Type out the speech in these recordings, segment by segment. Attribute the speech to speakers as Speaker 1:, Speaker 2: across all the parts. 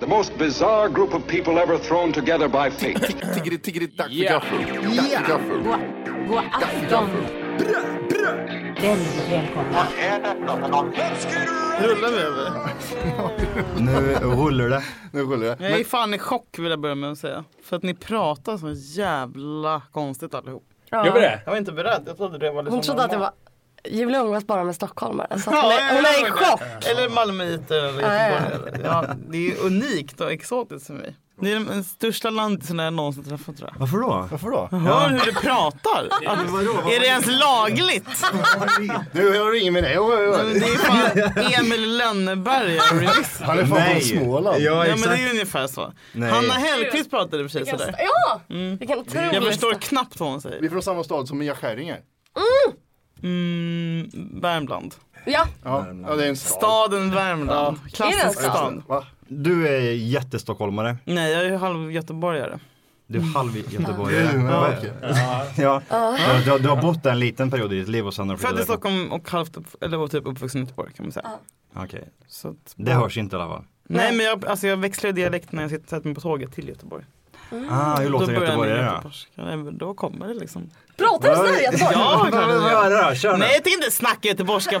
Speaker 1: The most bizarre group of people ever thrown together by fate.
Speaker 2: Tiggeri, tiggeri, tack för gaffel. Tack för gaffel.
Speaker 3: God afton! Väldigt välkomna.
Speaker 4: Rullar vi över?
Speaker 2: Nu rullar det. Nu rullar det.
Speaker 4: Jag är fan i chock vill jag börja med att säga. För att ni pratar så jävla konstigt allihop.
Speaker 3: Gör vi det?
Speaker 4: Jag var inte beredd, jag trodde det var liksom
Speaker 3: Hon trodde att det var Julia umgås bara med stockholmare. Så att
Speaker 4: Ja,
Speaker 3: hon är, hon är i
Speaker 4: jag-
Speaker 3: chock.
Speaker 4: Eller malmöiter eller göteborgare. Ja, det är unikt och exotiskt för mig. Ni är den största landisen jag någonsin träffat tror jag.
Speaker 2: Varför då? Varför då?
Speaker 4: Hör hur du pratar. Är det ens lagligt?
Speaker 2: Nu har du ingen med det. Oj, oj,
Speaker 4: Men Det
Speaker 2: oj.
Speaker 4: är fan Emil Lönneberga.
Speaker 2: Han är fan från Småland.
Speaker 4: Ja, men det är ungefär så. Hanna Hellquist pratade i och för sig sådär.
Speaker 3: Ja! Vilken otrolig
Speaker 4: Jag förstår
Speaker 3: gäst.
Speaker 4: knappt vad hon
Speaker 2: Vi är
Speaker 4: säger.
Speaker 2: från samma stad som Mia Skäring är.
Speaker 4: Mm, Värmland.
Speaker 3: Ja,
Speaker 2: Ja. ja, det är en stad.
Speaker 4: Staden Värmland.
Speaker 3: Är det en
Speaker 4: Klassisk
Speaker 3: stad?
Speaker 4: stad.
Speaker 2: Va?
Speaker 5: Du är jättestockholmare.
Speaker 4: Nej, jag är ju halvgöteborgare.
Speaker 5: Du är halv göteborgare.
Speaker 2: Ja, okej.
Speaker 5: Ja. Du, har- du har bott där en liten period i ditt liv och sen har du
Speaker 4: Född i
Speaker 5: flyttat därifrån.
Speaker 4: Stockholm och halvt upp, eller var typ uppvuxen i Göteborg kan man säga.
Speaker 5: Okej.
Speaker 4: Så att,
Speaker 5: Det hörs inte i alla fall.
Speaker 4: nej men jag, alltså jag växlar ju dialekt när jag sitter sätter mig på tåget till Göteborg.
Speaker 5: Ah, hur låter göteborgare då?
Speaker 4: göteborgska. Nej, men Då kommer det liksom.
Speaker 3: pratar du sådär i Göteborg?
Speaker 4: Ja,
Speaker 5: Vad vill du höra då? Kör nu.
Speaker 4: Nej jag tänker inte snacka göteborgska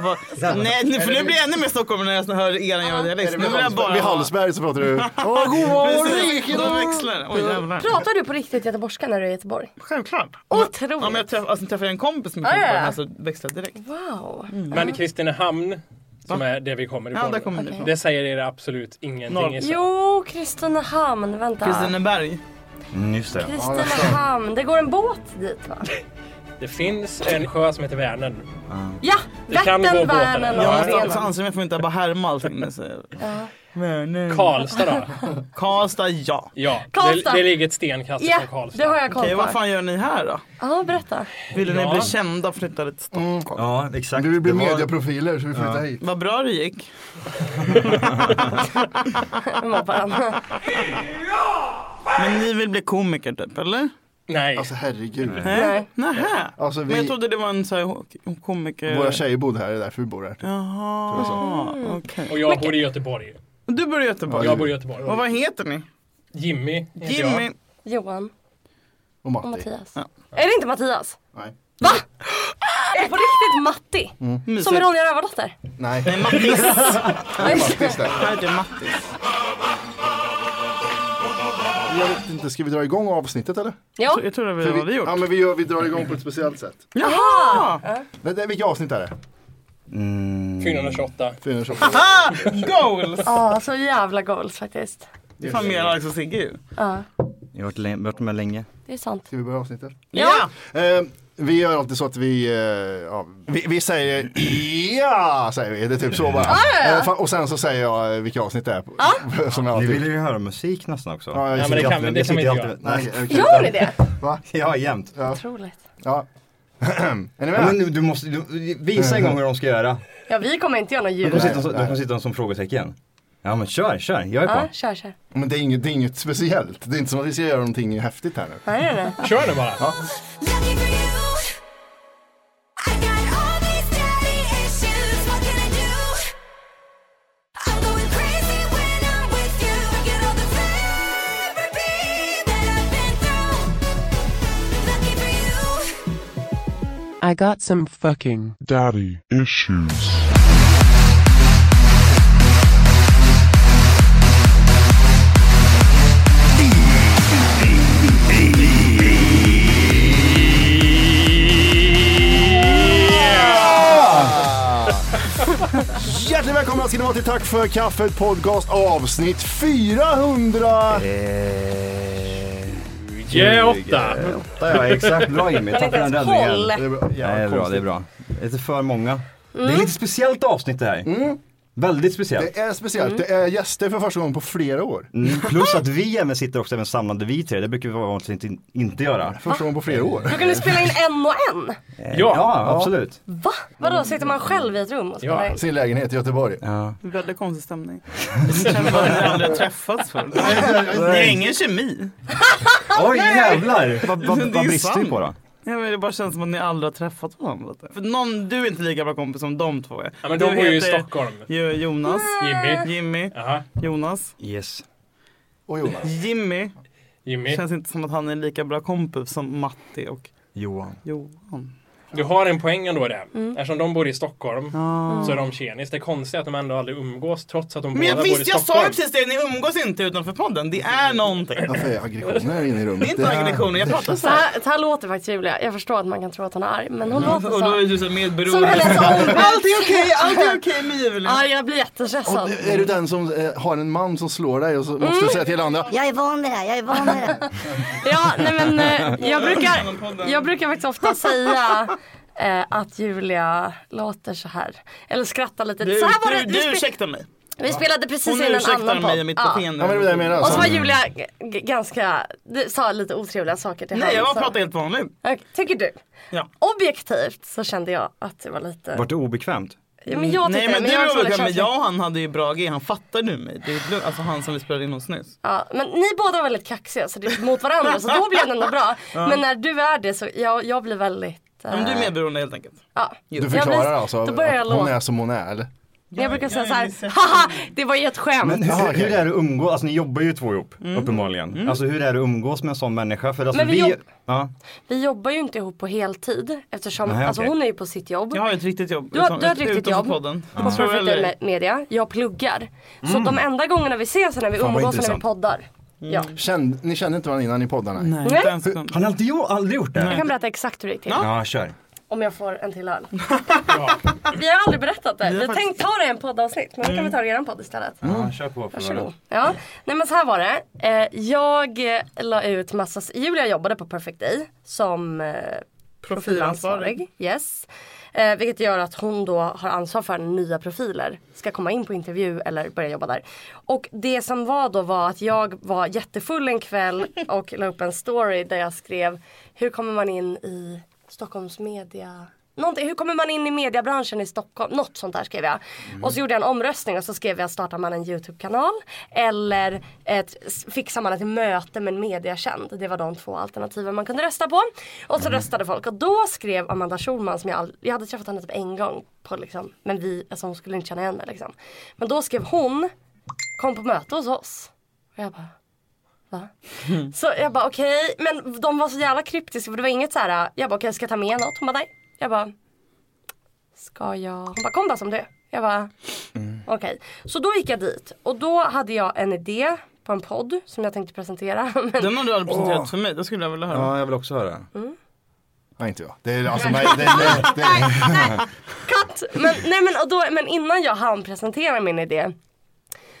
Speaker 4: på. Nej nu, för nu blir jag ännu mer Stockholm när jag hör er göra dialekt. Nu vill jag bara.
Speaker 2: Vid Hallsberg så pratar du. Åh, god
Speaker 4: Precis,
Speaker 2: morgon!
Speaker 4: Då växlar det. Oj jävlar.
Speaker 3: Pratar du på riktigt göteborgska när du är i Göteborg?
Speaker 4: Självklart.
Speaker 3: Otroligt.
Speaker 4: Om jag träff, alltså, träffar jag en kompis som är
Speaker 3: Ja,
Speaker 4: från
Speaker 3: ja, ja.
Speaker 4: Göteborg alltså, växlar jag direkt.
Speaker 3: Wow.
Speaker 6: Men Kristinehamn, som är där vi kommer
Speaker 4: Ja
Speaker 6: ifrån,
Speaker 4: där kommer det ifrån.
Speaker 6: det säger er absolut ingenting.
Speaker 4: Noll.
Speaker 6: gissar jag.
Speaker 3: Jo, Kristinehamn, vänta.
Speaker 4: Kristineberg.
Speaker 5: Mm, just det.
Speaker 3: Kristinehamn, det går en båt dit va?
Speaker 6: Det finns en sjö som heter Vänern.
Speaker 3: Ja,
Speaker 6: Det kan gå
Speaker 3: Vättern,
Speaker 6: båtar
Speaker 3: Värnen
Speaker 6: där.
Speaker 4: Jag
Speaker 3: och
Speaker 4: måste alltså
Speaker 3: Vänern.
Speaker 4: anse mig för att inte bara härma allting ni säger.
Speaker 5: eh,
Speaker 4: Vänern.
Speaker 6: Karlstad då?
Speaker 4: Karlstad ja.
Speaker 6: Ja,
Speaker 3: Karlstad.
Speaker 6: det, det ligger ett stenkast
Speaker 3: Ja,
Speaker 6: från Karlstad.
Speaker 3: det har jag koll
Speaker 4: Okej,
Speaker 3: på.
Speaker 4: vad fan gör ni här då?
Speaker 3: Ja, berätta.
Speaker 4: Ville ni
Speaker 6: Ja.
Speaker 4: bli kända och flytta till Stockholm?
Speaker 5: Ja, exakt.
Speaker 2: Du vill bli
Speaker 5: Det var-
Speaker 2: mediaprofiler så vi flyttar hit.
Speaker 4: Vad bra det gick.
Speaker 3: Vi mobbar honom.
Speaker 4: Men ni vill bli komiker typ, eller?
Speaker 6: Nej,
Speaker 2: Alltså herregud.
Speaker 3: Nej.
Speaker 4: Nähä.
Speaker 2: Alltså,
Speaker 4: Men jag
Speaker 2: vi-
Speaker 4: trodde det var en så här ho- komiker...
Speaker 2: Våra tjejer bodde här, det är därför vi bor här.
Speaker 4: Jaha, okej.
Speaker 6: och jag bor i Göteborg.
Speaker 4: Och Du bor i Göteborg.
Speaker 6: Jag bor i Göteborg.
Speaker 4: Och vad heter ni?
Speaker 6: Jimmy heter
Speaker 4: Jimmy.
Speaker 6: jag.
Speaker 3: Johan
Speaker 2: Och
Speaker 3: och
Speaker 2: Matti.
Speaker 3: Mattias. Är det inte Mattias?
Speaker 2: Nej.
Speaker 3: Är det på riktigt Matti? Som
Speaker 4: Mysigt.
Speaker 3: Ronja Rövardotter?
Speaker 2: Nej,
Speaker 4: Mattis.
Speaker 2: Mattis där.
Speaker 4: Han heter Mattis.
Speaker 2: Jag vet inte, ska vi dra igång avsnittet eller?
Speaker 3: Ja.
Speaker 4: Jag tror det var
Speaker 2: För
Speaker 4: det vi hade gjort.
Speaker 2: Ja men vi, gör, vi drar igång på ett speciellt sätt.
Speaker 4: Jaha!
Speaker 2: Men det, vilka avsnitt är det?
Speaker 6: Mm. 428.
Speaker 2: Fyra tjocka.
Speaker 4: Ah, goals!
Speaker 3: Ja, så jävla goals faktiskt.
Speaker 4: Det är fan mer Alex och Sigge ju.
Speaker 5: Jag har varit lä- varit med länge.
Speaker 3: Det är sant.
Speaker 2: Ska vi börja avsnittet?
Speaker 4: Ja!
Speaker 2: Eh, vi gör alltid så att vi, eh, ja, vi, vi säger ja, säger vi. Det är typ så bara. Eh, fa- och sen så säger jag eh, vilka avsnitt det är. På, som jag
Speaker 5: Ni
Speaker 2: alltid.
Speaker 5: ville ju höra musik nästan också.
Speaker 2: Ja, jag
Speaker 6: men det
Speaker 2: ser-
Speaker 6: kan- det kan vi
Speaker 5: sitter
Speaker 6: inte
Speaker 5: alltid-
Speaker 2: Nej,
Speaker 5: Nej,
Speaker 2: okej, okej.
Speaker 3: Gör ni det?
Speaker 5: ja jämt. Ja,
Speaker 3: Otroligt.
Speaker 2: Ja. är ni med?
Speaker 5: men nu- du måste, du, visa en gång hur de ska göra.
Speaker 3: Ja, vi kommer inte göra något
Speaker 5: De
Speaker 3: ljud.
Speaker 5: kommer sitta, som- de
Speaker 2: Eh,
Speaker 5: kommer sitta som frågetecken. Ja men kör, kör. Jag är
Speaker 3: Ja,
Speaker 5: på.
Speaker 3: kör, kör.
Speaker 2: Men det är, inget, det är inget speciellt. Det är inte som att vi ska göra någonting häftigt här nu.
Speaker 3: Nej, nej, nej.
Speaker 6: Kör nu bara.
Speaker 3: I got some fucking
Speaker 2: Daddy issues. välkomna ska ni vara till Tack för kaffet podcast avsnitt 400.
Speaker 7: Eh,
Speaker 6: Ge åtta!
Speaker 7: Åtta ja, exakt. Bra Jimmy. Tack för den räddningen.
Speaker 4: Det är bra.
Speaker 7: Nej, det är bra, det är bra. Det är inte för många. Det är lite speciellt avsnitt det här. Väldigt speciellt.
Speaker 2: Det är speciellt.
Speaker 4: Mm.
Speaker 2: Det är gäster för första gången på flera år.
Speaker 7: Mm, Plus att vi även sitter också även samlade vi tre, det brukar vi vanligtvis inte, inte göra.
Speaker 2: Första gången på flera år.
Speaker 4: Brukar ni spela in en och en?
Speaker 7: Ja, ja absolut.
Speaker 4: Va? Vadå, sitter man själv i ett rum och spelar in?
Speaker 2: Sin lägenhet i Göteborg.
Speaker 3: Väldigt konstig stämning. Jag känner bara att ni aldrig har träffats förr. Det är ingen kemi.
Speaker 7: Oj jävlar! Vad, vad,
Speaker 3: Det är
Speaker 7: vad brister vi
Speaker 3: sant.
Speaker 7: på då?
Speaker 3: Ja, men det bara känns som att ni aldrig har träffat varandra. lite. För någon, du är inte lika bra kompis som de två är.
Speaker 6: Ja, men
Speaker 3: Du
Speaker 6: de bor ju i
Speaker 3: heter
Speaker 6: Stockholm.
Speaker 3: Jo- Jonas,
Speaker 6: Jimmy.
Speaker 3: Jimmy,
Speaker 6: Jaha.
Speaker 3: Jonas.
Speaker 7: Yes.
Speaker 2: Och Jonas.
Speaker 3: Jimmy
Speaker 6: Jimmy.
Speaker 3: känns inte som att han är lika bra kompis som Matti och
Speaker 7: Johan.
Speaker 3: Johan.
Speaker 6: Du har en poäng ändå där. Eftersom de bor i Stockholm så är de tjenis. Det konstiga är att de ändå aldrig umgås trots att de
Speaker 3: Men
Speaker 6: båda
Speaker 3: jag
Speaker 6: bor i
Speaker 3: visst, jag sa ju
Speaker 6: Stockholm.
Speaker 3: precis det, ni umgås inte utanför podden. Det är någonting.
Speaker 2: Varför är aggressioner inne i rummet?
Speaker 3: Det är inte aggressioner, jag pratar så
Speaker 4: Så
Speaker 3: här. Mm.
Speaker 4: här, så här låter faktiskt Julia. Jag förstår att man kan tro att hon är arg, men hon låter
Speaker 3: Och då är
Speaker 4: så.
Speaker 3: du så här
Speaker 4: Som
Speaker 3: medberoende.
Speaker 4: hennes
Speaker 3: Allt är
Speaker 4: omvänd.
Speaker 3: okej, allt är okej med Julia.
Speaker 4: Ja, jag blir jättestressad.
Speaker 2: Och är du den som eh, har en man som slår dig och så måste
Speaker 4: Mm.
Speaker 2: du säga till andra?
Speaker 8: Jag är van vid det här, jag är van vid det.
Speaker 4: Ja, nej men eh, jag brukar, jag brukar faktiskt ofta säga eh, att Julia låter så här. Eller skrattar lite.
Speaker 3: Du,
Speaker 4: så här var
Speaker 3: du,
Speaker 4: det.
Speaker 3: du
Speaker 4: Vi, spe-
Speaker 3: ursäktar mig.
Speaker 4: vi spelade precis
Speaker 3: Hon
Speaker 4: in en
Speaker 3: ursäktar
Speaker 4: annan
Speaker 3: mig och mitt
Speaker 4: Ja.
Speaker 3: beteende.
Speaker 2: Ja, men det är det jag menar.
Speaker 4: Och så var
Speaker 2: Alltså.
Speaker 4: Julia g- g- ganska, du sa lite otrevliga saker till
Speaker 3: Nej, jag bara
Speaker 4: så-
Speaker 3: pratar helt vanligt.
Speaker 4: Okej, Tycker du?
Speaker 3: Ja.
Speaker 4: Objektivt så kände jag att det var lite...
Speaker 7: Vart det obekvämt?
Speaker 4: Ja, men jag
Speaker 3: Nej
Speaker 4: tyckte
Speaker 3: men
Speaker 4: det,
Speaker 3: du
Speaker 4: jag
Speaker 3: var
Speaker 4: var
Speaker 3: väl men jag och han hade ju bra grej, han fattade ju mig. Det är lugnt. alltså han som vi spelade in hos nyss.
Speaker 4: Ja, men ni båda var väldigt kaxiga så det är mot varandra så då blir det ändå bra. Men när du är det så jag, jag blir väldigt...
Speaker 3: Men du är
Speaker 4: eh,
Speaker 3: medberoende helt enkelt.
Speaker 4: ja.
Speaker 2: Du
Speaker 4: jag
Speaker 2: förklarar
Speaker 4: blir,
Speaker 2: alltså
Speaker 4: Då börjar jag
Speaker 2: att hon
Speaker 4: låta.
Speaker 2: är som hon är eller?
Speaker 4: Jag brukar säga
Speaker 3: jag
Speaker 4: så
Speaker 3: är
Speaker 4: här,
Speaker 3: sexuell.
Speaker 4: haha det var ju ett skämt.
Speaker 7: Men hur,
Speaker 2: Aha, okej.
Speaker 7: hur är det att umgås, alltså ni jobbar ju två ihop uppenbarligen. Alltså hur är det att umgås med en sån människa? För alltså
Speaker 4: Mm. Men vi jobb-
Speaker 7: ja.
Speaker 4: Vi jobbar ju inte ihop på heltid eftersom
Speaker 7: Nej,
Speaker 4: alltså,
Speaker 7: okej.
Speaker 4: hon är ju på sitt jobb.
Speaker 3: Jag har ju ett riktigt jobb.
Speaker 4: Du har-
Speaker 3: utan-
Speaker 4: du har ett riktigt
Speaker 3: utanför
Speaker 4: jobb.
Speaker 3: podden.
Speaker 4: på
Speaker 3: Tror jag eller
Speaker 4: Profit
Speaker 3: ej.
Speaker 4: Media, jag pluggar. Så de enda gångerna vi ses är när vi
Speaker 7: Fan, vad
Speaker 4: umgås och när vi
Speaker 7: intressant.
Speaker 4: poddar. Ja.
Speaker 2: Mm. Känn- ni kände inte varandra innan ni poddade? Nej.
Speaker 3: Nej, inte ens
Speaker 7: Har ni alltid, gjort- aldrig gjort det?
Speaker 4: Jag kan berätta exakt hur det gick till.
Speaker 7: Ja, kör.
Speaker 4: Om jag får en till öl. vi har aldrig berättat det. Vi har tänkt ta det i en poddavsnitt men då kan vi ta det i en podd istället.
Speaker 7: Ja, kör på. För
Speaker 4: Varsågod. Ja. Nej men så här var det. Eh, Jag eh, la ut massa, Julia jobbade på Perfect Day som eh, profilansvarig. Yes. Eh, vilket gör att hon då har ansvar för när nya profiler ska komma in på intervju eller börja jobba där. Och det som var då var att jag var jättefull en kväll och la upp en story där jag skrev hur kommer man in i Stockholms media Någonting, hur kommer man in i mediebranschen i Stockholm? Något sånt där skrev jag. Och så gjorde jag en omröstning och så skrev jag startar man en YouTube-kanal eller ett, s- fixar man ett möte med en mediekänd? Det var de två alternativen man kunde rösta på. Och så röstade folk och då skrev Amanda Schulman som jag, all, jag hade träffat henne typ en gång på liksom, men vi, alltså hon skulle inte känna igen mig liksom. Men då skrev hon, kom på möte hos oss. Och jag bara Va? Så jag bara okej, men de var så jävla kryptiska för det var inget så här. jag bara okej ska jag ta med något? Hon bara nej. Jag bara ska jag? Hon bara kom bara som du är." Jag bara okej. Så då gick jag dit och då hade jag en idé på en podd som jag tänkte presentera. Men
Speaker 3: Den har du aldrig presenterat för mig, det skulle jag vilja höra.
Speaker 7: Ja, jag vill också höra.
Speaker 4: Mm.
Speaker 2: Nej inte jag. Det är alltså mig, det är, det är,
Speaker 4: cut! Men, nej, men, och då, men innan jag hann presentera min idé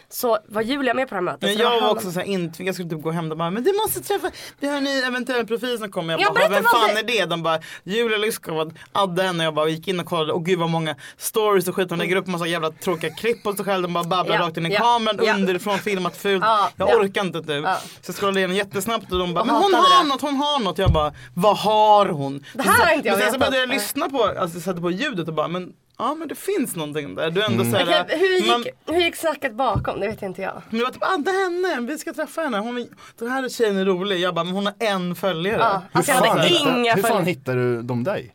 Speaker 4: så var Julia med på det här mötet.
Speaker 3: Men
Speaker 4: Så det
Speaker 3: jag var
Speaker 4: han-
Speaker 3: också såhär intvingad, jag skulle typ gå hem och bara men du måste träffa, vi har en ny eventuell profil som kommer.
Speaker 4: Ja,
Speaker 3: Jag bara, "Va, vem
Speaker 4: berätta vad
Speaker 3: fan
Speaker 4: det-
Speaker 3: är det? De bara, Julia Lyskova, adda henne. Jag bara gick in och kollade och gud vad många stories och skit. Hon lägger upp massa jävla tråkiga klipp på sig själv. De bara babblar
Speaker 4: Mm. Ja,
Speaker 3: rakt in i
Speaker 4: ja,
Speaker 3: kameran,
Speaker 4: ja.
Speaker 3: underifrån filmat fult.
Speaker 4: Ja,
Speaker 3: jag
Speaker 4: ja.
Speaker 3: orkar inte typ.
Speaker 4: Ja.
Speaker 3: Så jag scrollade igenom jättesnabbt och de bara,
Speaker 4: Och
Speaker 3: men hon
Speaker 4: hatade
Speaker 3: har
Speaker 4: det.
Speaker 3: något, hon har något. Jag bara, vad har hon?
Speaker 4: Det här har inte jag
Speaker 3: Men sen så
Speaker 4: vetat.
Speaker 3: började jag lyssna på, alltså jag satte på ljudet och bara, men ja men det finns någonting där. Du är ändå såhär,
Speaker 4: Mm. Okej, hur, gick,
Speaker 3: man-
Speaker 4: hur gick snacket bakom? Det vet inte jag.
Speaker 3: men det var typ, adda henne, vi ska träffa henne. Hon är, den här tjejen är rolig. Jag bara, men hon har en följare.
Speaker 4: Ja, alltså jag
Speaker 2: fan
Speaker 4: hade
Speaker 2: hittar-
Speaker 4: inga
Speaker 2: hur fan
Speaker 4: följare.
Speaker 2: hittar du dem dig?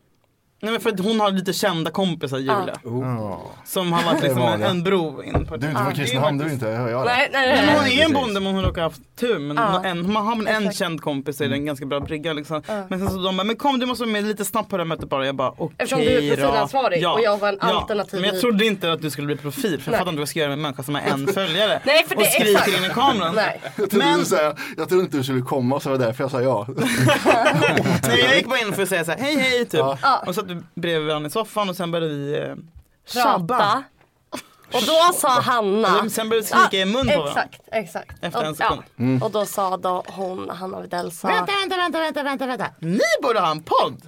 Speaker 3: Nej men för att hon har lite kända kompisar, Julia. Som har varit liksom
Speaker 2: Oh.
Speaker 3: en,
Speaker 2: Det är vanliga.
Speaker 3: en bro in på
Speaker 2: Du är inte från Kristinehamn, du är inte, hör jag det.
Speaker 4: Nej, nej, nej,
Speaker 3: Men
Speaker 4: nej.
Speaker 3: hon är en bonde men hon råkar ha haft tur. Men hon
Speaker 4: Ja.
Speaker 3: har en, man har man en känd kompis så är det en ganska bra brygga liksom. Men sen så de bara, men kom du måste vara med lite snabbt på det här mötet bara. Jag bara okej
Speaker 4: Eftersom du är
Speaker 3: då."
Speaker 4: profilansvarig och jag var en alternativ-
Speaker 3: Men jag trodde inte att du skulle bli profil för jag
Speaker 4: Nej.
Speaker 3: fattar inte vad jag ska göra med en människa som har en följare.
Speaker 4: Nej, för
Speaker 3: och
Speaker 4: det- exakt.
Speaker 3: skriker in i kameran.
Speaker 4: Nej.
Speaker 2: Jag trodde,
Speaker 3: Men-
Speaker 2: du, skulle säga, jag trodde inte du skulle komma så det var därför jag sa ja.
Speaker 3: Nej jag gick bara in för att säga så här, hej hej typ. Och så satt vi bredvid varandra i soffan och sen började vi eh,
Speaker 4: Prata.
Speaker 3: tjabba.
Speaker 4: Och då sa Hanna.
Speaker 3: Sen började du skrika i mun på varandra.
Speaker 4: Exakt, exakt.
Speaker 3: Efter en
Speaker 4: och,
Speaker 3: sekund. Mm.
Speaker 4: Ja. och då sa då hon, Hanna Widell sa.
Speaker 3: Vänta,
Speaker 4: vänta, vänta, vänta, vänta.
Speaker 3: Ni borde ha en podd.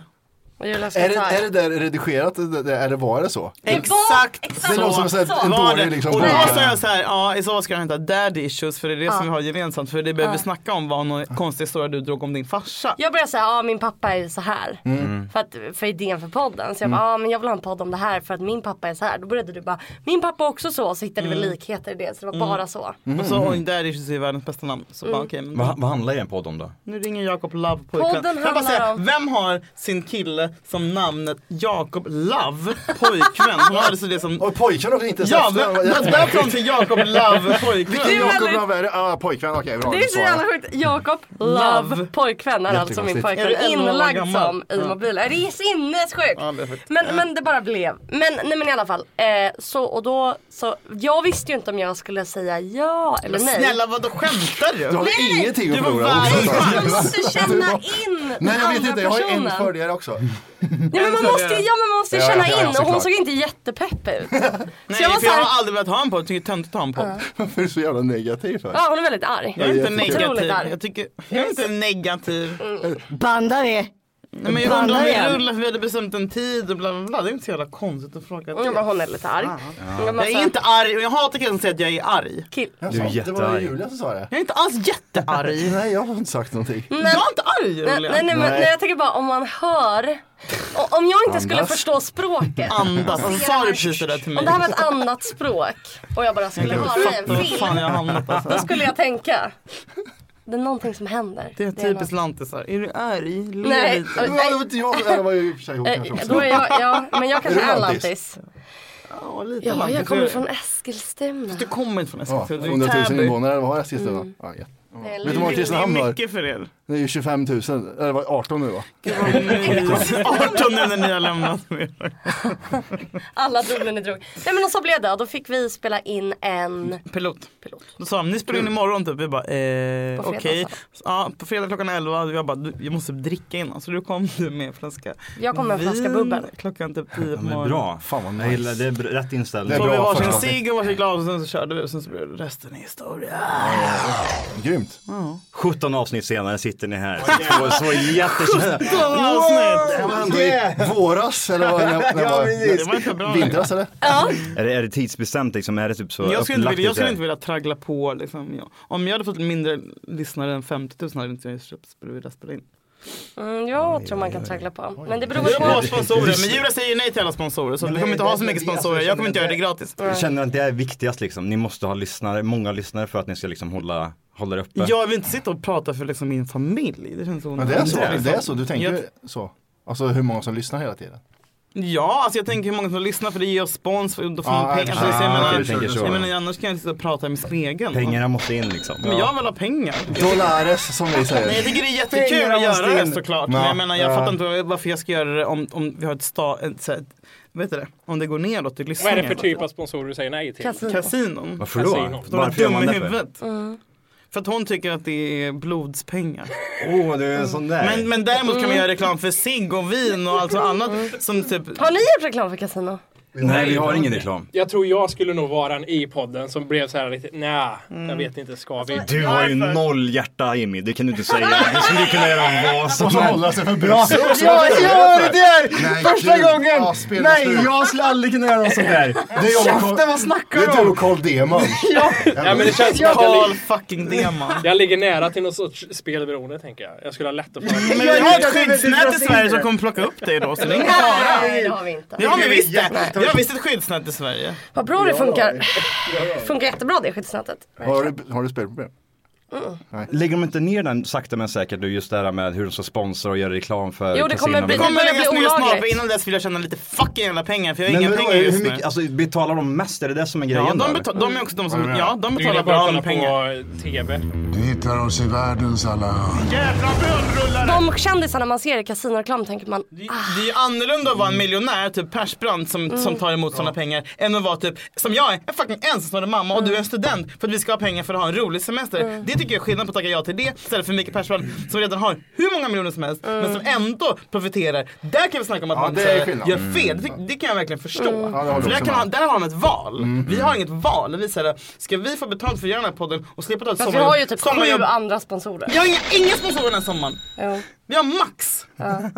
Speaker 2: Är det, är det där redigerat? Det- det- Är det, var det så?
Speaker 3: Exakt
Speaker 2: Det låter som så här en
Speaker 3: var det.
Speaker 2: dålig liksom
Speaker 3: Och då
Speaker 2: bok.
Speaker 3: sa jag så här, ja i så fall ska jag hämta daddy issues för det är det
Speaker 4: Ja.
Speaker 3: som vi har gemensamt. För det behöver vi
Speaker 4: Ja.
Speaker 3: snacka om var någon konstig historia du drog om din farsa.
Speaker 4: Jag började säga, ja min pappa är så här.
Speaker 3: Mm.
Speaker 4: För, att, för idén för podden. Så jag
Speaker 3: Mm.
Speaker 4: bara, ja men jag vill ha en podd om det här för att min pappa är så här. Då började du bara, min pappa är också så. Och så hittade vi
Speaker 3: Mm.
Speaker 4: likheter i det. Så det var
Speaker 3: Mm.
Speaker 4: bara så.
Speaker 3: Och så oj, daddy issues är världens bästa namn. Så bara,
Speaker 4: Mm.
Speaker 3: okej, men
Speaker 7: Vad, vad handlar er podd om då?
Speaker 3: Nu ringer Jakob Love på
Speaker 4: Podden
Speaker 3: Får jag bara
Speaker 4: handlar
Speaker 3: säga,
Speaker 4: om-
Speaker 3: Vem har sin kille som namnet Jakob Love pojkvän? Hon hade så det som...
Speaker 2: Och pojkvän också inte
Speaker 3: Ja, men men därifrån till Jakob Love pojkvän.
Speaker 2: Vilken Jakob Love är det? Ja, pojkvän. Okej, bra.
Speaker 4: Det är så
Speaker 2: Svara.
Speaker 4: jävla sjukt. Jakob Love,
Speaker 2: Love.
Speaker 4: pojkvän är alltså min
Speaker 2: Jättekonstigt.
Speaker 4: pojkvän.
Speaker 2: Är du elva år
Speaker 4: Inlagd
Speaker 2: gammal?
Speaker 4: som i mobilen. Det är sinnessjukt.
Speaker 3: Ja, det är sjukt.
Speaker 4: Men, men det bara blev. Men, nej, men i alla fall. Eh, så, och då, så, jag visste ju inte om jag skulle säga ja eller
Speaker 3: Men
Speaker 4: nej.
Speaker 3: snälla vadå skämtar du?
Speaker 2: Du har ingenting att
Speaker 3: Du var
Speaker 2: förlora.
Speaker 3: världens-
Speaker 4: Man måste känna in den
Speaker 2: Nej, jag vet
Speaker 4: andra
Speaker 2: inte. Jag har en
Speaker 4: personen.
Speaker 2: fördel också.
Speaker 4: Nej, men man måste, ju- ja, men man måste ju
Speaker 2: Ja,
Speaker 4: känna
Speaker 2: ja, ja,
Speaker 4: in och hon
Speaker 2: såklart.
Speaker 4: såg inte jättepepp ut.
Speaker 3: Nej,
Speaker 4: Så jag var
Speaker 3: för jag
Speaker 4: såhär-
Speaker 3: har aldrig velat ha en podd. Jag tycker det är töntigt att ha en podd.
Speaker 2: Varför är du så jävla negativ? alltså. För?
Speaker 4: Ja, hon är väldigt arg.
Speaker 3: Jag är inte
Speaker 4: Otroligt Mm.
Speaker 3: negativ.
Speaker 4: arg.
Speaker 3: Jag, tycker, jag är inte negativ.
Speaker 8: Bandar vi?
Speaker 3: Nej, men jag undrar om vi
Speaker 8: igen.
Speaker 3: rullar för vi hade bestämt en tid och bla bla bla. Det är inte så jävla konstigt att fråga det.
Speaker 4: Ja, men hon är lite arg.
Speaker 3: Fan.
Speaker 4: Ja. Jag bara
Speaker 3: Jag
Speaker 4: så här-
Speaker 3: är inte arg och jag hatar killar som säger att jag är arg.
Speaker 4: Kill.
Speaker 2: Jag sa- det var Julia som sa det.
Speaker 3: Jag är Mm, inte alls jättearg.
Speaker 2: Nej, jag har inte sagt någonting.
Speaker 4: Men-
Speaker 3: Jag är inte arg
Speaker 4: Nej,
Speaker 3: Julia.
Speaker 4: nej, nej, men, nej jag tänker bara om man hör. Och, om jag inte skulle
Speaker 3: Andas.
Speaker 4: förstå språket.
Speaker 3: Andas. Alltså, sa du precis det där till mig?
Speaker 4: Om det här var ett annat språk och jag bara skulle
Speaker 3: Jag
Speaker 4: höra i
Speaker 3: fattar
Speaker 4: en
Speaker 3: vad fan jag har
Speaker 4: film.
Speaker 3: hamnat alltså.
Speaker 4: Då skulle jag tänka. Det är någonting som händer.
Speaker 3: Det är typiskt
Speaker 4: något-
Speaker 3: lantisar. Är du arg? Le
Speaker 4: Nej,
Speaker 3: lite.
Speaker 4: nej. Det var- det var
Speaker 2: inte jag. Det var ju i och för sig hon kanske
Speaker 4: Eh,
Speaker 2: också.
Speaker 4: Då är jag, ja, men jag kanske
Speaker 2: Är du
Speaker 4: är
Speaker 2: lantis?
Speaker 4: lantis.
Speaker 3: Ja, lite
Speaker 4: Ja,
Speaker 3: lantis är
Speaker 4: jag kommer
Speaker 3: det.
Speaker 4: från Eskilstuna.
Speaker 3: Du kommer inte från
Speaker 2: Ja,
Speaker 3: Eskilstuna. du
Speaker 2: 100
Speaker 3: är i
Speaker 2: 000
Speaker 3: Täby.
Speaker 2: invånare, eller vad har Eskilstuna?
Speaker 3: Mm.
Speaker 2: Ja, ja.
Speaker 4: Det är
Speaker 2: Vet du hur många Kristinehamn
Speaker 3: Det är
Speaker 2: har?
Speaker 3: mycket för er.
Speaker 2: Det är ju 25 000, eller var det 18 nu va?
Speaker 3: 18 nu när ni har lämnat mig.
Speaker 4: Alla drog när ni drog. Nej men och så blev det. Då fick vi spela in en...
Speaker 3: Pilot. Då sa de, ni spelar in imorgon typ. Vi bara, eh,
Speaker 4: Mm. På fredag,
Speaker 3: okej.
Speaker 4: sa
Speaker 3: Ja, på fredag klockan 11. Jag bara, du, jag måste dricka innan. Så du kom du med en flaska
Speaker 4: Jag kom med en flaska
Speaker 3: vin
Speaker 4: bubbel.
Speaker 3: Klockan typ 10
Speaker 7: Men
Speaker 3: på morgonen.
Speaker 7: bra. Fan vad nice. Jag gillar, det är br- rätt inställning.
Speaker 3: Tog vi varsin cigg och varsin glas och sen så körde vi och sen så blev det resten är historia.
Speaker 2: Grymt.
Speaker 7: 17 avsnitt senare sitter ni här. Så, så jättekända.
Speaker 3: 17 avsnitt!
Speaker 2: Det var ändå i våras eller vad när, när
Speaker 7: Ja,
Speaker 2: var
Speaker 7: precis. Det var
Speaker 3: inte bra.
Speaker 2: Vintras eller?
Speaker 7: Är det, är det tidsbestämt liksom? Är det typ så
Speaker 3: Jag skulle, inte
Speaker 7: upplagt
Speaker 3: vilja, jag
Speaker 7: lite?
Speaker 3: skulle inte vilja traggla på. Liksom, ja. Om jag hade fått mindre lyssnare än 50 000 hade inte jag velat spela in.
Speaker 4: Mm, jag tror man kan traggla på. Men det beror
Speaker 3: Det beror på
Speaker 4: på...
Speaker 3: sponsorer. Men Jura säger nej till alla sponsorer så Alltså, vi kommer inte ha så mycket
Speaker 2: alltså
Speaker 3: sponsorer. Jag kommer inte göra det gratis.
Speaker 7: Jag känner att det är viktigast liksom. Ni måste ha lyssnare, många lyssnare för att ni ska liksom hålla, hålla det uppe.
Speaker 3: Jag vill inte sitta och prata för liksom min familj. Det känns så
Speaker 2: Men det är så,
Speaker 3: onödigt.
Speaker 2: det är så, du tänker
Speaker 3: Jag-
Speaker 2: så. Alltså hur många som lyssnar hela tiden.
Speaker 3: Ja, alltså jag tänker hur många som lyssnar för det ger oss spons för då får
Speaker 2: Ah,
Speaker 3: man pengar. Alltså,
Speaker 7: ah,
Speaker 3: jag, menar,
Speaker 7: du tänker så.
Speaker 3: jag menar annars kan jag sitta och prata i min spegel.
Speaker 7: Pengarna måste in liksom.
Speaker 3: Men jag vill ha pengar.
Speaker 2: Dollares som vi säger.
Speaker 3: Nej, jag tycker det är jättekul
Speaker 7: Pengarna
Speaker 3: att göra
Speaker 7: måste
Speaker 3: det
Speaker 7: in.
Speaker 3: såklart.
Speaker 7: Ja.
Speaker 3: Men jag menar jag
Speaker 7: Ja.
Speaker 3: fattar inte varför jag ska göra det om, om vi har ett sta... Ett, så här, vet du det? Om det går neråt i
Speaker 6: Vad
Speaker 3: lyssningen.
Speaker 6: är det för typ av sponsorer du säger nej till?
Speaker 3: Kasino. Kasinon.
Speaker 7: Varför då?
Speaker 6: Kasinon.
Speaker 3: De är
Speaker 7: Varför gör
Speaker 3: dumma
Speaker 7: man
Speaker 3: i
Speaker 7: det för?
Speaker 3: huvudet.
Speaker 4: Mm.
Speaker 3: För att hon tycker att det är blodspengar.
Speaker 7: Åh, du är en sån där.
Speaker 3: Men, men däremot
Speaker 4: Mm.
Speaker 3: kan man göra reklam för cigg och vin och allt annat som typ...
Speaker 4: Har ni gjort reklam för kasino?
Speaker 7: Nej, vi har ingen reklam.
Speaker 6: Jag tror jag skulle nog vara den i podden som blev så här lite, nej,
Speaker 7: Mm.
Speaker 6: jag vet inte, ska vi?
Speaker 7: Du har ju noll hjärta Jimmy, det kan du inte säga. Du skulle kunna göra vad som
Speaker 2: Och så hålla sig för bröstet också.
Speaker 7: Jag gör det
Speaker 2: Nej,
Speaker 7: där! Första
Speaker 2: gud.
Speaker 7: gången!
Speaker 2: Ja, spela
Speaker 7: Nej,
Speaker 2: slut.
Speaker 7: jag skulle aldrig kunna göra något sånt där.
Speaker 2: Det är jag och
Speaker 7: Käften, vad
Speaker 2: Det är
Speaker 7: snackar
Speaker 2: du
Speaker 7: du om?
Speaker 2: och Carl Deman.
Speaker 7: Ja.
Speaker 6: Ja, men det känns som
Speaker 3: Jag
Speaker 6: att jag,
Speaker 3: Carl
Speaker 6: lig-
Speaker 3: fucking Deman.
Speaker 6: jag ligger nära till något sorts spelberoende tänker jag. Jag skulle ha lätt att få
Speaker 3: Men
Speaker 6: det.
Speaker 3: vi har ett
Speaker 7: det, det, det
Speaker 3: skyddsnät i
Speaker 7: dras in
Speaker 3: Sverige
Speaker 7: det.
Speaker 3: som kommer plocka upp dig då, så det är ingen fara.
Speaker 4: Nej, det har vi inte.
Speaker 3: Det har vi visst det! Vi har visst ett skyddsnät i Sverige.
Speaker 4: Vad bra det funkar. Funkar jättebra det skyddsnätet.
Speaker 2: Har du, har du spelproblem?
Speaker 7: Lägger de inte ner den sakta men säkert nu just det här med hur de ska sponsra och göra reklam för
Speaker 4: Jo, det kommer
Speaker 7: kasinon?
Speaker 4: bli-
Speaker 3: Det kommer
Speaker 4: börjar
Speaker 3: läggas
Speaker 4: bli
Speaker 3: ner snart,
Speaker 4: olagligt.
Speaker 3: för innan dess vill jag tjäna lite fucking jävla pengar för jag har
Speaker 7: Men
Speaker 3: inga
Speaker 7: vadå,
Speaker 3: pengar just
Speaker 7: hur
Speaker 3: nu.
Speaker 7: mycket, alltså betalar de mest? Är det det som är
Speaker 3: Ja,
Speaker 7: grejen
Speaker 3: de,
Speaker 7: då?
Speaker 3: betal, de är också de
Speaker 7: Vad
Speaker 3: som,
Speaker 7: menar
Speaker 3: ja, de
Speaker 6: Du gillar
Speaker 3: betalar
Speaker 6: bara
Speaker 3: bra
Speaker 6: att kolla
Speaker 3: med pengar.
Speaker 6: på TV.
Speaker 9: hittar oss i världens alla hörn.
Speaker 3: Jävla bönrullare!
Speaker 4: De kändisarna man ser i kasinoreklam tänker man,
Speaker 3: Det är ju annorlunda att vara en miljonär, typ Persbrandt som, som tar emot sådana pengar. Än att vara typ, som jag är, en fucking ensamstående mamma och du är en student för att vi ska ha pengar för att ha en rolig semester.
Speaker 4: Mm.
Speaker 3: Det tycker jag är skillnad på att tacka ja till det istället för Mikael Persbrandt som redan har hur många miljoner som helst men som
Speaker 4: Mm.
Speaker 3: ändå profiterar. Där kan vi snacka om att
Speaker 2: Ja,
Speaker 3: man
Speaker 2: det är
Speaker 3: eh,
Speaker 2: skillnad.
Speaker 3: gör fel. Det, ty- det kan jag verkligen förstå.
Speaker 2: Mm. Ja, det
Speaker 3: För
Speaker 2: håller jag
Speaker 3: där,
Speaker 2: också
Speaker 3: kan
Speaker 2: med.
Speaker 3: han, där har han ett val.
Speaker 2: Mm.
Speaker 3: Vi har inget val. Vi säger, ska vi få betalt för att göra den här podden och slippa ta ett
Speaker 4: Fast vi har ju
Speaker 3: sommarjobb?
Speaker 4: typ
Speaker 3: sommarjobb-
Speaker 4: sju andra sponsorer.
Speaker 3: Jag har inga, inga sponsorer den här sommaren. Vi har max. Ja.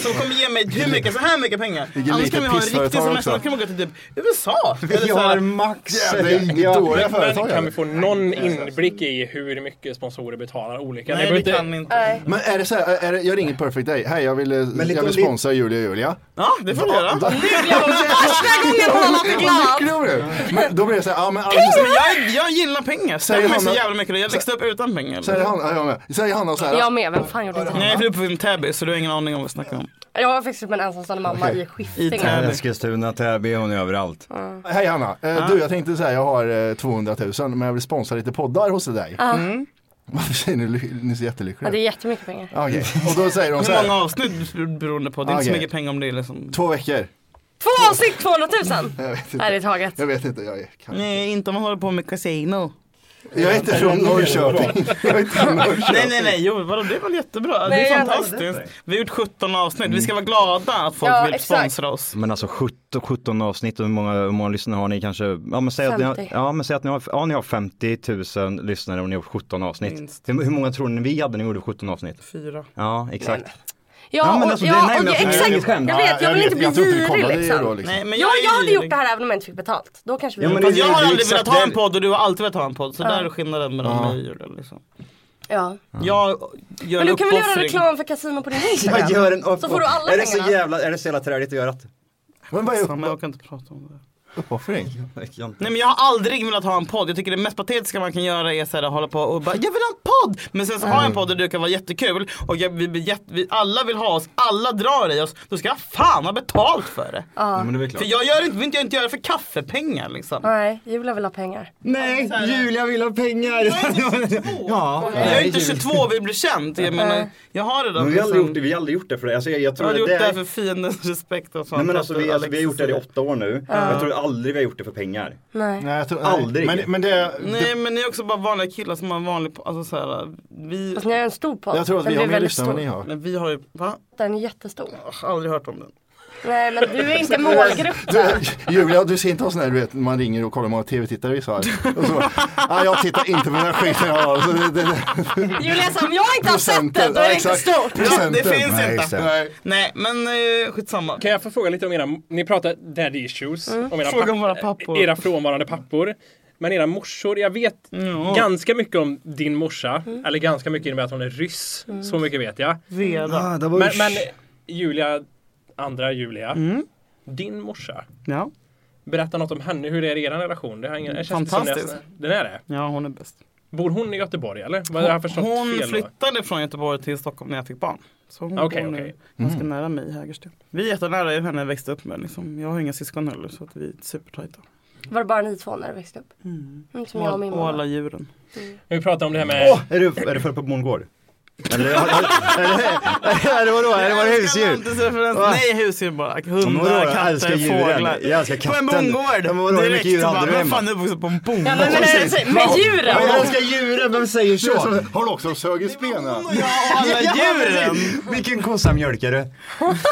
Speaker 3: Som kommer ge mig hur mycket, så här mycket pengar.
Speaker 2: Vilket
Speaker 3: Annars kan
Speaker 2: litet
Speaker 3: vi ha en riktig
Speaker 2: pissföretag
Speaker 3: semester. Då
Speaker 2: också.
Speaker 3: kan vi åka till typ USA. Eller så här-
Speaker 6: Men kan vi få någon inblick i hur mycket sponsorer betalar olika?
Speaker 2: Nej,
Speaker 6: behöver
Speaker 2: det kan vi
Speaker 3: inte.
Speaker 2: Men är det så här, är det, jag ringer Perfect Day, hej jag vill, jag vill
Speaker 3: lite-
Speaker 2: sponsra Julia och Julia.
Speaker 3: Ja, det får du göra.
Speaker 2: Va?
Speaker 3: Första gången hon har varit
Speaker 2: Vad
Speaker 3: glad.
Speaker 2: lycklig hon blev. Men då blir det så här, ja men alltså, alla-
Speaker 3: Men jag, jag gillar pengar.
Speaker 2: Säger
Speaker 3: Stämmer mig så
Speaker 2: han-
Speaker 3: jävla mycket. Jag växte upp utan pengar.
Speaker 2: Säger han, ja, jag med. Säger Hanna så här.
Speaker 4: Jag med, vem fan gjorde inte det?
Speaker 3: Nej, jag är uppe i Täby så du har ingen aning om vad vi snackar om.
Speaker 4: Jag har växt upp med en ensamstående mamma i Skiftinge.
Speaker 7: Eskilstuna, Täby, hon är överallt.
Speaker 2: Hej Hanna, eh,
Speaker 7: Ja.
Speaker 2: du jag tänkte så här, jag har eh, 200 000 men jag vill sponsra lite poddar hos dig. Mm.
Speaker 4: Ja.
Speaker 2: Varför säger ni, ly- ni är så
Speaker 4: Ja,
Speaker 2: jättelyckliga?
Speaker 4: det är jättemycket pengar.
Speaker 2: Okej, och då säger de så
Speaker 3: Hur många
Speaker 2: här.
Speaker 3: avsnitt beroende på? Det är inte så
Speaker 2: Okej.
Speaker 3: mycket pengar om det är liksom.
Speaker 2: Två veckor.
Speaker 4: Två avsnitt 200 000!
Speaker 2: Jag vet
Speaker 4: Nej, det är taget.
Speaker 2: Jag vet inte, jag är
Speaker 3: Nej, inte om man håller på med casino.
Speaker 2: Jag är inte från Norrköping. Jag är inte från Norrköping.
Speaker 3: Nej, nej, nej. Jo, vadå, det är väl jättebra.
Speaker 4: Nej,
Speaker 3: det är
Speaker 4: jag-
Speaker 3: fantastiskt. Vi har gjort 17 avsnitt. Vi ska vara glada att folk
Speaker 4: Ja,
Speaker 3: vill
Speaker 4: exakt.
Speaker 3: sponsra oss.
Speaker 7: Men alltså 17, 17 avsnitt och hur många, hur många lyssnare har ni kanske? Ja men säg att ni har,
Speaker 4: 50.
Speaker 7: ja, men säg att ni har, ja, ni har 50 000 lyssnare och ni har gjort 17 avsnitt. Hur, hur många tror ni vi hade när vi gjorde 17 avsnitt?
Speaker 3: Fyra.
Speaker 7: Ja exakt.
Speaker 4: Ja,
Speaker 7: Ja, men
Speaker 4: och-
Speaker 7: alltså, det-
Speaker 4: ja,
Speaker 7: nej,
Speaker 4: och
Speaker 7: men
Speaker 4: det-
Speaker 7: alltså, det är
Speaker 4: exakt.
Speaker 7: inget skämt.
Speaker 4: Jag vet, jag
Speaker 7: Ja,
Speaker 4: vill
Speaker 7: jag
Speaker 4: inte
Speaker 7: vet.
Speaker 4: bli
Speaker 7: Jag tror inte vi
Speaker 4: girig
Speaker 7: kollade det då,
Speaker 4: liksom.
Speaker 7: liksom. Nej,
Speaker 3: men
Speaker 4: jag,
Speaker 3: jag är
Speaker 4: jag hade
Speaker 3: girig.
Speaker 4: gjort det här även om jag inte fick betalt. Då kanske vi...
Speaker 7: Ja, men
Speaker 3: Fast
Speaker 7: det-
Speaker 3: jag
Speaker 7: det-
Speaker 3: har
Speaker 7: det är
Speaker 3: aldrig
Speaker 7: exakt
Speaker 3: velat ha en
Speaker 7: det.
Speaker 3: podd och du har alltid velat ha en podd. Så
Speaker 4: Ja.
Speaker 3: där är skillnaden mellan
Speaker 7: Ja.
Speaker 3: mig och dig. Liksom.
Speaker 4: ja.
Speaker 3: Jag gör
Speaker 4: Men du
Speaker 3: en
Speaker 4: kan väl göra
Speaker 3: uppoffring.
Speaker 4: reklam för kasino på din Instagram?
Speaker 7: Jag gör en
Speaker 4: Så får du alla
Speaker 7: är det så
Speaker 4: pengarna.
Speaker 7: jävla, är det så jävla träligt att göra det?
Speaker 2: Men vad är
Speaker 3: Samma, jag kan inte prata om det.
Speaker 2: uppoffring?
Speaker 3: Nej men jag har aldrig velat ha en podd. Jag tycker det mest patetiska man kan göra är såhär att hålla på och bara jag vill ha en podd. Men sen så har jag
Speaker 7: Mm.
Speaker 3: en podd och det kan vara jättekul och jag, vi, blir jätte- vi, alla vill ha oss, alla drar i oss. Då ska jag fan ha betalt för det.
Speaker 4: Ja. Nej, men det är väl klart.
Speaker 3: För jag gör inte, vill inte jag inte göra det för kaffepengar liksom.
Speaker 4: Nej, Julia vill ha pengar.
Speaker 7: Nej, Julia vill ha pengar! Ja.
Speaker 3: Jag är inte 22 och vill bli känd. Jag menar, jag har det
Speaker 7: Men vi har aldrig gjort det, vi har aldrig gjort det för det. Alltså, jag, jag
Speaker 3: Jag
Speaker 7: tror
Speaker 3: har
Speaker 7: att
Speaker 3: gjort
Speaker 7: det
Speaker 3: det här
Speaker 7: är...
Speaker 3: för fiendens respekt och sånt.
Speaker 7: Nej men alltså vi, alltså vi har gjort det här i åtta år nu.
Speaker 3: Ja.
Speaker 7: Jag tror aldrig vi har gjort det för pengar.
Speaker 4: Nej.
Speaker 2: Nej, jag tror,
Speaker 7: Aldrig.
Speaker 2: Men, men det,
Speaker 3: Nej men ni är också bara vanliga killar som har en vanlig alltså så här, vi...
Speaker 4: Fast Alltså, ni har en stor podd.
Speaker 2: Jag tror att
Speaker 4: Den
Speaker 2: vi har
Speaker 4: blir
Speaker 2: mer
Speaker 4: väldigt
Speaker 2: lyssnare än vad ni
Speaker 4: stor.
Speaker 2: har.
Speaker 3: Men vi har ju, va?
Speaker 4: Den är jättestor.
Speaker 3: Jag har aldrig hört om den.
Speaker 4: Nej, men du är inte målgruppen.
Speaker 2: Du, Julia, du ser inte ha sån här, du vet, man ringer och kollar hur många tv-tittare vi har. Och så, ah, jag tittar inte på den här skiten jag har. Så det, det, det.
Speaker 4: Julia sa om jag inte har sett den, då är det inte stort.
Speaker 3: Ja, det finns
Speaker 2: Nej,
Speaker 3: inte.
Speaker 2: exakt.
Speaker 3: Nej. men eh, skitsamma.
Speaker 6: Kan jag få fråga lite om era, ni pratar daddy issues.
Speaker 3: Mm.
Speaker 6: Om era,
Speaker 3: Fråga
Speaker 6: papp-
Speaker 3: om våra pappor. Mm.
Speaker 6: era frånvarande pappor. Men era morsor, jag vet ganska mycket om din morsa. Eller ganska mycket innebär att hon är ryss.
Speaker 3: Mm.
Speaker 6: Så mycket vet jag.
Speaker 3: Veda. Ah, det var-
Speaker 6: men, men Julia, andra Julia.
Speaker 3: Mm.
Speaker 6: Din morsa.
Speaker 3: Ja.
Speaker 6: Berätta något om henne. Hur är er relation? Det har
Speaker 3: Mm.
Speaker 6: ingen, det känns inte som det-
Speaker 3: Fantastisk.
Speaker 6: Den är det?
Speaker 3: Ja, hon är bäst.
Speaker 6: Bor hon i Göteborg eller? Vad har jag förstått
Speaker 3: hon
Speaker 6: fel då?
Speaker 3: flyttade från Göteborg till Stockholm när jag fick barn. Så hon
Speaker 6: Okej,
Speaker 3: bor nu
Speaker 6: okej.
Speaker 3: ganska
Speaker 6: Mm.
Speaker 3: nära mig i Hägersten. Vi är jättenära, jag och henne växte upp med. Liksom. Jag har inga syskon heller så att vi är supertajta.
Speaker 4: Var det bara ni två när du växte upp? Mm, som jag och min
Speaker 3: Och alla
Speaker 4: mamma.
Speaker 3: djuren.
Speaker 6: Vi pratar om det här med...
Speaker 7: Åh, är du, är du född på bondgård? Eller har- har- är det vadå, är det bara husdjur? Va?
Speaker 3: Nej husdjur bara,
Speaker 7: Men vadå,
Speaker 3: hundar,
Speaker 7: jag älskar
Speaker 3: katter,
Speaker 7: djuren.
Speaker 3: fåglar.
Speaker 7: Jag älskar
Speaker 3: På en
Speaker 7: katten.
Speaker 3: bondgård!
Speaker 7: Ja, men vadå, hur mycket djur hade du
Speaker 3: bara, vem
Speaker 7: hemma?
Speaker 3: fan är uppvuxen på en bondgård?
Speaker 4: Ja, men- men- men- men djuren!
Speaker 7: Ja, Jag älskar djuren, vem säger
Speaker 2: Du är
Speaker 7: så?
Speaker 2: som- Har du också sögits benen?
Speaker 3: alla djuren!
Speaker 7: Vilken kossa mjölkar du?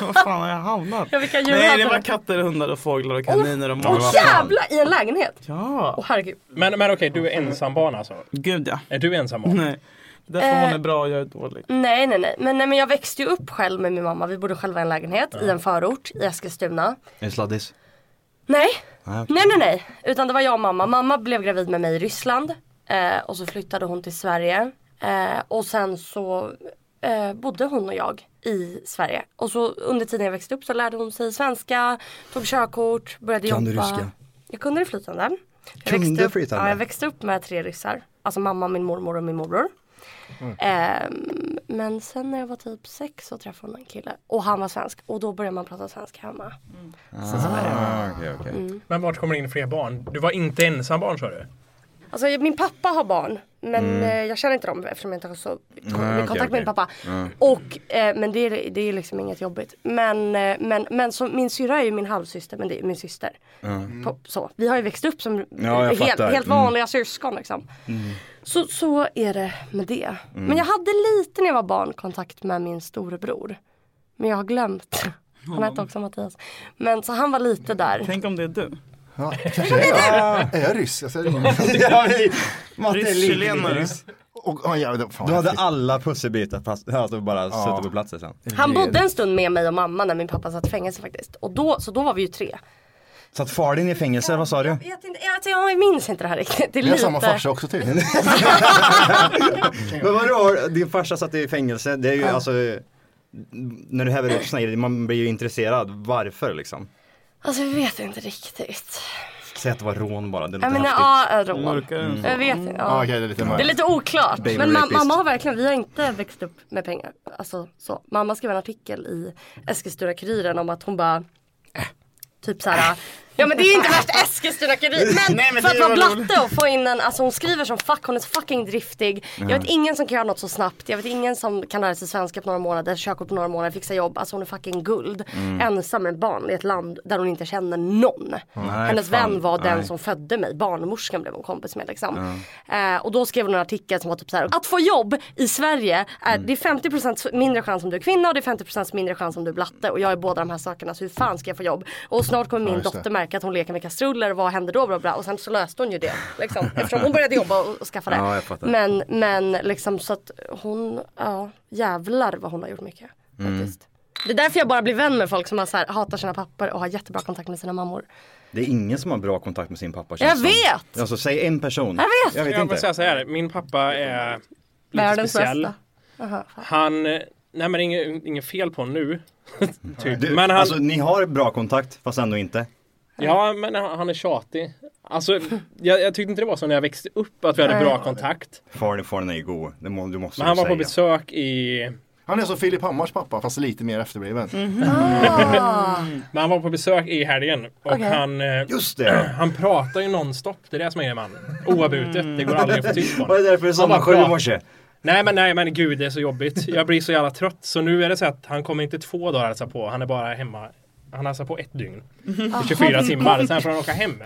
Speaker 3: Vad fan har jag hamnat?
Speaker 4: Ja, vilka djur
Speaker 3: Nej
Speaker 4: hade
Speaker 3: det var
Speaker 4: du?
Speaker 3: katter, hundar och fåglar och kaniner och
Speaker 4: Åh jävlar, i en lägenhet?
Speaker 3: Ja!
Speaker 4: Åh herregud.
Speaker 6: Men, men okej, du är ensam barn alltså?
Speaker 3: Gud ja.
Speaker 6: Är du ensam barn?
Speaker 3: Nej. Därför
Speaker 4: Eh.
Speaker 3: hon är bra och jag är dålig.
Speaker 4: Nej nej nej. Men, nej men jag växte ju upp själv med min mamma. Vi bodde själva i en lägenhet i en förort i Eskilstuna.
Speaker 7: Är det sladdis?
Speaker 4: Nej.
Speaker 7: Nej, okej.
Speaker 4: nej nej nej. Utan det var jag och mamma. Mamma blev gravid med mig i Ryssland. Eh, och så flyttade hon till Sverige. Eh, och sen så eh, bodde hon och jag i Sverige. Och så under tiden jag växte upp så lärde hon sig svenska. Tog körkort. Började
Speaker 7: Kan du
Speaker 4: jobba.
Speaker 7: ryska?
Speaker 4: Jag kunde det flytande. Jag
Speaker 7: Kunde
Speaker 4: växte upp,
Speaker 7: flytande?
Speaker 4: Ja, jag växte upp med tre ryssar. Alltså mamma, min mormor och min morbror. Ehm, men sen när jag var typ sex så träffade hon en kille och han var svensk och då började man prata svenska hemma.
Speaker 6: Men vart kommer det in fler barn? Du var inte ensam barn sa du?
Speaker 4: Alltså min pappa har barn. Men eh, jag känner inte dem eftersom jag inte har så
Speaker 10: Mm. Nej,
Speaker 4: kontakt
Speaker 10: okej,
Speaker 4: med
Speaker 10: okej.
Speaker 4: min pappa.
Speaker 10: Ja.
Speaker 4: Och, eh, men det är, det är liksom inget jobbigt. Men, eh, men, men så, min syrra är ju min halvsyster men det är min syster. På, så. Vi har ju växt upp som
Speaker 10: jag
Speaker 4: helt,
Speaker 10: fattar.
Speaker 4: helt
Speaker 10: Mm.
Speaker 4: vanliga syskon liksom. Så, så är det med det.
Speaker 10: Mm.
Speaker 4: Men jag hade lite när jag var barn kontakt med min storebror. Men jag har glömt. Han hette också Mattias. Men så han var lite där.
Speaker 3: Tänk om det är du.
Speaker 2: Ja, kanske det är jag. Är jag ryss? Jag säger det.
Speaker 7: Ja, vi- Matte är lite-
Speaker 3: Ryss-chilenare.
Speaker 7: ryss.
Speaker 2: Och, ja, jag vet, fan,
Speaker 7: Du hade alla pusselbitar fast att du bara suttit på platsen sen.
Speaker 4: Han bodde en stund med mig och mamma när min pappa satt i fängelse faktiskt. Och då, så då var vi ju tre.
Speaker 7: Så att far din är i fängelse, vad sa du?
Speaker 4: Jag, vet inte, jag, alltså, jag minns inte det här riktigt. Det är
Speaker 7: Vi har
Speaker 4: lite...
Speaker 7: samma farsa
Speaker 2: också typ. till.
Speaker 7: Men vadå, din farsa satt i fängelse, det är ju alltså när du häver upp såna grejer, man blir ju intresserad. Varför liksom?
Speaker 4: Alltså jag vet inte riktigt.
Speaker 7: Säg att det var rån bara, det
Speaker 4: Jag
Speaker 7: låter
Speaker 4: menar, ja,
Speaker 7: häftigt.
Speaker 4: ja, rån. Jag vet inte. Ja.
Speaker 7: Ah, okej, det är lite mörkt.
Speaker 4: det är lite oklart.
Speaker 7: Baby
Speaker 4: Men ma-
Speaker 7: rapist.
Speaker 4: mamma har verkligen, vi har inte växt upp med pengar. Alltså så. Mamma skrev en artikel i Eskilstuna-Kuriren om att hon bara, äh, typ så här. Ja men det är inte värsta Eskilstuna-Kuriren. Men,
Speaker 10: Nej, men
Speaker 4: för
Speaker 10: det
Speaker 4: att vara
Speaker 10: var
Speaker 4: blatte och få in en, alltså hon skriver som fuck, hon är så fucking driftig.
Speaker 10: Ja.
Speaker 4: Jag vet ingen som kan göra något så snabbt. Jag vet ingen som kan lära sig svenska på några månader, körkort på några månader, fixa jobb. Alltså hon är fucking guld.
Speaker 10: Mm.
Speaker 4: Ensam med barn i ett land där hon inte känner någon.
Speaker 10: Nej,
Speaker 4: Hennes
Speaker 10: fan.
Speaker 4: vän var den
Speaker 10: Nej.
Speaker 4: som födde mig, barnmorskan blev hon kompis med liksom. Eh, och då skrev hon en artikel som var typ så här: att få jobb i Sverige, är,
Speaker 10: Mm.
Speaker 4: det är 50% mindre chans om du är kvinna och det är 50% mindre chans om du är blatte och jag är båda de här sakerna så hur fan ska jag få jobb? Och snart kommer
Speaker 10: Ja,
Speaker 4: min
Speaker 10: just det.
Speaker 4: dotter märka att hon leker med kastruller och vad händer då? Bla bla. Och sen så löste hon ju det liksom, eftersom hon började jobba och, och skaffa det.
Speaker 10: Ja, jag fattar.
Speaker 4: men, men liksom så att hon, ja jävlar vad hon har gjort mycket.
Speaker 7: Mm.
Speaker 4: Det är därför jag bara blir vän med folk som har så här, hatar sina papper och har jättebra kontakt med sina mammor.
Speaker 7: Det är ingen som har bra kontakt med sin pappa.
Speaker 4: Jag
Speaker 7: känns det som.
Speaker 4: vet!
Speaker 7: Alltså säg en person.
Speaker 4: Jag vet!
Speaker 7: Jag vet
Speaker 6: Jag vill
Speaker 7: inte.
Speaker 6: säga så här, min pappa är lite
Speaker 4: Världens
Speaker 6: speciell.
Speaker 4: bästa. Aha, fan.
Speaker 6: Han, nej men det är inget, inget fel på honom nu. typ.
Speaker 7: Du,
Speaker 6: men han,
Speaker 7: Alltså ni har bra kontakt fast ändå inte.
Speaker 6: ja men han, han är tjatig. Alltså jag, jag tyckte inte det var så när jag växte upp att vi hade
Speaker 7: Nej.
Speaker 6: bra kontakt.
Speaker 7: Far, far är ju god, det må, du måste
Speaker 6: Men han
Speaker 7: du
Speaker 6: var
Speaker 7: säga.
Speaker 6: på besök i...
Speaker 2: Han är som Filip Hammars pappa fast lite mer efterbliven.
Speaker 6: Men han var på besök i helgen och
Speaker 2: Okej.
Speaker 6: han... eh,
Speaker 7: Just det.
Speaker 6: Han pratar ju nonstop, det är det som är man. Oavbrutet, det går aldrig att få tyst på honom.
Speaker 7: Var det därför du
Speaker 6: Han
Speaker 7: somnade
Speaker 6: bara
Speaker 7: sju i
Speaker 6: pratar.
Speaker 7: morse?
Speaker 6: Nej men nej men gud det är så jobbigt. Jag blir så jävla trött. Så nu är det så att han kommer inte två dagar att hälsa på. Han är bara hemma. Han hälsar på ett dygn.
Speaker 10: Aha.
Speaker 6: I 24 timmar. Sen får han åka hem.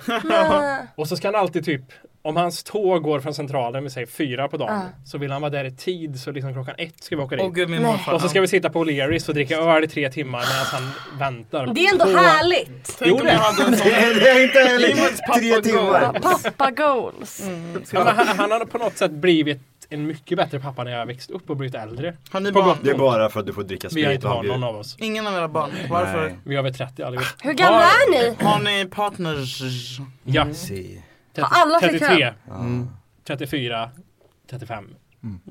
Speaker 6: Och så ska han alltid typ. Om hans tåg går från centralen, vi säger fyra på dagen.
Speaker 10: Ja.
Speaker 6: Så vill han vara där i tid. Så liksom klockan ett ska vi åka dit.
Speaker 3: Åh, gud, min Nej. morfar,
Speaker 6: och så ska
Speaker 3: han-
Speaker 6: vi sitta på O'Learys och dricka öl i tre timmar medan han väntar.
Speaker 4: Det är ändå
Speaker 6: på-
Speaker 4: härligt.
Speaker 6: Jo det
Speaker 7: Det är inte härligt. Tre timmar.
Speaker 4: Pappa goals.
Speaker 6: Ja, men han, han har på något sätt blivit en mycket bättre pappa när jag växt upp och blivit äldre.
Speaker 3: Han är
Speaker 6: På
Speaker 3: barn.
Speaker 6: gott och
Speaker 7: Det är
Speaker 6: ont.
Speaker 7: bara för att du får dricka
Speaker 6: Vi
Speaker 7: sprit.
Speaker 6: har inte
Speaker 7: och
Speaker 6: barn,
Speaker 7: bjud.
Speaker 6: någon av oss.
Speaker 3: Ingen av era barn. Varför?
Speaker 7: Nej.
Speaker 6: Vi är över 30
Speaker 7: Ah,
Speaker 6: allihop.
Speaker 4: Hur gamla är ni?
Speaker 3: Har ni partners?
Speaker 6: Ja.
Speaker 7: mm.
Speaker 4: Har alla flickvän?
Speaker 6: 33, 34, 35.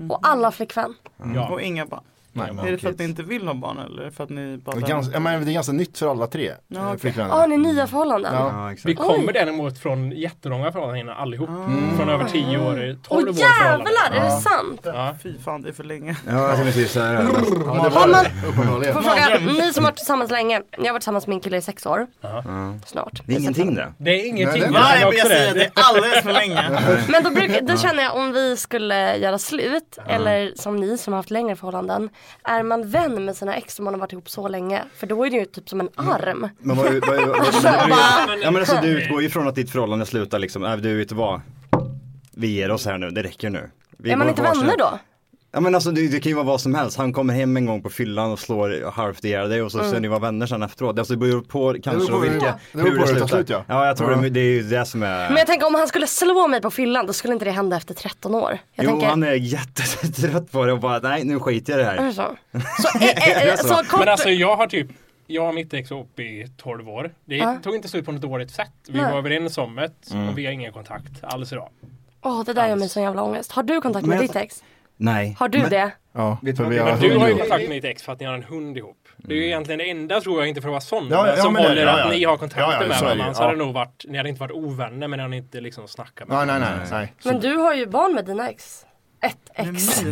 Speaker 4: Och alla flickvän.
Speaker 6: Ja.
Speaker 3: Och inga barn?
Speaker 2: Nej,
Speaker 3: är det
Speaker 2: men-
Speaker 3: för att ni inte vill ha barn eller är det för att ni bara...
Speaker 2: Det är ganska, ja, men det är ganska nytt för alla tre
Speaker 3: Ja,
Speaker 2: eh,
Speaker 3: okej.
Speaker 2: flickvännerna.
Speaker 4: Ja, ni är
Speaker 7: Mm.
Speaker 4: nya förhållanden.
Speaker 6: Vi kommer
Speaker 4: Oj. Ah.
Speaker 6: däremot från jättelånga förhållanden allihop. Från över 10 år, 12 år
Speaker 4: Åh jävlar, är det
Speaker 6: Ja.
Speaker 4: sant?
Speaker 6: Ja.
Speaker 3: Fy fan, det är för länge.
Speaker 7: Ja, jag känner precis så här.
Speaker 2: det
Speaker 4: Har man,
Speaker 2: Uppenbarligen.
Speaker 4: får fråga, ni som har varit tillsammans länge. Jag har varit tillsammans med min kille i sex år. Snart.
Speaker 7: Det är ingenting det.
Speaker 6: Det är ingenting.
Speaker 7: Nej, det-
Speaker 6: Jag
Speaker 7: Nej,
Speaker 6: känner
Speaker 7: men jag
Speaker 6: också
Speaker 7: säger
Speaker 3: det är alldeles för länge.
Speaker 4: Men då, bruk, då känner jag om vi skulle göra slut, eller som ni som har haft längre förhållanden. Är man vän med sina ex om man har varit ihop så länge? För då är det ju typ som en
Speaker 7: Mm.
Speaker 4: arm.
Speaker 7: Men vad, vad, vad, vad,
Speaker 4: Så
Speaker 7: vad,
Speaker 4: bara-
Speaker 7: ja, men alltså, du utgår ju från att ditt förhållande slutar liksom, äh, du vet du vad, vi ger oss här nu, det räcker nu. Vi
Speaker 4: är man
Speaker 7: går
Speaker 4: inte
Speaker 7: på varsin-
Speaker 4: vänner då?
Speaker 7: Ja men alltså det, det kan ju vara vad som helst, han kommer hem en gång på fyllan och slår halvt ihjäl dig och så
Speaker 4: Mm.
Speaker 7: ska ni vara vänner sen efteråt. Alltså det beror på kanske
Speaker 2: beror på
Speaker 7: och
Speaker 2: hur-
Speaker 7: vilka,
Speaker 2: det beror på hur det tar slut, ja.
Speaker 7: Ja jag tror
Speaker 2: Ja.
Speaker 7: Det, det är ju det som är
Speaker 4: Men jag tänker om han skulle slå mig på fyllan då skulle inte det hända efter 13 år. Jag
Speaker 7: Jo
Speaker 4: tänker,
Speaker 7: han är jättetrött på det och bara nej nu skiter jag i det
Speaker 4: är
Speaker 7: här.
Speaker 4: det så?
Speaker 7: eh, så kort-
Speaker 6: Men alltså jag har typ, jag och mitt ex var ihop i 12 år. Det
Speaker 4: Ja.
Speaker 6: tog inte slut på något dåligt sätt. Vi
Speaker 4: Nej.
Speaker 6: var överens om det
Speaker 7: Mm.
Speaker 6: och vi har ingen kontakt alls idag.
Speaker 4: Åh det där gör mig sån jävla ångest. Har du kontakt med
Speaker 6: Men-
Speaker 4: ditt ex?
Speaker 7: Nej.
Speaker 4: Har du det?
Speaker 2: Ja,
Speaker 7: vet
Speaker 2: för vi
Speaker 6: Men du
Speaker 2: har
Speaker 6: har ju
Speaker 2: hund ihop.
Speaker 6: kontakt med ditt ex för att ni har en hund ihop. Det är ju egentligen det enda tror jag, inte för att vara sån,
Speaker 2: Ja,
Speaker 6: men
Speaker 2: ja,
Speaker 6: som
Speaker 2: men det-
Speaker 6: håller
Speaker 2: ja,
Speaker 6: att
Speaker 2: ja.
Speaker 6: ni har kontakter
Speaker 2: Ja, ja,
Speaker 6: med
Speaker 2: så är det
Speaker 6: varandra.
Speaker 2: ju.
Speaker 6: Annars hade
Speaker 2: Ja.
Speaker 6: det nog varit, ni hade inte varit ovänner men ni hade inte liksom snackat med
Speaker 2: Nej, nej,
Speaker 6: varandra.
Speaker 2: nej. nej.
Speaker 4: Men du har ju barn med dina ex. Ett ex.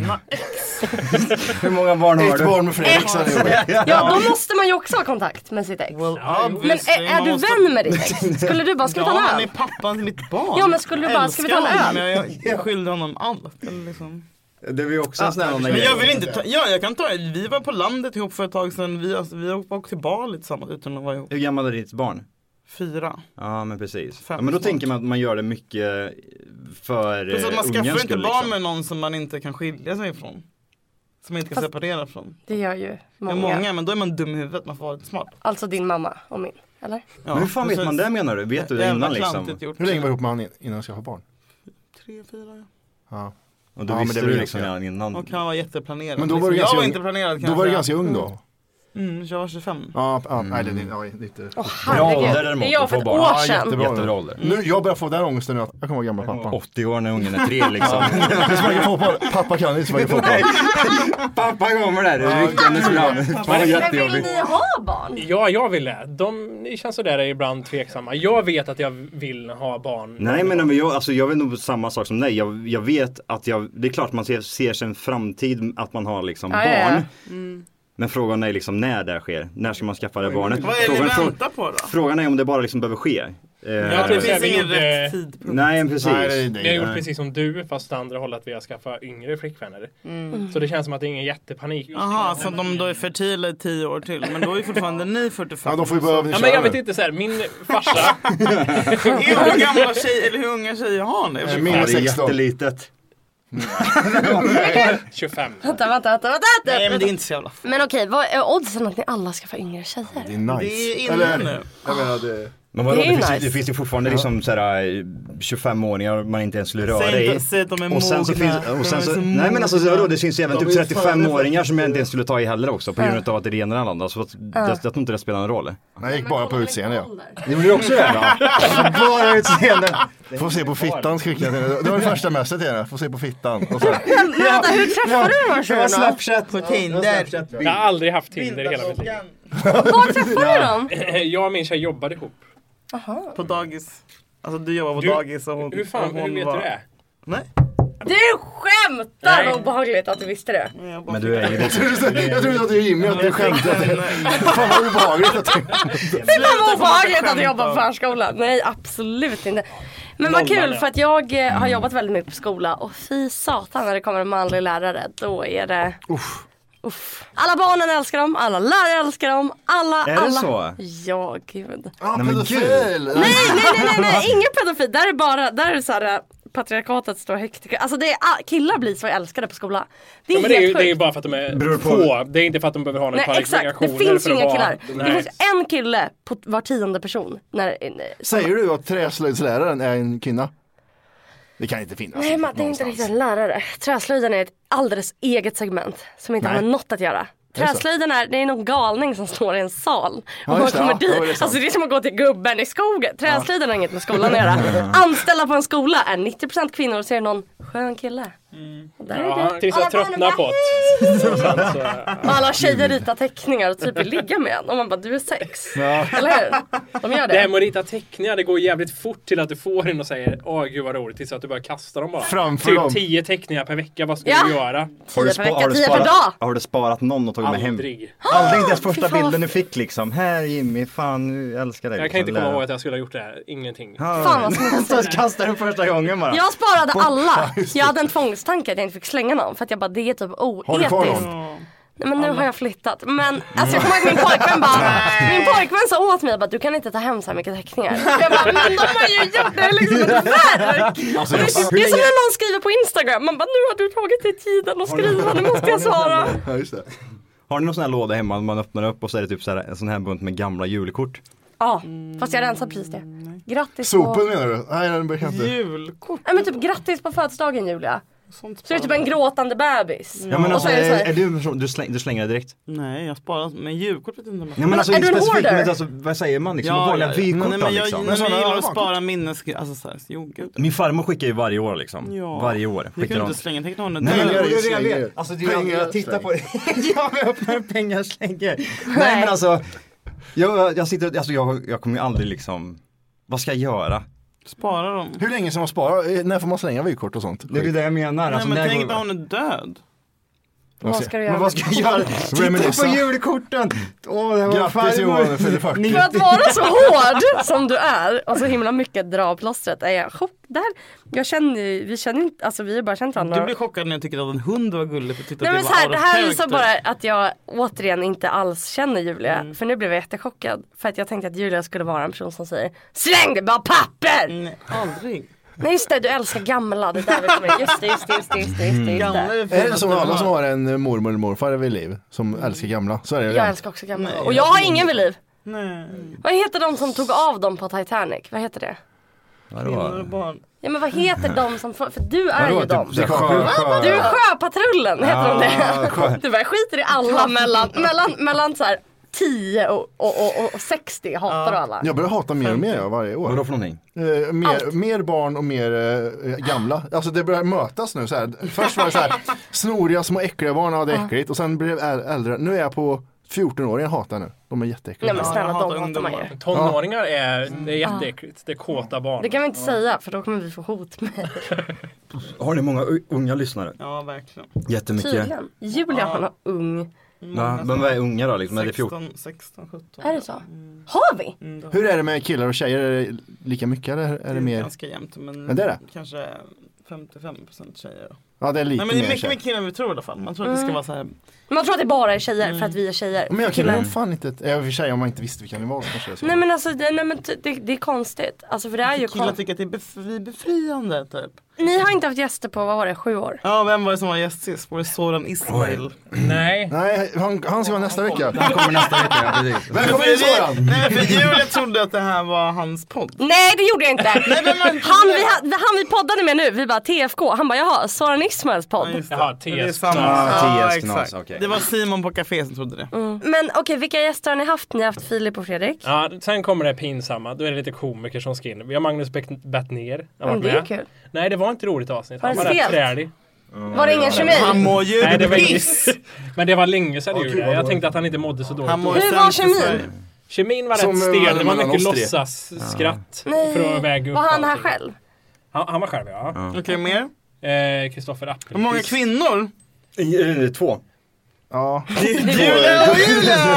Speaker 7: Hur många barn har
Speaker 2: Ett
Speaker 7: du?
Speaker 2: barn med flera ex
Speaker 4: ja, då måste man ju också ha kontakt med sitt ex. men är, är
Speaker 3: man
Speaker 4: du
Speaker 3: måste-
Speaker 4: vän med ditt ex? Skulle du bara, ska vi ta
Speaker 3: Ja,
Speaker 4: en
Speaker 3: han är
Speaker 4: öl?
Speaker 3: pappan till mitt barn.
Speaker 4: Ja, men skulle du bara, ska vi ta en
Speaker 3: Älskar honom,
Speaker 4: öl?
Speaker 3: men Jag, jag skyllde honom allt. eller Liksom.
Speaker 7: Det var ju också en sån här
Speaker 3: Men jag vill inte ta, ja jag kan ta vi var på landet ihop för ett tag sedan, vi, alltså, vi åkte till Bali tillsammans utan att vara ihop.
Speaker 7: Hur gammal är ditt barn?
Speaker 3: Fyra.
Speaker 7: Ja men precis.
Speaker 3: Fem
Speaker 7: Ja, men då
Speaker 3: snart.
Speaker 7: tänker man att man gör det mycket för
Speaker 3: Plus att
Speaker 7: eh,
Speaker 3: man
Speaker 7: ungens
Speaker 3: skaffar inte
Speaker 7: skull,
Speaker 3: barn
Speaker 7: liksom.
Speaker 3: med någon som man inte kan skilja sig ifrån. Som man inte kan
Speaker 4: Fast-
Speaker 3: separera från.
Speaker 4: Det gör ju
Speaker 3: Många.
Speaker 4: många.
Speaker 3: många men då är man dum i huvudet, man får vara lite smart.
Speaker 4: Alltså din mamma och min. Eller?
Speaker 3: Ja,
Speaker 7: men hur fan vet
Speaker 3: precis.
Speaker 7: man det menar du? Vet du det
Speaker 3: Jävla
Speaker 7: innan liksom?
Speaker 3: klantigt gjort.
Speaker 2: Hur länge var du ihop med han in- innan du skaffade barn?
Speaker 3: Tre, fyra ja.
Speaker 2: Ja.
Speaker 7: Och då
Speaker 2: Ja, men
Speaker 7: visste
Speaker 2: det
Speaker 7: du
Speaker 2: var
Speaker 7: liksom
Speaker 2: ganska-
Speaker 7: redan innan.
Speaker 3: Och han var jätteplanerad.
Speaker 2: Men då var du
Speaker 3: Liksom,
Speaker 2: ganska
Speaker 3: jag var
Speaker 2: ung.
Speaker 3: inte planerad kan
Speaker 2: Då
Speaker 3: jag
Speaker 2: var du
Speaker 3: säga.
Speaker 2: ganska ung då?
Speaker 3: Mm, jag var 25.
Speaker 2: Ja, ja nej det är din- ja, det är inte...
Speaker 4: Åh, herregud.
Speaker 7: ålder däremot,
Speaker 4: Det är jag
Speaker 7: att
Speaker 4: för
Speaker 7: få
Speaker 4: ett
Speaker 7: barn.
Speaker 4: år
Speaker 7: Ja,
Speaker 4: sedan.
Speaker 7: jättebra. Jättebra ålder.
Speaker 2: Nu, jag börjar få den ångesten nu att jag kommer vara gamla pappan.
Speaker 7: 80 år när ungen är tre liksom.
Speaker 2: Inte sparka fotboll. Pappa kan inte sparka fotboll.
Speaker 7: Pappa kommer där, ryckandes fram. Fan vad jättejobbigt.
Speaker 4: ha barn?
Speaker 6: Ja, jag vill det. De, ni känns sådär ibland tveksamma. Jag vet att jag vill ha barn.
Speaker 7: Nej men jag, alltså, jag vet nog samma sak som dig. Jag, jag vet att jag, det är klart man ser, ser sin framtid att man har liksom
Speaker 3: Ja,
Speaker 7: barn.
Speaker 3: ja, ja.
Speaker 7: Men frågan är liksom när det sker. När ska man skaffa det barnet?
Speaker 3: Vad är det
Speaker 7: Frågan,
Speaker 3: vi
Speaker 7: frå,
Speaker 3: väntar på då?
Speaker 7: frågan är om det bara liksom behöver ske. Eh,
Speaker 6: Jag tror såhär, vi
Speaker 3: ingen
Speaker 6: gjorde...
Speaker 3: rätt tidpunkt.
Speaker 7: Nej men precis.
Speaker 6: Vi har gjort precis som du fast åt andra hållet att vi har skaffat yngre flickvänner.
Speaker 3: Mm.
Speaker 6: Så det känns som att det är ingen jättepanik.
Speaker 3: Jaha, så att de då är fertila i tio år till. Men då är ju fortfarande ni 45.
Speaker 2: Ja, då får vi börja
Speaker 6: Ja, men jag vet inte såhär, min farsa.
Speaker 3: Hur gamla tjejer, eller hur unga tjejer har ni?
Speaker 7: Min är jättelitet.
Speaker 6: 25.
Speaker 4: Vänta, vänta, vänta, vänta.
Speaker 3: Nej men det är inte så jävla f-
Speaker 4: Men okej, vad är oddsen att ni alla ska få yngre tjejer?
Speaker 2: Det är nice.
Speaker 3: Det är inne nu.
Speaker 2: Jag menar, det...
Speaker 7: Men vadå,
Speaker 4: Det
Speaker 7: det,
Speaker 4: är ju
Speaker 7: finns,
Speaker 4: nice.
Speaker 7: det finns ju fortfarande liksom såhär 25-åringar man inte ens skulle röra
Speaker 3: Säg
Speaker 7: i.
Speaker 3: inte- säg att de är
Speaker 7: och sen så
Speaker 3: mogna.
Speaker 7: finns,
Speaker 3: De är
Speaker 7: och sen
Speaker 3: så
Speaker 7: så, nej men alltså
Speaker 3: mogna.
Speaker 7: vadå, det syns ju även
Speaker 3: De
Speaker 7: typ
Speaker 3: är ju fan-
Speaker 7: 35-åringar som jag inte ens skulle ta i heller också på grund
Speaker 4: Ja.
Speaker 7: av att det är det ena eller andra. Så att,
Speaker 4: Ja.
Speaker 7: jag, jag tror inte det spelar någon roll.
Speaker 2: Nej, jag gick bara på utseende jag.
Speaker 7: Gjorde du också det? Bara utseende.
Speaker 2: Får se på fittan skickade jag till henne. Det var det första mösset till henne. Får se på fittan. Och sen,
Speaker 4: Men vänta, hur träffade du de här
Speaker 7: Det var
Speaker 4: tjejerna?
Speaker 7: Snapchat.
Speaker 3: på Tinder.
Speaker 6: Jag har aldrig haft Tinder i hela mitt liv.
Speaker 7: alltså-
Speaker 4: Var träffade du dem?
Speaker 6: Jag och min tjej jobbade ihop.
Speaker 3: På dagis. Alltså du jobbar på
Speaker 6: Du-
Speaker 3: dagis och hon,
Speaker 6: Hur fan,
Speaker 3: och hon
Speaker 6: hur vet
Speaker 3: var...
Speaker 6: du det?
Speaker 3: Nej.
Speaker 4: Du skämtar!
Speaker 6: Nej.
Speaker 4: Vad obehagligt att du visste det.
Speaker 3: Jag bara
Speaker 7: Men du är ju det.
Speaker 2: jag trodde att det var Jimmy, att du skämtade. Fan vad obehagligt att tänka.
Speaker 4: Det var obehagligt
Speaker 3: skämta
Speaker 4: att jobba
Speaker 3: om.
Speaker 4: på förskola. Nej absolut inte. Men vad
Speaker 3: Nollan,
Speaker 4: kul
Speaker 3: ja.
Speaker 4: för att jag eh, har jobbat väldigt mycket på skola och fy satan när det kommer en manlig lärare då är det Uff. Alla barnen älskar dem, alla lärare älskar dem, alla,
Speaker 7: Är det
Speaker 4: alla.
Speaker 7: så?
Speaker 4: Ja gud.
Speaker 2: Ah,
Speaker 7: Nej, men
Speaker 2: pedofil.
Speaker 4: Nej nej nej nej, nej. ingen pedofil. Där är bara, där är så här eh, patriarkatet står högt. Alltså det är, ah, killar blir så älskade på skola. Det är
Speaker 6: Ja, men
Speaker 4: helt
Speaker 6: det är ju
Speaker 4: sjukt.
Speaker 6: det är ju bara för att de är
Speaker 7: Beror på-
Speaker 6: få. Det är inte för att de behöver ha några
Speaker 4: Nej exakt, det
Speaker 6: kvalifikationer
Speaker 4: finns
Speaker 6: för att
Speaker 4: inga
Speaker 6: vara-
Speaker 4: killar. Det
Speaker 6: Nej.
Speaker 4: finns en kille på var tionde person. När, eh,
Speaker 2: Säger du att träslöjdsläraren är en kvinna? Det kan inte finnas.
Speaker 4: Nej men det är inte
Speaker 2: någonstans.
Speaker 4: riktigt en lärare. Träslöjden är ett alldeles eget segment som inte har med något att göra.
Speaker 2: det så?
Speaker 4: Träslöjden är, det är någon galning som står i en sal och man
Speaker 2: just det.
Speaker 4: kommer
Speaker 2: Ja,
Speaker 4: dit.
Speaker 2: jo, det är sant.
Speaker 4: alltså det är som att gå till gubben i skogen. Träslöjden har inget med skolan att göra. Anställda på en skola är 90% kvinnor och ser någon skön kille.
Speaker 2: Mm.
Speaker 4: Och Där är
Speaker 6: Ja,
Speaker 4: du.
Speaker 6: tills jag tröttnar på det. Så sen så, ja.
Speaker 4: Och alla tjejer
Speaker 2: Mm.
Speaker 4: ritar teckningar och typ vill ligga med en. Och man bara du är sex. Eller hur? De gör det.
Speaker 6: Det här med att rita teckningar, det går jävligt fort till att du får en och säger Åh gud vad roligt, tills att du börjar kasta dem bara.
Speaker 2: Framför
Speaker 6: typ
Speaker 2: dem.
Speaker 6: 10 teckningar per vecka, vad ska
Speaker 4: Ja.
Speaker 6: du göra?
Speaker 7: Har du,
Speaker 4: Tio per vecka,
Speaker 7: har, du
Speaker 4: tio per
Speaker 7: sparat,
Speaker 4: dag.
Speaker 7: har du sparat någon och tagit med hem?
Speaker 6: Aldrig.
Speaker 7: Aldrig inte ens första
Speaker 4: Ah, Fy fan, vad
Speaker 7: bilden du fick liksom. Här Jimmy, fan jag älskar dig.
Speaker 6: Jag kan inte
Speaker 7: liksom.
Speaker 6: komma ihåg att jag skulle ha gjort det här, ingenting.
Speaker 4: Fan, vad
Speaker 7: smutsigt. Kasta den första gången bara.
Speaker 4: Jag sparade alla. Jag hade en tvångstanke att jag inte fick slänga någon för att jag bara det är typ
Speaker 2: Har du kvar
Speaker 4: oetiskt.
Speaker 2: någon?
Speaker 4: Nej, men nu har jag flyttat.
Speaker 7: Mm.
Speaker 4: Men alltså jag kommer ihåg min pojkvän bara, min pojkvän sa åt mig bara du kan inte ta hem så här mycket teckningar. Jag bara, men de har ju gjort det, det är liksom ett verk.
Speaker 2: Alltså,
Speaker 4: Det
Speaker 2: jag-
Speaker 4: är- Det är som när någon skriver på Instagram, man bara nu har du tagit dig tiden att skriva, nu måste jag svara.
Speaker 2: Ja, just det.
Speaker 7: Har ni någon sån här låda hemma man öppnar upp och så är det typ så här, en sån här bunt med gamla julkort?
Speaker 4: Ja, fast jag rensar precis det. Grattis
Speaker 2: Sopen
Speaker 4: på,
Speaker 2: menar du? Nej, den brukar jag inte.
Speaker 3: Julkort.
Speaker 4: nej men typ grattis på födelsedagen Julia.
Speaker 3: Sånt
Speaker 4: Så det är typ en gråtande bebis.
Speaker 7: Ja men
Speaker 4: Och
Speaker 7: alltså,
Speaker 4: så är det så
Speaker 7: är,
Speaker 4: här,
Speaker 7: är du en person, du, släng, du slänger det direkt?
Speaker 3: Nej jag sparar. Men julkort vet jag inte om jag
Speaker 7: Ja, men, alltså,
Speaker 4: är du en
Speaker 7: specifikt,
Speaker 4: hoarder?
Speaker 7: Men, alltså, vad säger man liksom? vanliga vykort
Speaker 3: nej,
Speaker 7: då,
Speaker 3: men jag,
Speaker 7: liksom?
Speaker 3: nej, men jag
Speaker 2: sådana
Speaker 3: gillar att
Speaker 2: öronkort.
Speaker 3: spara minnes... Alltså såhär, jo gud.
Speaker 7: Min farmor skickar ju varje år liksom.
Speaker 3: Ja.
Speaker 7: Varje år.
Speaker 3: Du kan
Speaker 7: Skickar
Speaker 3: ju
Speaker 7: hon.
Speaker 3: inte slänga teckningar
Speaker 7: Nej, men
Speaker 2: Pengar
Speaker 7: jag,
Speaker 2: i
Speaker 7: jag, jag
Speaker 2: slänger.
Speaker 7: vet. Alltså, det är-
Speaker 2: Pengar
Speaker 7: jag tittar på det. ja, men jag öppnar pengar slänger. Nej,
Speaker 4: Nej.
Speaker 7: alltså, men alltså. Jag, jag sitter, alltså jag, jag kommer ju aldrig liksom. Vad ska jag göra?
Speaker 3: Spara dem.
Speaker 2: Hur länge ska man spara? Eh, När får man slänga vykort och sånt?
Speaker 7: Det är det jag menar.
Speaker 3: Nej, men tänk när hon är död.
Speaker 2: Vad ska du göra?
Speaker 7: Men vad ska jag göra? Titta
Speaker 2: Reminisca.
Speaker 7: på julkorten! Åh, det var
Speaker 2: Grattis,
Speaker 7: farmor.
Speaker 2: Johan, för det första.
Speaker 7: Ni-
Speaker 4: För att vara så hård som du är och så himla mycket dra av plåstret är jag en chock. Där, jag känner ju, vi känner ju inte, alltså vi har bara känt varandra.
Speaker 3: Du blir chockad "Ah, när jag tycker att en hund var gullig för att titta
Speaker 4: Nej men
Speaker 3: det
Speaker 4: så
Speaker 3: var
Speaker 4: här,
Speaker 3: out
Speaker 4: det
Speaker 3: of
Speaker 4: här visar
Speaker 3: character.
Speaker 4: bara att jag återigen inte alls känner Julia.
Speaker 3: Mm.
Speaker 4: För nu blev jag jättechockad. För att jag tänkte att Julia skulle vara en person som säger Släng det bara
Speaker 3: Mm.
Speaker 4: pappen! Nej,
Speaker 3: aldrig.
Speaker 4: Nej just det, du älskar gamla. Det där vi kommer in. Just det, just det, just det. Just det, just det, just
Speaker 3: Gamla
Speaker 4: det.
Speaker 2: Är det som alla som har en eh, mormor eller morfar vid liv som älskar gamla? Så är det ju.
Speaker 4: Jag älskar också gamla. Och jag har ingen vid liv.
Speaker 3: Nej.
Speaker 4: Vad heter de som tog av dem på Titanic? Vad heter det?
Speaker 3: Kvinnor och barn.
Speaker 4: Ja men vad heter de som, för, för du är
Speaker 3: Vadå,
Speaker 4: ju
Speaker 3: typ
Speaker 4: dem.
Speaker 3: så här sjö-
Speaker 4: Va?
Speaker 3: sjö-
Speaker 4: Du är sjöpatrullen, heter de
Speaker 3: Ja, sjö-
Speaker 4: det? Du bara, jag skiter i alla mellan, mellan, mellan så här 10 och, och, och, och 60 hatar du alla.
Speaker 2: Jag börjar hata mer och mer jag, varje år. Vadå
Speaker 7: för någonting?
Speaker 2: Eh, mer, mer barn och mer eh, gamla. Alltså det börjar mötas nu. Så här. Först var det så här, snoriga små äckliga barn, ja det är
Speaker 4: Ja.
Speaker 2: äckligt. Och sen blev jag äl- äldre. Nu är jag på 14-åringar hatar nu. De är jätteäckliga.
Speaker 4: Nej men snälla, de hatar man ju.
Speaker 6: Tonåringar är, det är jätteäckligt. Det är kåta barn.
Speaker 4: Det kan vi inte säga för då kommer vi få hot med
Speaker 7: Har ni många u- unga lyssnare?
Speaker 3: Ja, verkligen.
Speaker 7: Jättemycket.
Speaker 4: Tydligen. Julia
Speaker 3: Ja.
Speaker 4: han var ung.
Speaker 7: Ja, men vad är unga då? Liksom? Är det 14?
Speaker 3: 16, 16, 17.
Speaker 4: Är det så? Har vi?
Speaker 2: Hur är det med killar och tjejer? Är det lika mycket eller är det,
Speaker 3: Mm, Det är
Speaker 2: mer?
Speaker 3: ganska jämnt men,
Speaker 2: Men det är det?
Speaker 3: kanske 55% tjejer.
Speaker 2: Ja det är lite
Speaker 3: Nej men det är
Speaker 2: mer
Speaker 3: mycket
Speaker 2: tjejer.
Speaker 3: mer killar än vi tror i alla fall. Man tror att det ska
Speaker 4: Mm.
Speaker 3: vara så här.
Speaker 4: Man tror att det bara är tjejer för att vi är tjejer.
Speaker 2: Men jag
Speaker 4: Killar-
Speaker 2: kan fan inte, ja, i och för sig om man inte visste vilka ni var så kanske jag skulle-
Speaker 4: Nej men alltså det, nej, men t- det, det är konstigt. Alltså för det är ju
Speaker 3: killar
Speaker 4: konstigt.
Speaker 3: tycker att det är bef- vi är befriande typ.
Speaker 4: Ni har inte haft gäster på, vad var det, sju år?
Speaker 3: Ja vem var det som var gäst sist? Var det Soran Ismail?
Speaker 6: Nej.
Speaker 2: Nej, han, han ska vara nästa vecka.
Speaker 7: Han kommer nästa vecka, ja, precis.
Speaker 2: Välkommen in Soran!
Speaker 3: Nej men för Julia trodde att det här var hans podd.
Speaker 4: Nej det gjorde jag inte.
Speaker 3: Nej, men man-
Speaker 4: han, vi, ha- han vi poddade med nu, vi bara TFK, han bara jaha, Soran Ismails podd.
Speaker 6: Jaha,
Speaker 3: Det är
Speaker 6: TS.
Speaker 3: samma.
Speaker 7: Ah,
Speaker 3: Ja,
Speaker 7: TS knas,
Speaker 3: exakt.
Speaker 7: okej.
Speaker 3: Det var Simon på café som trodde det.
Speaker 4: Mm. Men okej, vilka gäster har ni haft? Ni har haft Filip och Fredrik.
Speaker 6: Ja, sen kommer det pinsamma. Då är det lite komiker som ska in. Vi har Magnus Beck- Bettner. Han har
Speaker 4: Men
Speaker 6: varit
Speaker 4: det är
Speaker 6: med.
Speaker 4: kul.
Speaker 6: Nej, det var inte roligt avsnitt.
Speaker 4: Var
Speaker 6: Han var
Speaker 4: det
Speaker 6: rätt
Speaker 4: stelt?
Speaker 6: trälig.
Speaker 4: Var det ingen kemi?
Speaker 3: Han mår ju
Speaker 6: Nej, det var
Speaker 3: piss!
Speaker 6: inget. Men det var länge sedan
Speaker 2: Åh,
Speaker 6: jag
Speaker 2: gud,
Speaker 6: gjorde det.
Speaker 2: vad
Speaker 6: Jag
Speaker 2: dåligt.
Speaker 6: tänkte att han inte mådde så dåligt.
Speaker 3: Han mår ju
Speaker 4: Hur
Speaker 3: sämst
Speaker 4: var
Speaker 3: i
Speaker 4: kemin?
Speaker 3: Sverige.
Speaker 6: Kemin var
Speaker 2: Som,
Speaker 6: rätt stel. Det var
Speaker 2: mellan
Speaker 6: mycket
Speaker 2: oss tre.
Speaker 6: låtsas-skratt. För att
Speaker 4: Nej,
Speaker 6: väga upp
Speaker 4: var han här
Speaker 6: allting.
Speaker 4: själv?
Speaker 6: Han, han var själv, ja.
Speaker 3: Okej mer?
Speaker 6: Eh, Kristoffer
Speaker 3: Hur många
Speaker 6: Appelqvist.
Speaker 3: kvinnor?
Speaker 7: Eh, Två.
Speaker 2: Ja.
Speaker 3: Julia och Julia!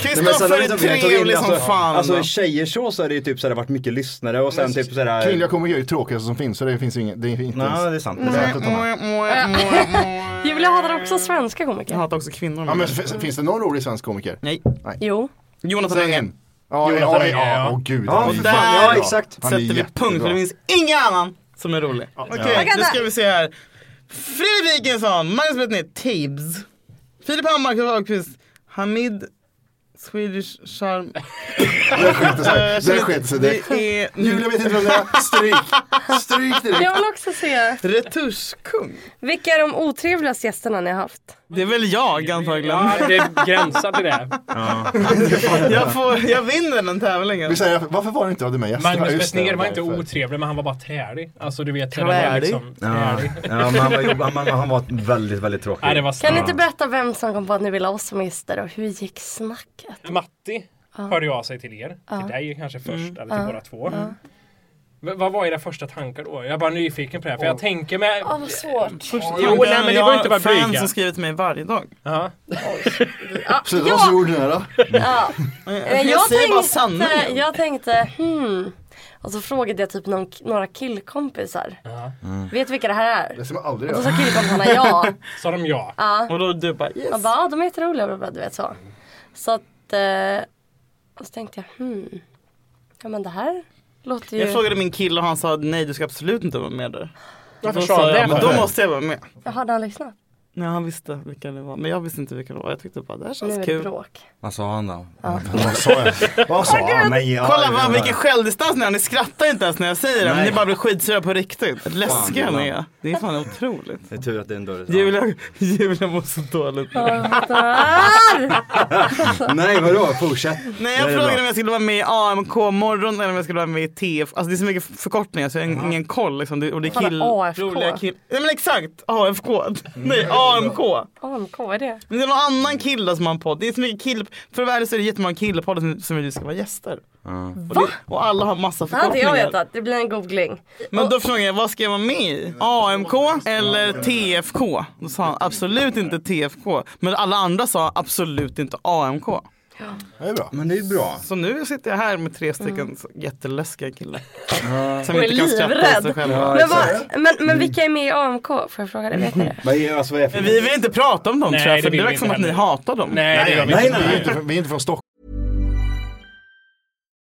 Speaker 3: Kristoffer är trevlig som
Speaker 7: alltså,
Speaker 3: fan.
Speaker 7: Alltså tjejer så, så är det ju typ så här, det har varit mycket lyssnare och sen typ sådär.
Speaker 2: Kvinnliga komiker är ju tråkigaste som finns så det finns ju inget, det är inte ens
Speaker 7: Ja det är sant. Det är sant.
Speaker 2: värt att ta med.
Speaker 4: Julia hatar också svenska
Speaker 3: Jag
Speaker 4: komiker.
Speaker 3: hatar också kvinnor.
Speaker 2: Ja, men f- finns det någon rolig svensk komiker?
Speaker 3: Nej.
Speaker 4: Jo.
Speaker 3: Jonathan
Speaker 2: Säg
Speaker 3: Unge.
Speaker 2: en. Ja, ja, ja,
Speaker 6: Unge,
Speaker 2: ja,
Speaker 6: ja.
Speaker 2: åh gud.
Speaker 7: Ja,
Speaker 2: han är
Speaker 7: för
Speaker 2: bra.
Speaker 7: fan, ja, exakt.
Speaker 2: Han är
Speaker 3: Sätter vi punkt för
Speaker 2: jättebra.
Speaker 3: det finns ingen annan som är rolig. Okej,
Speaker 4: Okej,
Speaker 3: nu
Speaker 4: där.
Speaker 3: ska vi se här. Fredrik Wikingsson, Magnus Bettner, Tibbs. Filip Hammar, Karl Ahlqvist, Hamid Swedish Charm.
Speaker 2: Det skiter sig, det skiter sig direkt.
Speaker 3: Det är
Speaker 2: Julia vet inte vem det är, stryk. Stryk direkt.
Speaker 4: Jag vill också se.
Speaker 3: retuschkung.
Speaker 4: Vilka är de otrevligaste gästerna ni har haft?
Speaker 3: Det är väl jag antagligen.
Speaker 6: Ja, det gränsar till det.
Speaker 3: Jag, får, jag vinner den tävlingen.
Speaker 2: Vi säger, varför var det inte jag hade med gäster?
Speaker 6: Magnus
Speaker 2: Ja, just det,
Speaker 6: Bettner var
Speaker 2: det
Speaker 6: inte
Speaker 2: därför.
Speaker 6: otrevlig, men han var bara trälig. Alltså, du vet. hela den här
Speaker 3: Trälig?
Speaker 6: liksom-
Speaker 7: Ja,
Speaker 6: Trälig.
Speaker 7: ja men han var, jobb- han, han var väldigt, väldigt tråkig.
Speaker 6: Nej, det var
Speaker 4: Kan ni
Speaker 6: snällt.
Speaker 4: inte berätta vem som kom på att ni ville ha oss som gäster och hur gick snacket?
Speaker 6: Matti hörde ju av sig till er. Till dig kanske först,
Speaker 4: Mm.
Speaker 6: eller till båda två. V- vad var era första tankar då? Jag är bara nyfiken på det här, för jag tänker mig...
Speaker 4: Ja, vad svårt.
Speaker 6: Jo, nej, men ni behöver inte vara
Speaker 3: Jag har fans
Speaker 6: blyga.
Speaker 3: som skriver till mig varje dag.
Speaker 6: Ja.
Speaker 2: Så det var så jordnära.
Speaker 4: Eh,
Speaker 3: Jag,
Speaker 4: Jag
Speaker 3: säger bara
Speaker 4: tänkte,
Speaker 3: sanningen.
Speaker 4: jag tänkte hmm. Och så frågade jag typ någon, några killkompisar.
Speaker 3: Mm.
Speaker 4: Vet vilka det här är?
Speaker 2: Det ska man aldrig
Speaker 4: Och så
Speaker 2: göra.
Speaker 4: sa killkompisarna ja.
Speaker 6: Sa de ja?
Speaker 3: Och då du bara yes.
Speaker 4: Jag bara, ah, de är jätteroliga, bla, bla, du vet så. Så att, eh, och så tänkte jag, hmm. Ja men det här låter ju.
Speaker 3: Jag frågade min kille och han sa nej du ska absolut inte vara med där.
Speaker 6: Varför
Speaker 3: Då
Speaker 6: sa
Speaker 3: sa
Speaker 6: han
Speaker 3: jag,
Speaker 6: det?
Speaker 3: men då måste jag vara med.
Speaker 4: Hade han lyssnat?
Speaker 3: Nej han visste vilka det var men jag visste inte vilka det var. Jag tyckte bara det här
Speaker 4: Nu är
Speaker 3: känns
Speaker 4: det
Speaker 3: kul.
Speaker 4: bråk.
Speaker 7: Vad sa han då?
Speaker 2: Vad sa jag? Vad sa jag?
Speaker 7: Nej, ja,
Speaker 3: Kolla
Speaker 7: ja,
Speaker 3: vad, vilken självdistans ni har, ni skrattar inte ens när jag säger det. Men
Speaker 7: Nej.
Speaker 3: ni bara blir skitsura på riktigt. Läskiga
Speaker 7: Fan,
Speaker 3: ni är. Det är fan otroligt.
Speaker 7: Det är tur att det är en dörr.
Speaker 3: Julia, Julia mår så dåligt.
Speaker 7: Nej vadå, fortsätt.
Speaker 3: Nej
Speaker 7: Det
Speaker 3: jag
Speaker 7: är
Speaker 3: frågade
Speaker 7: bra.
Speaker 3: om jag skulle vara med i AMK morgon eller om jag skulle vara med i TF. Alltså det är så mycket förkortningar så jag har ingen koll. Liksom. Det- Och det är
Speaker 4: Kolla,
Speaker 3: kill...
Speaker 4: AFK.
Speaker 7: Mm.
Speaker 3: roliga kill... Nej men exakt! AFK. Nej AMK.
Speaker 4: AMK, vad är det?
Speaker 3: Men det är någon annan kille som har en podd. Det är så mycket kill... För världen så är det jättemånga killepoddar som, som vill ska vara gäster. Och, det, och alla har massa
Speaker 4: Det hade jag
Speaker 3: förkortningar.
Speaker 4: vetat. Det blir en googling.
Speaker 3: Men då frågade jag, vad ska jag vara med i? AMK eller TFK? Då sa han absolut inte TFK. Men alla andra sa absolut inte AMK.
Speaker 2: Det är bra.
Speaker 7: Men det är bra.
Speaker 3: Så nu sitter jag här med tre stycken läskiga killar. Som
Speaker 4: Mm. Hon är
Speaker 3: inte kan skratta åt sig
Speaker 4: livrädd.
Speaker 3: själva.
Speaker 4: men, vad, men, men vilka är med i AMK? Får jag fråga det? Vet ni det?
Speaker 7: Vad är, alltså, vad är det för-
Speaker 3: Men vi vill inte prata om dem
Speaker 7: Nej,
Speaker 3: tror jag,
Speaker 7: det
Speaker 3: för
Speaker 7: vill
Speaker 3: det
Speaker 7: vi
Speaker 3: verkar som
Speaker 7: inte
Speaker 3: att ni
Speaker 7: heller.
Speaker 3: hatar dem.
Speaker 2: nej, nej, Vi, är inte, vi är inte från Stockholm.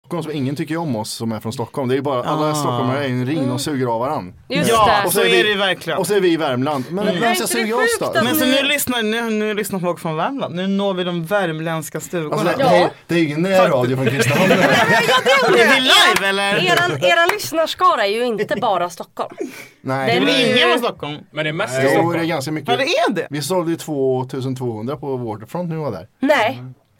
Speaker 2: Stockholm som ingen tycker om oss som är från Stockholm. Det är bara alla
Speaker 3: Ah. Mm.
Speaker 2: stockholmare är i en ring och suger av varandra.
Speaker 3: Just Ja, det.
Speaker 2: Och är
Speaker 3: så är
Speaker 2: vi-
Speaker 3: det verkligen. Mm.
Speaker 2: Och så är vi i Värmland. Men vem ska suga oss då?
Speaker 3: Men så nu lyssnar, nu, nu lyssnar folk från Värmland. Nu når vi de värmländska stugorna.
Speaker 2: Alltså, det, det, är- det är ju ingen närradio från Kristinehamn.
Speaker 3: Är vi live eller?
Speaker 4: Eran, eran lyssnarskara är ju inte bara Stockholm.
Speaker 2: Nej,
Speaker 4: Det är väl ingen från
Speaker 3: Stockholm? Men det är mest
Speaker 2: Nej, jo, det är ganska mycket.
Speaker 3: Ja, det är det.
Speaker 2: Vi sålde ju 2200 på Waterfront nu var där.
Speaker 4: Nej.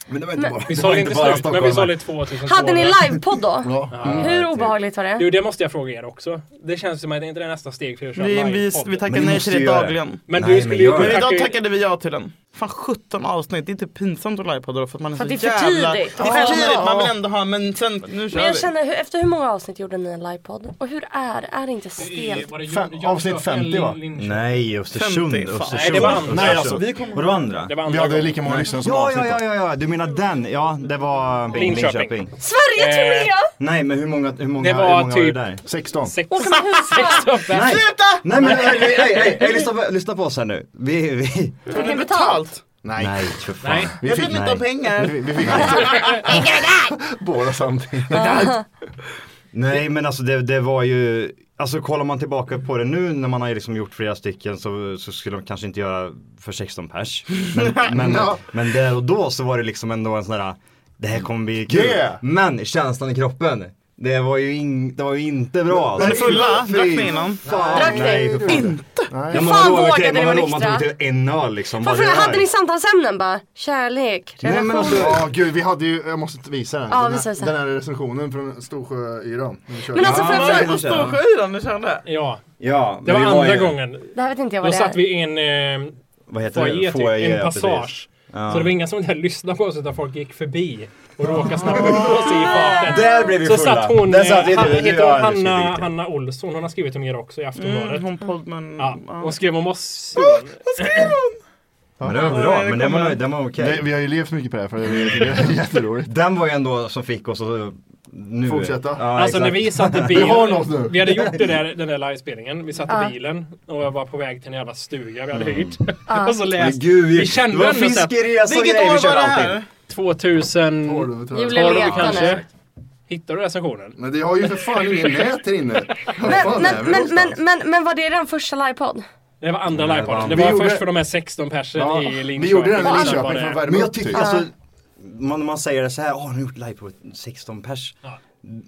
Speaker 2: Men det var
Speaker 4: inte Men- bara-
Speaker 6: Vi sålde inte slut, men vi sålde 2200.
Speaker 4: Hade ni livepodd då? Hur obehagligt var det?
Speaker 6: Du, det måste jag fråga er också. Det känns som att det inte är nästa steg för er att köra
Speaker 3: Vi, vi,
Speaker 6: livepodd.
Speaker 3: vi tackar nej till det dagligen.
Speaker 6: Men du skulle ju...
Speaker 3: Men
Speaker 6: du tackar
Speaker 3: idag
Speaker 6: ju-
Speaker 3: tackade vi ja till den. Fan 17 avsnitt, det är typ pinsamt att livepodda då för att man är
Speaker 4: För
Speaker 3: så
Speaker 4: att det är för
Speaker 3: jävla...
Speaker 4: tidigt.
Speaker 3: Det är för
Speaker 4: Ja.
Speaker 3: tidigt, man vill ändå ha men sen, nu kör
Speaker 4: Men jag
Speaker 3: vi.
Speaker 4: känner, hur- efter hur många avsnitt gjorde ni en livepodd? Och hur är det? Är det inte stelt?
Speaker 7: Fem- avsnitt 50 va? Nej, Östersund.
Speaker 6: 50, fan.
Speaker 7: Östersund.
Speaker 6: Nej, det var andra.
Speaker 7: Östersund.
Speaker 6: Nej, alltså, vi
Speaker 7: Var det andra?
Speaker 6: Det var andra Vi hade gången. lika många
Speaker 7: Nej.
Speaker 6: lyssnare som
Speaker 7: ja,
Speaker 6: avsnitt
Speaker 7: Ja, ja, ja, ja, du menar den. Ja, det var
Speaker 6: Linköping.
Speaker 4: Sverige tror jag!
Speaker 7: Nej, men hur många, hur många,
Speaker 6: Det var
Speaker 7: hur många
Speaker 6: typ
Speaker 7: var det där?
Speaker 2: 16.
Speaker 4: Åker man husvagn?
Speaker 7: Nej.
Speaker 3: Sluta!
Speaker 7: Nej, men hej, hej, hej, hej, lyssna, på, lyssna på oss här nu. Vi, vi...
Speaker 4: Tog ni betalt?
Speaker 2: Nej.
Speaker 7: Nej, för fan.
Speaker 6: Nej.
Speaker 7: Vi
Speaker 3: Jag
Speaker 7: fick-
Speaker 3: vill inte ha
Speaker 7: nej.
Speaker 3: pengar.
Speaker 7: Vi- vi fick-
Speaker 2: Båda samtidigt.
Speaker 7: Nej men alltså det, det var ju Alltså kollar man tillbaka på det nu när man har liksom gjort flera stycken så, så skulle de kanske inte göra för 16 pers Men, men,
Speaker 2: Ja.
Speaker 7: men där och då så var det liksom ändå en sån här Det här kommer bli kul
Speaker 2: Yeah.
Speaker 7: Men känslan i kroppen Det var ju, in, det var ju inte bra
Speaker 3: Var ni fulla?
Speaker 7: Fy
Speaker 3: Drack ni innan?
Speaker 7: fan,
Speaker 4: Drack ni?
Speaker 7: nej, för fan.
Speaker 3: Inte!
Speaker 7: Ja,
Speaker 4: Hur
Speaker 7: man
Speaker 4: fan
Speaker 7: har lovat
Speaker 4: vågade
Speaker 7: det,
Speaker 4: ni
Speaker 7: man har
Speaker 4: vara
Speaker 7: lovat- Man
Speaker 4: nyktra?
Speaker 7: tog till en öl liksom bara,
Speaker 4: Varför
Speaker 7: det här.
Speaker 4: hade ni samtalsämnen bara? Kärlek,
Speaker 2: Nej
Speaker 4: relation?
Speaker 2: men alltså, ja gud vi hade ju, jag måste visa den.
Speaker 4: Ja,
Speaker 2: den,
Speaker 4: visa,
Speaker 2: här,
Speaker 4: visa.
Speaker 2: den här recensionen från Storsjöyran.
Speaker 4: Men alltså, får jag
Speaker 3: Var det på Storsjöyran du körde?
Speaker 6: Ja.
Speaker 7: Ja,
Speaker 6: Det
Speaker 7: men
Speaker 6: var
Speaker 7: vi
Speaker 6: andra
Speaker 7: ju-
Speaker 6: gången.
Speaker 4: Det här vet inte jag
Speaker 6: Då
Speaker 4: vad det
Speaker 6: satt
Speaker 4: är.
Speaker 6: vi i en... Eh,
Speaker 7: Vad heter det?
Speaker 6: foyer, typ,
Speaker 7: Foyer,
Speaker 6: en
Speaker 7: ja, precis.
Speaker 6: passage.
Speaker 7: Ja.
Speaker 6: Så det var inga som där lyssnade på oss utan folk gick förbi och råkade snappa upp
Speaker 7: Ah.
Speaker 6: oss i farten.
Speaker 7: Där blev vi
Speaker 6: Så
Speaker 7: fulla.
Speaker 6: satt hon,
Speaker 7: Där satt vi,
Speaker 6: eh, han,
Speaker 7: du- du-
Speaker 6: heter
Speaker 7: ja,
Speaker 6: hon
Speaker 7: du skulle
Speaker 6: Hanna,
Speaker 7: dit.
Speaker 6: Hanna Olsson, hon har skrivit om er också i Aftonbladet.
Speaker 3: Mm, hon podd men...
Speaker 6: ja, hon skrev om oss.
Speaker 7: Men det var bra, men den var, den var okej
Speaker 2: Vi har ju levt mycket på det här för det är det är jätteroligt.
Speaker 7: Den var ju ändå som fick oss att nu...
Speaker 2: Fortsätta.
Speaker 7: Ja,
Speaker 6: Alltså när
Speaker 7: exakt.
Speaker 6: vi satt i
Speaker 2: Vi
Speaker 6: bilen.
Speaker 2: har något nu.
Speaker 6: vi hade gjort det där, den där livespelningen. Vi satt
Speaker 4: Ja.
Speaker 6: i bilen och jag var på väg till en jävla stuga vi hade
Speaker 7: Mm.
Speaker 6: hyrt.
Speaker 4: Ja.
Speaker 6: och så läste
Speaker 7: Men gud, vi-
Speaker 6: vi kände
Speaker 7: det var
Speaker 6: ändå så här-
Speaker 7: fiskeresa och
Speaker 6: Vilket
Speaker 7: grejer,
Speaker 6: år
Speaker 7: vi körde
Speaker 6: var det
Speaker 7: allting.
Speaker 6: här? 2000...
Speaker 2: tror
Speaker 4: jag. Julia Leta
Speaker 6: kanske.
Speaker 4: nu.
Speaker 6: Hittar du recensionen?
Speaker 2: Men det har ju för fan ingen nät här inne. Vad
Speaker 4: Men,
Speaker 2: fan är
Speaker 4: men,
Speaker 2: vi
Speaker 4: men, men,
Speaker 2: någonstans?
Speaker 4: men, men var det den första livepodd?
Speaker 6: Det var andra
Speaker 7: Nej,
Speaker 6: livepodden.
Speaker 7: fan.
Speaker 6: Det
Speaker 2: Vi
Speaker 6: var
Speaker 2: gjorde-
Speaker 6: först för de här 16 persen
Speaker 2: Ja,
Speaker 6: i Linköping.
Speaker 2: vi gjorde den i
Speaker 6: och sen
Speaker 2: Linköping
Speaker 6: var det-
Speaker 2: för varje-
Speaker 7: Men jag tycker
Speaker 2: Ja.
Speaker 7: alltså, man, man säger det så här, åh nu har gjort live på 16 pers.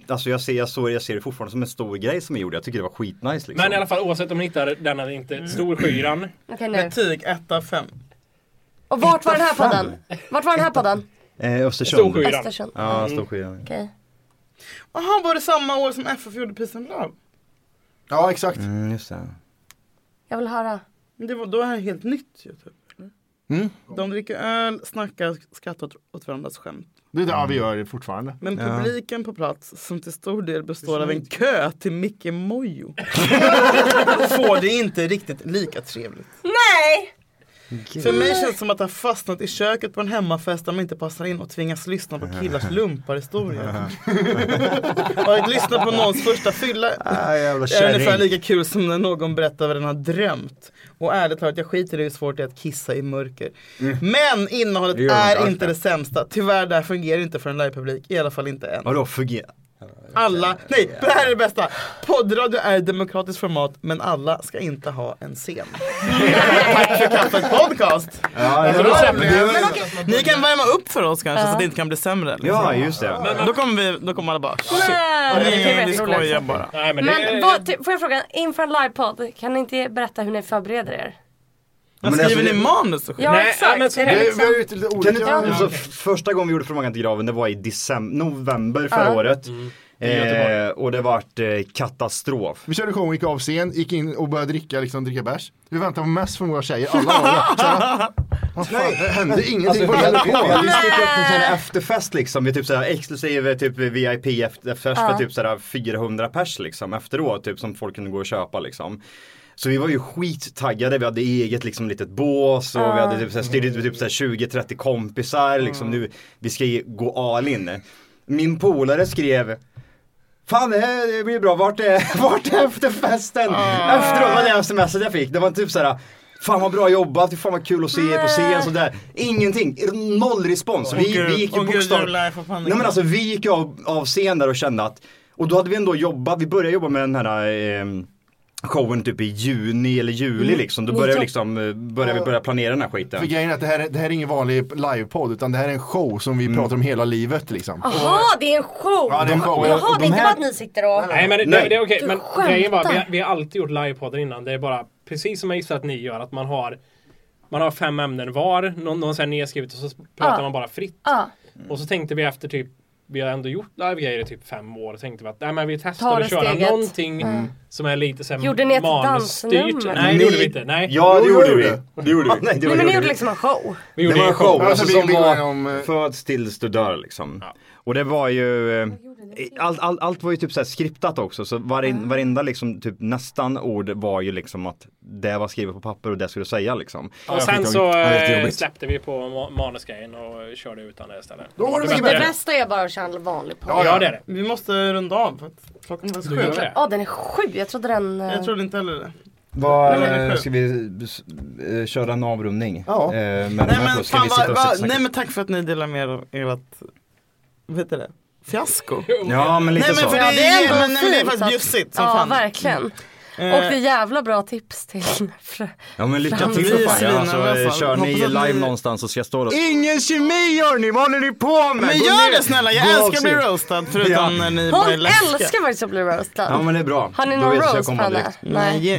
Speaker 7: Alltså jag ser, jag, såg, jag ser det fortfarande som en stor grej som jag gjorde, jag tycker det var skitnice liksom.
Speaker 6: Men i alla fall oavsett om ni hittar den eller
Speaker 2: Mm.
Speaker 6: inte. Storskyran.
Speaker 4: Okej nu.
Speaker 3: Betyg 1 av 5.
Speaker 4: Och vart var den här podden? Vart var den här podden?
Speaker 7: eh, Östersund.
Speaker 6: Storskyran.
Speaker 4: Östersund.
Speaker 7: Ja, Storskyran.
Speaker 4: Okej.
Speaker 3: Jaha, var det samma år som FF gjorde Peace and Love?
Speaker 2: Ja exakt.
Speaker 7: Mm, just det.
Speaker 4: Jag vill höra.
Speaker 3: Men det var, då är det helt nytt ju typ.
Speaker 2: Mm.
Speaker 3: De dricker öl, snackar, skrattar åt- åt varandras skämt.
Speaker 2: Det är det vi gör fortfarande.
Speaker 3: Men
Speaker 2: Ja.
Speaker 3: publiken på plats, som till stor del består av en kö till Micke Mojo, får det inte riktigt lika trevligt.
Speaker 4: Nej!
Speaker 3: För mig känns det som att ha fastnat i köket på en hemmafest där man inte passar in och tvingas lyssna på killars lumparhistorier. och att lyssna på någons första fylla är
Speaker 7: Ah, kärring.
Speaker 3: ungefär lika kul som när någon berättar vad den har drömt. Och ärligt talat, jag skiter i hur svårt det är att kissa i mörker. Men innehållet
Speaker 7: Mm. Det gör
Speaker 3: är
Speaker 7: inte
Speaker 3: inte det
Speaker 7: alls
Speaker 3: sämsta. Tyvärr, det här fungerar inte för en livepublik. I alla fall inte än.
Speaker 7: Vadå fungerar?
Speaker 3: Alla, nej, det här är det bästa. Poddradio är ett demokratiskt format, men alla ska inte ha en scen. Tack för kaffet podcast!
Speaker 7: Ja, det
Speaker 3: Alltså,
Speaker 7: var-
Speaker 3: då släpper
Speaker 7: det
Speaker 3: vi-
Speaker 7: var-
Speaker 3: Ni kan värma upp för oss kanske
Speaker 7: Ja.
Speaker 3: så att det inte kan bli sämre. liksom.
Speaker 7: Ja, just det.
Speaker 3: Men- Då kommer, vi, då kommer alla bara shit.
Speaker 4: Nej, det är
Speaker 3: Nej,
Speaker 4: rätt
Speaker 3: ni skojar
Speaker 4: roligt.
Speaker 3: bara.
Speaker 4: Men, vad, ty, får jag fråga, inför en livepodd, kan ni inte berätta hur ni förbereder er?
Speaker 3: Men
Speaker 7: alltså,
Speaker 3: skriver
Speaker 7: det-
Speaker 3: ni manus och skit?
Speaker 4: Ja, exakt. Är det liksom-
Speaker 7: Kan du-
Speaker 4: Ja.
Speaker 7: alltså, f- Första gången vi gjorde Frågan till graven det var i december, november förra
Speaker 2: Ja.
Speaker 7: året.
Speaker 2: Mm. I Göteborg.
Speaker 7: Eh, och det vart eh, katastrof.
Speaker 2: Vi körde show, gick av scen, gick in och började dricka, liksom, dricka bärs. Vi väntade på mest från våra tjejer, alla var Så här, Vad fan, det hände ingenting på
Speaker 7: vi hade på.
Speaker 2: hela
Speaker 7: Vi sticker upp en sån här efterfest liksom. Vi typ såhär exklusiv typ VIP efterfest
Speaker 2: Ja.
Speaker 7: för typ såhär 400 pers liksom efteråt. Typ som folk kunde gå och köpa liksom. Så vi var ju skittaggade, vi hade eget liksom litet bås och
Speaker 2: Ja. Mm.
Speaker 7: vi hade typ såhär styrt med typ såhär 20-30 kompisar liksom. Nu, vi ska ge- gå all in. Min polare skrev Fan det här blir bra, vart är, vart är efterfesten? Efteråt var det smset jag fick, det var typ såhär Fan vad bra jobbat, fan vad kul att se er på scen sådär. Ingenting, noll respons.
Speaker 3: Åh,
Speaker 7: Vi,
Speaker 3: gud.
Speaker 7: vi gick ju
Speaker 3: Åh, gud,
Speaker 7: bokstavligt.
Speaker 3: jävlar, jag får panik.
Speaker 7: Nej men alltså vi gick ju av, av scen där och kände att, och då hade vi ändå jobbat, vi började jobba med den här ehm, showen typ i juni eller juli
Speaker 2: Mm.
Speaker 7: liksom. Då
Speaker 2: Ni
Speaker 7: började vi
Speaker 2: jobb-
Speaker 7: liksom, eh, började vi börja planera den här skiten.
Speaker 2: För grejen är att det här, är- det här är ingen vanlig livepodd utan det här är en show som vi pratar om hela livet liksom.
Speaker 4: Jaha, det är en show!
Speaker 2: Ja, det är en show.
Speaker 4: Jaha,
Speaker 2: Och
Speaker 4: det
Speaker 2: de
Speaker 4: är inte
Speaker 2: här-
Speaker 4: bara att ni sitter och...
Speaker 6: Nej men det, det är okej.
Speaker 4: Du
Speaker 6: Men grejen var, vi, har-
Speaker 4: skämtar.
Speaker 6: vi har alltid gjort livepoddar innan. Det är bara precis som jag gissar att ni gör. Att man har, man har fem ämnen var. Någon, någon så här nedskrivet och så pratar
Speaker 4: Ja.
Speaker 6: man bara fritt.
Speaker 4: Ja.
Speaker 6: Och så tänkte vi efter typ vi har ändå gjort livegrejer i typ fem år. Tänkte vi att nej, men vi
Speaker 4: Tar
Speaker 6: testar
Speaker 4: det
Speaker 6: att köra
Speaker 4: steget.
Speaker 6: någonting
Speaker 4: Mm.
Speaker 6: som är lite så här
Speaker 4: Gjorde ni ett
Speaker 6: manusstyrt.
Speaker 4: dansnummer?
Speaker 6: Nej, det
Speaker 7: Ni-
Speaker 6: gjorde vi inte. Nej.
Speaker 7: Ja, det Jo, gjorde gjorde vi. Det gjorde vi. Nej, det
Speaker 4: Nej men ni
Speaker 7: gjorde
Speaker 4: gjorde
Speaker 7: vi.
Speaker 4: liksom en show.
Speaker 6: Vi gjorde
Speaker 7: det var
Speaker 6: en
Speaker 7: en show, alltså,
Speaker 6: show, alltså, vi-
Speaker 7: som
Speaker 6: vi
Speaker 7: var
Speaker 6: var
Speaker 2: eh, Mm.
Speaker 7: föds tills du dör liksom. Och det var ju, eh,
Speaker 4: Mm.
Speaker 7: allt, allt, allt var ju typ så här skriptat också så varin, varenda liksom typ nästan ord var ju liksom att det var skrivet på papper och det skulle du säga liksom.
Speaker 6: Och sen så
Speaker 7: Ja,
Speaker 6: eh,
Speaker 7: jättejobbigt.
Speaker 6: släppte vi på ma- manusgrejen och körde utan det istället.
Speaker 4: det bästa är bara att köra en vanlig podd.
Speaker 6: Ja, ja, det är det.
Speaker 3: Vi måste runda av. för att Klockan är
Speaker 6: Du
Speaker 3: sju.
Speaker 6: gör det.
Speaker 4: Ja, den är sju. Jag trodde den... eh,
Speaker 3: Jag trodde inte heller det.
Speaker 7: Vad,
Speaker 3: Nej, men-
Speaker 7: eh, ska vi s- eh, köra en avrundning?
Speaker 3: Ja.
Speaker 7: Eh, med de
Speaker 3: Nej
Speaker 7: här två?
Speaker 3: men,
Speaker 7: Ska
Speaker 3: fan,
Speaker 7: vi sitta och
Speaker 3: vad-
Speaker 7: sitta och
Speaker 3: vad-
Speaker 7: snacka?
Speaker 3: nej men tack för att ni delar med er av ert, vad heter det, fiasko?
Speaker 7: Ja, men lite
Speaker 3: nej, men
Speaker 7: så.
Speaker 3: För det,
Speaker 7: Ja,
Speaker 3: är,
Speaker 7: det är ändå
Speaker 3: men, nej, men det är
Speaker 4: fint
Speaker 3: faktiskt
Speaker 4: att-
Speaker 3: bjussigt som
Speaker 4: ja,
Speaker 3: fan.
Speaker 4: verkligen. Och det är jävla bra tips till...
Speaker 7: Mm. Ja men lycka
Speaker 4: Fram-
Speaker 7: till för fan. Ja,
Speaker 3: Svinarna,
Speaker 7: alltså, eh,
Speaker 3: alltså.
Speaker 7: kör ni
Speaker 3: Hoppas att
Speaker 7: live
Speaker 3: ni-
Speaker 7: någonstans så ska jag stå där.
Speaker 3: Ingen kemi hörni, vad håller ni på
Speaker 7: med?
Speaker 3: Men
Speaker 7: Gå
Speaker 3: gör
Speaker 7: ner.
Speaker 3: det snälla, jag
Speaker 7: Gå
Speaker 3: älskar
Speaker 7: också.
Speaker 3: att bli roastad förutom
Speaker 7: Ja.
Speaker 3: när ni
Speaker 4: Hon
Speaker 3: bara är läskiga.
Speaker 4: älskar faktiskt att bli roastad.
Speaker 7: Ja men det är bra.
Speaker 4: Har ni
Speaker 7: Då
Speaker 4: någon
Speaker 7: vet jag att jag
Speaker 4: roast
Speaker 7: kommer
Speaker 4: på henne?
Speaker 7: direkt.
Speaker 3: Nej,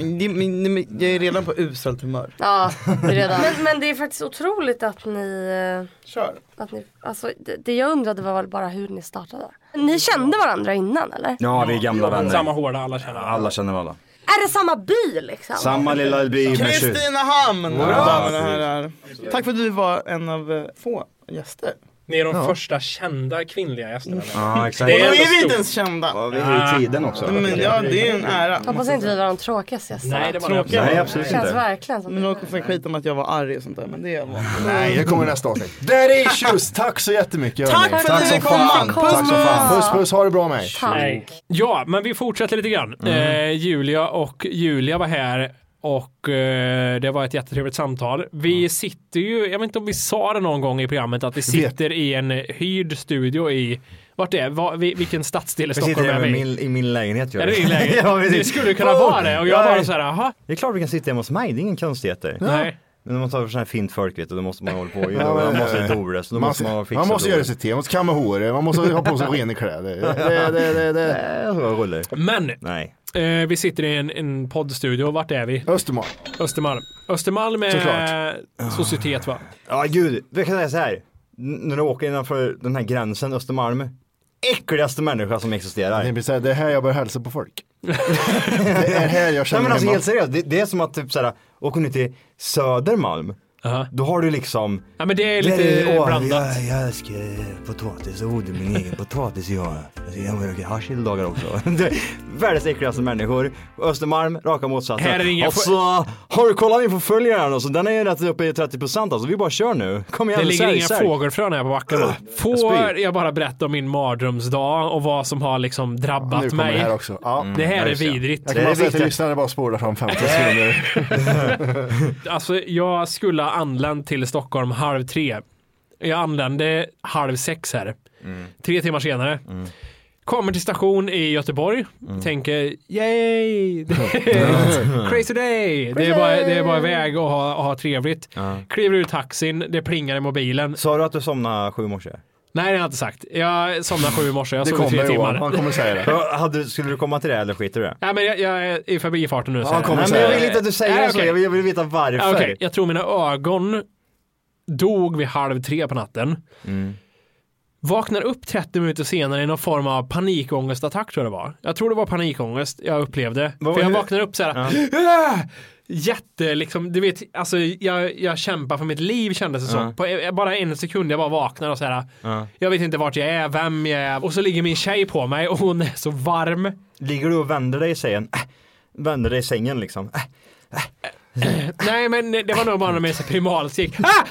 Speaker 3: jag, jag, jag är redan på uselt humör.
Speaker 4: Ja, det är redan. men, men det är faktiskt otroligt att ni... eh,
Speaker 3: Kör.
Speaker 4: Att ni alltså, det, det jag undrade var väl bara hur ni startade. Ni kände varandra innan eller?
Speaker 7: Ja vi är gamla vänner.
Speaker 6: Samma hårda, alla känner
Speaker 7: alla. Alla känner alla.
Speaker 4: Är det samma by liksom?
Speaker 7: Samma lilla by med tjut.
Speaker 3: Kristinehamn!
Speaker 7: Ja,
Speaker 3: mina damer och
Speaker 7: precis.
Speaker 3: herrar. Tack för att du var en av eh, få gäster.
Speaker 6: Ni är de första kända kvinnliga gästerna.
Speaker 7: Mm. Ja exakt.
Speaker 6: Det är
Speaker 3: Då
Speaker 6: ändå
Speaker 3: är vi
Speaker 6: stort.
Speaker 3: inte ens kända.
Speaker 7: Ja, vi är i tiden också.
Speaker 3: Men ja, det är en ära.
Speaker 4: Hoppas inte vi var de tråkigaste gästerna.
Speaker 3: Nej, det var det Tråkiga. absolut
Speaker 7: Nej absolut
Speaker 4: Känns
Speaker 7: inte.
Speaker 4: verkligen som
Speaker 3: Någon snackar skit om att jag var arg och sånt där, men det är jag van vid.
Speaker 2: Nej, det kommer i nästa avsnitt. Daddy issues, tack så jättemycket.
Speaker 3: Tack
Speaker 2: hörni.
Speaker 3: för att ni
Speaker 2: som
Speaker 3: kom.
Speaker 2: fan.
Speaker 3: Puss,
Speaker 2: Tack som fan. Puss puss, ha det bra med er.
Speaker 7: Mm,
Speaker 6: Nej. Ja, men vi fortsätter lite grann. Eh, Julia och Julia var här och eh, det var ett jättetrevligt samtal. Vi
Speaker 7: Mm.
Speaker 6: sitter ju, jag vet inte om vi sa det någon gång i programmet, att vi sitter i en hyrd studio i, vart det är, va, vi- vilken stadsdel i
Speaker 7: Vi sitter
Speaker 6: Stockholm är
Speaker 7: hemma
Speaker 6: vi
Speaker 7: i
Speaker 6: i?
Speaker 7: min, i min lägenhet. gör
Speaker 6: Är det
Speaker 7: vi.
Speaker 6: din lägenhet?
Speaker 7: ja, precis.
Speaker 6: Det skulle kunna vara det, och jag bara så här, jaha.
Speaker 7: Det är klart vi kan sitta hemma hos mig, det är ingen konstigheter.
Speaker 6: Nej.
Speaker 7: Men när man tar för sån här fint folk vet du, då måste man hålla på.
Speaker 2: Ja,
Speaker 7: man
Speaker 2: men-
Speaker 7: måste lite oröst, då
Speaker 2: Man
Speaker 7: måste
Speaker 2: ska-
Speaker 7: man ha
Speaker 2: man måste göra sitt te, man måste kamma håret, man måste ha på sig rena kläder. Det, det, det, det.
Speaker 7: rulle.
Speaker 6: Men
Speaker 7: Nej.
Speaker 6: Eh, vi sitter i en, en poddstudio. Vart är vi?
Speaker 2: Östermalm.
Speaker 6: Östermalm. Östermalm är
Speaker 7: Såklart.
Speaker 6: societet va?
Speaker 7: Ja gud, jag kan säga så här. N- när du åker innanför den här gränsen, Östermalm. Äckligaste människa som existerar.
Speaker 2: Det, blir så här, det är här jag börjar hälsa på folk. det är här jag
Speaker 7: Nej
Speaker 2: känner
Speaker 7: men alltså
Speaker 2: hemma.
Speaker 7: helt seriöst, det, det är som att typ såhär, åker ni till Södermalm
Speaker 2: Ah.
Speaker 7: Då har du liksom...
Speaker 6: Ja men det är lite
Speaker 7: åh,
Speaker 6: blandat.
Speaker 7: Jag, jag älskar potatis och odlar min egen potatis jag. Jag röker hasch hela dagar också. Det är Världens äckligaste människor. Östermalm, raka motsatsen.
Speaker 6: Här är det inga
Speaker 7: och så har du kollat min förföljare här nu, så den är ju rätt uppe i 30% alltså. Vi bara kör nu. Kom igen,
Speaker 6: Det ligger
Speaker 7: sälj,
Speaker 6: inga
Speaker 7: sälj.
Speaker 6: fågelfrön här på backen.
Speaker 2: Ah,
Speaker 7: Ugh,
Speaker 6: Får jag bara berätta om min mardrömsdag och vad som har liksom
Speaker 2: Nu
Speaker 6: drabbat
Speaker 2: kommer
Speaker 6: mig?
Speaker 2: det här också. Ja.
Speaker 6: Det här
Speaker 2: Ja,
Speaker 6: Mm. är
Speaker 2: just det.
Speaker 6: vidrigt.
Speaker 2: Jag kan bara säga att jag lyssnade bara spolar fram 15 sekunder.
Speaker 6: Alltså, jag skulle ha anlänt till Stockholm halv tre. Jag anlände halv sex här. Tre timmar senare. Kommer till station i Göteborg. Tänker, yay! Crazy day! Det är bara, det är bara iväg och ha, och ha trevligt. Kliver ur taxin, det plingar i mobilen.
Speaker 7: Sa du att du somnade sju i morse?
Speaker 6: Nej, det har jag inte sagt. Jag somnade sju i morse. Jag sov i tre timmar.
Speaker 7: Hade, skulle du komma till det eller skiter du i det?
Speaker 6: Nej, men jag, jag är i förbifarten nu. så-
Speaker 7: Han kommer Nej, men jag vill inte att du säger
Speaker 6: Nej,
Speaker 7: så,
Speaker 6: okej.
Speaker 7: jag vill, jag vill veta
Speaker 6: Ja,
Speaker 7: varför.
Speaker 6: okej. Jag tror mina ögon dog vid halv tre på natten.
Speaker 7: Mm.
Speaker 6: Vaknar upp 30 minuter senare i någon form av panikångestattack tror jag det var. Jag tror det var panikångest jag upplevde.
Speaker 7: Vad-
Speaker 6: För jag
Speaker 7: hur-
Speaker 6: vaknar upp så här. "Ah!" Jätte, liksom, du vet, alltså jag, jag kämpar för mitt liv kändes det som.
Speaker 7: Ja.
Speaker 6: På eh, bara en sekund, jag bara vaknar och så här.
Speaker 7: Ja.
Speaker 6: Jag vet inte vart jag är, vem jag är. Och så ligger min tjej på mig och hon är så varm.
Speaker 7: Ligger du och vänder dig i sängen? Äh, vänder dig i sängen liksom. Äh,
Speaker 6: Nej men det var nog bara när min primalstick. Ah!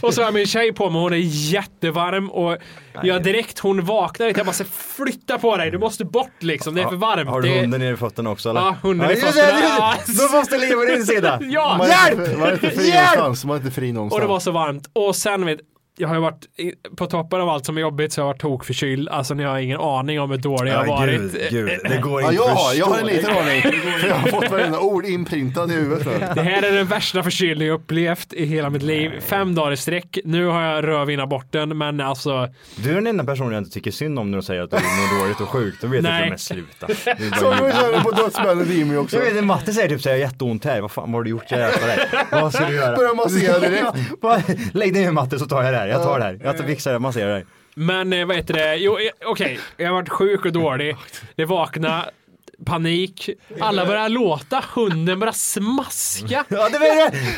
Speaker 6: och så har jag min tjej på mig, hon är jättevarm och jag direkt hon vaknar lite, jag bara så flytta på dig, du måste bort liksom, det är för varmt.
Speaker 7: har du
Speaker 6: Det-
Speaker 7: hunden nere i fötterna också eller?
Speaker 6: Ja, hunden i
Speaker 7: just det,
Speaker 6: fötterna.
Speaker 7: just det. Då måste livet på din sida.
Speaker 6: Ja.
Speaker 2: Man är inte- Man är inte fri
Speaker 7: Hjälp!
Speaker 2: någonstans. Man är inte fri
Speaker 6: Och det var
Speaker 2: någonstans.
Speaker 6: så varmt. Och sen vet jag har ju varit i- på toppen av allt som är jobbigt så jag har varit tokförkyld. Alltså ni har ingen aning om hur dålig jag har
Speaker 7: Ja,
Speaker 6: varit.
Speaker 7: gud, gud. Det går
Speaker 2: Ja,
Speaker 7: inte
Speaker 2: jag,
Speaker 7: att
Speaker 2: har, jag har en
Speaker 7: förstå.
Speaker 2: liten aning. För jag har fått varenda ord inprintad i huvudet. nu.
Speaker 6: Det här är den värsta förkylning jag upplevt i hela mitt liv. Fem dagar i sträck. Nu har jag rövinnaborten men alltså
Speaker 7: Du är den enda personen jag inte tycker synd om när du säger att du mår dåligt och sjukt. Då vet jag
Speaker 6: Nej.
Speaker 7: till och med sluta. Det är bara
Speaker 2: Så
Speaker 7: ljug.
Speaker 2: vi körde på dödsbädden Jimmy också.
Speaker 7: Jag vet inte, Matte säger typ såhär, jag har jätteont här, vad fan vad har du gjort? Jag hjälper dig. Vad ska du göra?
Speaker 2: Börjar massera direkt.
Speaker 7: Bara, Lägg dig ner Matte så tar jag det här, jag tar det här. Jag tar fixar det, masserar det.
Speaker 6: Men eh, vad heter det? Jo, eh, okej. Jag har varit sjuk och dålig. Det vakna panik. Alla börjar låta. Hunden börjar smaska.
Speaker 7: Ja, det är det,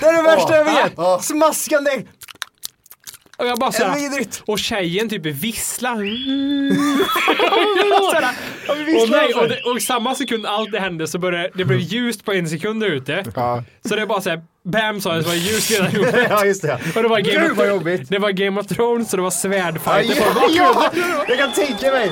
Speaker 7: det, är det värsta jag vet! Smaskande ägg!
Speaker 6: Och jag bara såhär.
Speaker 7: Det är vidrigt.
Speaker 6: Och tjejen typ visslar.
Speaker 7: visslar
Speaker 6: och, nej,
Speaker 7: alltså.
Speaker 6: och, det, och i samma sekund allt det hände så började det blev ljust på en sekund där ute. Så det är bara såhär. Bam sa det så var det ljust i hela huvudet.
Speaker 7: Ja just det.
Speaker 6: Och det var Game
Speaker 7: Gud
Speaker 6: of-
Speaker 7: vad jobbigt!
Speaker 6: Det var Game of Thrones och det var svärdfighter på
Speaker 7: Ja, ja, jag kan tänka mig!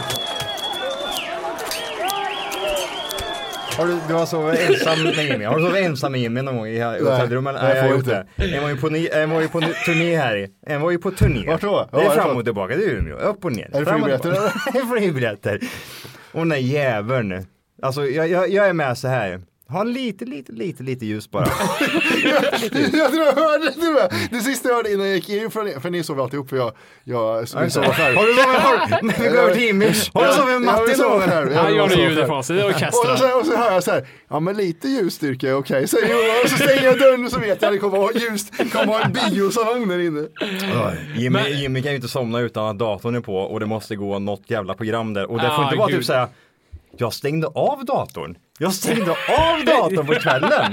Speaker 7: Har du, du har sovit ensam med Jimmy? Har du sovit ensam med Jimmy någon gång i hotellrummet?
Speaker 2: nej,
Speaker 7: jag
Speaker 2: får
Speaker 7: har gjort
Speaker 2: inte.
Speaker 7: det. En var ju på, ni- en var ju på ni- turné här i. En var ju på turné.
Speaker 2: Vart då?
Speaker 7: Det
Speaker 2: Ja,
Speaker 7: är
Speaker 2: varför?
Speaker 7: fram och tillbaka, det är Umeå. Upp och ner.
Speaker 2: Är det
Speaker 7: Fram och
Speaker 2: flygbiljetter,
Speaker 7: tillbaka. Det är flygbiljetter. Och den där jäveln. Alltså jag, jag, jag är med så här. Ha lite, lite, lite, lite ljus bara.
Speaker 2: Jag tror jag hörde det till och med. Det sista jag hörde innan jag gick in, för ni, för ni sov alltid upp för jag, jag vill sova själv.
Speaker 7: Har du sovit, har, när vi går över till Jimmy, har du sovit med
Speaker 2: Jag
Speaker 7: Matti
Speaker 2: vill
Speaker 7: någon
Speaker 2: sova
Speaker 7: gång?
Speaker 2: själv.
Speaker 6: Han
Speaker 2: vill
Speaker 6: gör
Speaker 2: sova
Speaker 6: nu ljud
Speaker 2: själv.
Speaker 6: i fasen. Det är
Speaker 2: Och
Speaker 6: orkestrar.
Speaker 2: så, och så hör jag så här, ja men lite ljusstyrka är okej, säger Johan. Och så stänger jag dörren och så vet jag att det kommer att ha ljust, det kommer att ha en biosalong där inne.
Speaker 7: Jimmy, Jimmy kan ju inte somna utan att datorn är på och det måste gå något jävla program där. Och det får
Speaker 6: Ah,
Speaker 7: inte vara
Speaker 6: gud.
Speaker 7: typ såhär, jag stängde av datorn. Jag stängde av datorn på kvällen.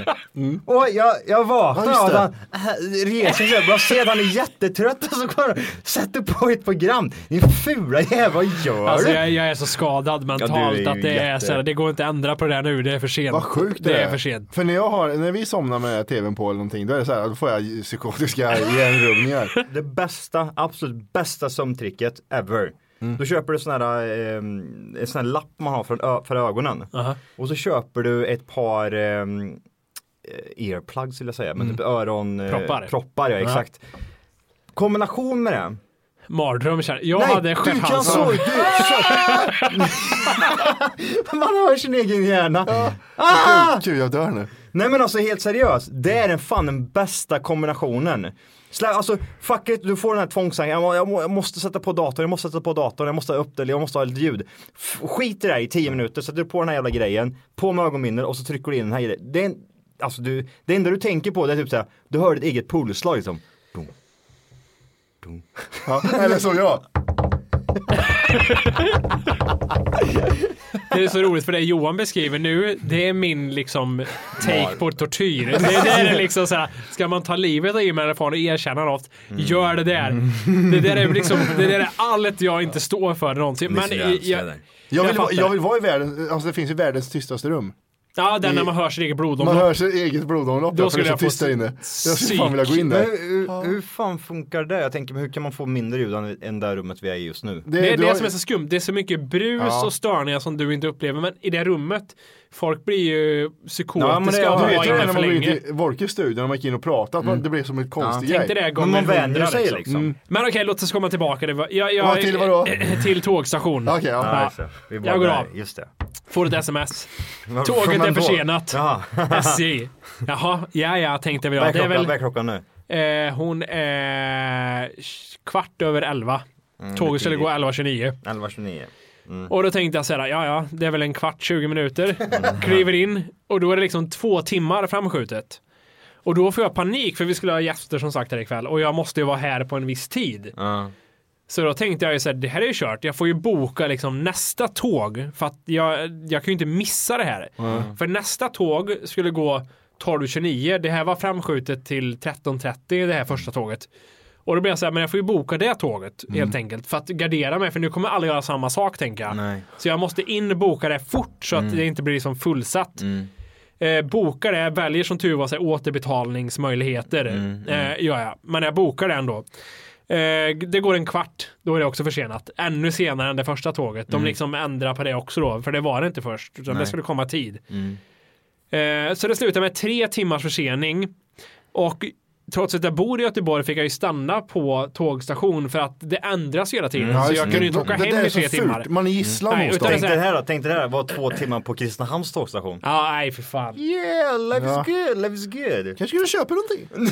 Speaker 7: Och jag, jag vaknar
Speaker 2: Ja, just
Speaker 7: av
Speaker 2: det.
Speaker 7: den, äh, reser sig upp, jag ser att han är jättetrött och så går han och sätter på ett program. Din fula jävel, vad gör
Speaker 6: Alltså
Speaker 7: du?
Speaker 6: jag, jag är så skadad mentalt
Speaker 7: ju
Speaker 6: att det är
Speaker 7: jätte-
Speaker 6: så här, det går inte att ändra på det där nu, det är för sent.
Speaker 2: Vad sjukt
Speaker 6: det är. för sent.
Speaker 2: För när, jag har, när vi somnar med tvn på eller någonting, då är det så här, då får jag psykotiska hjärnrubbningar.
Speaker 7: Det bästa, absolut bästa sömntricket ever. Då köper du sån här, eh, en sån här lapp man har för, ö- för ögonen.
Speaker 6: Aha.
Speaker 7: Och så köper du ett par eh, earplugs vill jag säga, men typ öron... eh,
Speaker 6: Proppar.
Speaker 7: Proppar, ja exakt. Kombination med det.
Speaker 6: Mardröm känner jag.
Speaker 7: Nej,
Speaker 6: hade
Speaker 7: du kan
Speaker 6: stjärthalsen.
Speaker 7: sova! du- Man hör sin egen hjärna. Ah!
Speaker 2: Gud, Gud, jag dör nu.
Speaker 7: Nej men alltså helt seriöst, det är den fan den bästa kombinationen. Slä, alltså fuck it, du får den här tvångstanken, jag, må, jag, må, jag måste sätta på datorn, jag måste sätta på datorn, jag måste ha upp det, eller jag måste ha lite ljud. F- skit i det här i tio minuter, sätter du på den här jävla grejen, på med ögonbindel och så trycker du in den här grejen. Det, är en- alltså, du, det enda du tänker på det är typ såhär, du hör ditt eget pulsslag liksom. Boom.
Speaker 2: Ja, eller så jag.
Speaker 6: Alltså, Det är så roligt för det Johan beskriver nu, det är min liksom
Speaker 3: Mar.
Speaker 6: take på tortyr. Det är där det är liksom så här, ska man ta livet av Jimmy Alfano och erkänna något, gör det där. Det där är liksom, det där är allt jag inte står för någonsin. Men jag, jag,
Speaker 2: jag, vill, vara-
Speaker 6: fattar.
Speaker 2: jag vill vara i världen, alltså det finns ju världens tystaste rum.
Speaker 6: Ja, där
Speaker 2: I-
Speaker 6: när man hör sitt eget blodomlopp.
Speaker 2: Man hör sitt eget blodomlopp,
Speaker 6: Då
Speaker 2: då för
Speaker 6: skulle
Speaker 2: det är
Speaker 6: jag
Speaker 2: så
Speaker 6: få
Speaker 2: tyst där inne. Jag skulle fan vilja gå in
Speaker 7: Men
Speaker 2: där.
Speaker 7: hur, hur fan funkar det? Jag tänker, men hur kan man få mindre ljud än- än det rummet vi är i just nu?
Speaker 6: Det, är det som är så skumt. Det är så mycket brus
Speaker 7: Ja.
Speaker 6: och störningar som du inte upplever. Men i det rummet, folk blir ju psykotiska
Speaker 2: Ja, men
Speaker 6: av
Speaker 2: det, du
Speaker 6: att vara
Speaker 2: vet ju
Speaker 6: inne
Speaker 2: när
Speaker 6: för
Speaker 2: man går in
Speaker 6: länge.
Speaker 2: till Wolkes studio, när man gick in och pratade, att man- det blev som ett konstigt
Speaker 6: Tänk
Speaker 2: grej.
Speaker 6: dig Mm. det gånger hundra, liksom.
Speaker 2: Mm.
Speaker 6: Men okej, låt oss komma tillbaka. Det var, jag, jag,
Speaker 2: Vad, till vadå?
Speaker 6: till tågstation.
Speaker 2: Okej, ja. Ja,
Speaker 6: ja.
Speaker 2: just det. Vi var
Speaker 6: Jag går
Speaker 2: där,
Speaker 6: av.
Speaker 7: Just det.
Speaker 6: Får ett sms.
Speaker 7: Vad- får
Speaker 6: Tåget
Speaker 7: man
Speaker 6: är
Speaker 7: då?
Speaker 6: försenat.
Speaker 7: Jaha.
Speaker 6: SJ. Jaha, ja ja, tänkte vi då.
Speaker 7: Vad är
Speaker 6: Det är
Speaker 7: klockan-
Speaker 6: väl,
Speaker 7: vad är klockan nu?
Speaker 6: Eh, hon är kvart över elva.
Speaker 7: Mm,
Speaker 6: Tåget skulle gå
Speaker 7: tidigt.
Speaker 6: 11.29.
Speaker 7: 11.29. Mm.
Speaker 6: Och då tänkte jag så här, ja ja, det är väl en kvart, 20 minuter. Kliver in och då är det liksom två timmar framskjutet. Och då får jag panik för vi skulle ha gäster som sagt här ikväll och jag måste ju vara här på en viss tid.
Speaker 7: Ja.
Speaker 6: Så då tänkte jag ju så här, det här är ju kört, jag får ju boka liksom nästa tåg för att jag, jag kan ju inte missa det här.
Speaker 7: Mm.
Speaker 6: För nästa tåg skulle gå 12.29, det här var framskjutet till 13.30 det här första tåget. Och då blir jag så här, men jag får ju boka det tåget
Speaker 7: Mm.
Speaker 6: helt enkelt för att gardera mig för nu kommer alla göra samma sak tänker jag.
Speaker 7: Nej.
Speaker 6: Så jag måste in och boka det fort så att
Speaker 7: Mm.
Speaker 6: det inte blir liksom fullsatt. Eh, bokar det, väljer som tur var så här, återbetalningsmöjligheter.
Speaker 7: Mm,
Speaker 6: Eh, gör jag. Men jag bokar det ändå. Eh, det går en kvart, då är det också försenat. Ännu senare än det första tåget. De
Speaker 7: Mm.
Speaker 6: liksom ändrar på det också då, för det var det inte först. Utan det
Speaker 7: Nej.
Speaker 6: skulle komma tid.
Speaker 7: Mm.
Speaker 6: Eh, så det slutade med tre timmars försening. Och trots att jag bor i Göteborg fick jag ju stanna på tågstation för att det ändras hela tiden.
Speaker 7: Mm.
Speaker 6: så
Speaker 7: Ja,
Speaker 6: jag
Speaker 7: just
Speaker 6: kunde ju
Speaker 7: det.
Speaker 6: inte åka
Speaker 7: Det
Speaker 6: hem
Speaker 7: där
Speaker 6: i
Speaker 7: är så
Speaker 6: tre
Speaker 7: fult.
Speaker 6: timmar.
Speaker 2: Man är gisslan
Speaker 6: Nej,
Speaker 2: hos
Speaker 6: utan
Speaker 7: Tänk
Speaker 6: så
Speaker 7: dig
Speaker 6: här-
Speaker 7: det här då, tänk dig det här, var två timmar på Kristinehamns tågstation.
Speaker 6: Ja, nej för fan.
Speaker 7: Yeah, life
Speaker 2: Ja.
Speaker 7: is good, life is good.
Speaker 2: Kanske skulle köpa någonting.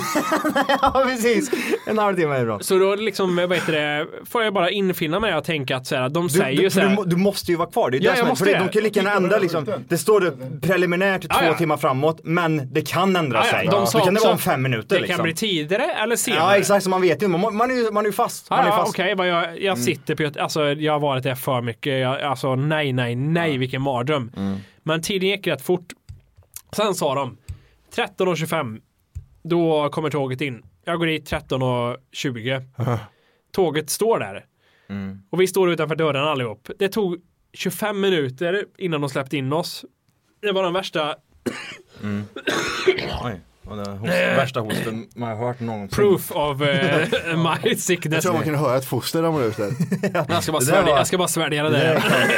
Speaker 7: ja, precis. En halvtimme är bra.
Speaker 6: Så då liksom, vad heter det, får jag bara infinna mig och tänka att så här, de
Speaker 7: Du,
Speaker 6: säger
Speaker 7: du,
Speaker 6: ju så
Speaker 7: för du,
Speaker 6: här.
Speaker 7: må- du måste ju vara kvar, det är
Speaker 6: Ja,
Speaker 7: det
Speaker 6: jag
Speaker 7: som är,
Speaker 6: måste
Speaker 7: för det,
Speaker 6: det.
Speaker 7: de kan lika gärna ändra liksom, det står det preliminärt två
Speaker 6: Ja, ja.
Speaker 7: timmar framåt, men det kan ändra
Speaker 6: Ja, ja,
Speaker 7: sig.
Speaker 6: de sa
Speaker 7: det kan det
Speaker 6: också,
Speaker 7: vara om fem minuter
Speaker 6: Det
Speaker 7: liksom.
Speaker 6: kan bli tidigare eller senare.
Speaker 7: Ja exakt, så man vet ju, man, må- man, är, ju- man är ju fast. Man
Speaker 6: Ja,
Speaker 7: är
Speaker 6: ja,
Speaker 7: fast.
Speaker 6: okej, vad jag, jag
Speaker 7: Mm.
Speaker 6: sitter på Göte- alltså jag har varit där för mycket. Jag, alltså nej, nej, nej, vilken mardröm.
Speaker 2: Mm.
Speaker 6: Men tiden gick rätt fort. Sen sa de 13.25, då kommer tåget in. Jag går dit 13.20. Tåget står där.
Speaker 2: Mm.
Speaker 6: Och vi står utanför dörren allihop. Det tog 25 minuter innan de släppte in oss. Det var den värsta
Speaker 7: Oj, vad det är host, värsta hosten man har hört någonsin.
Speaker 6: proof of eh, my
Speaker 2: Mm. Jag
Speaker 6: sickness.
Speaker 2: tror man kan höra ett foster där man är ute.
Speaker 6: Jag ska bara
Speaker 2: Det där
Speaker 6: svälja-
Speaker 2: var-
Speaker 6: jag ska bara svälja det
Speaker 2: Det
Speaker 6: där.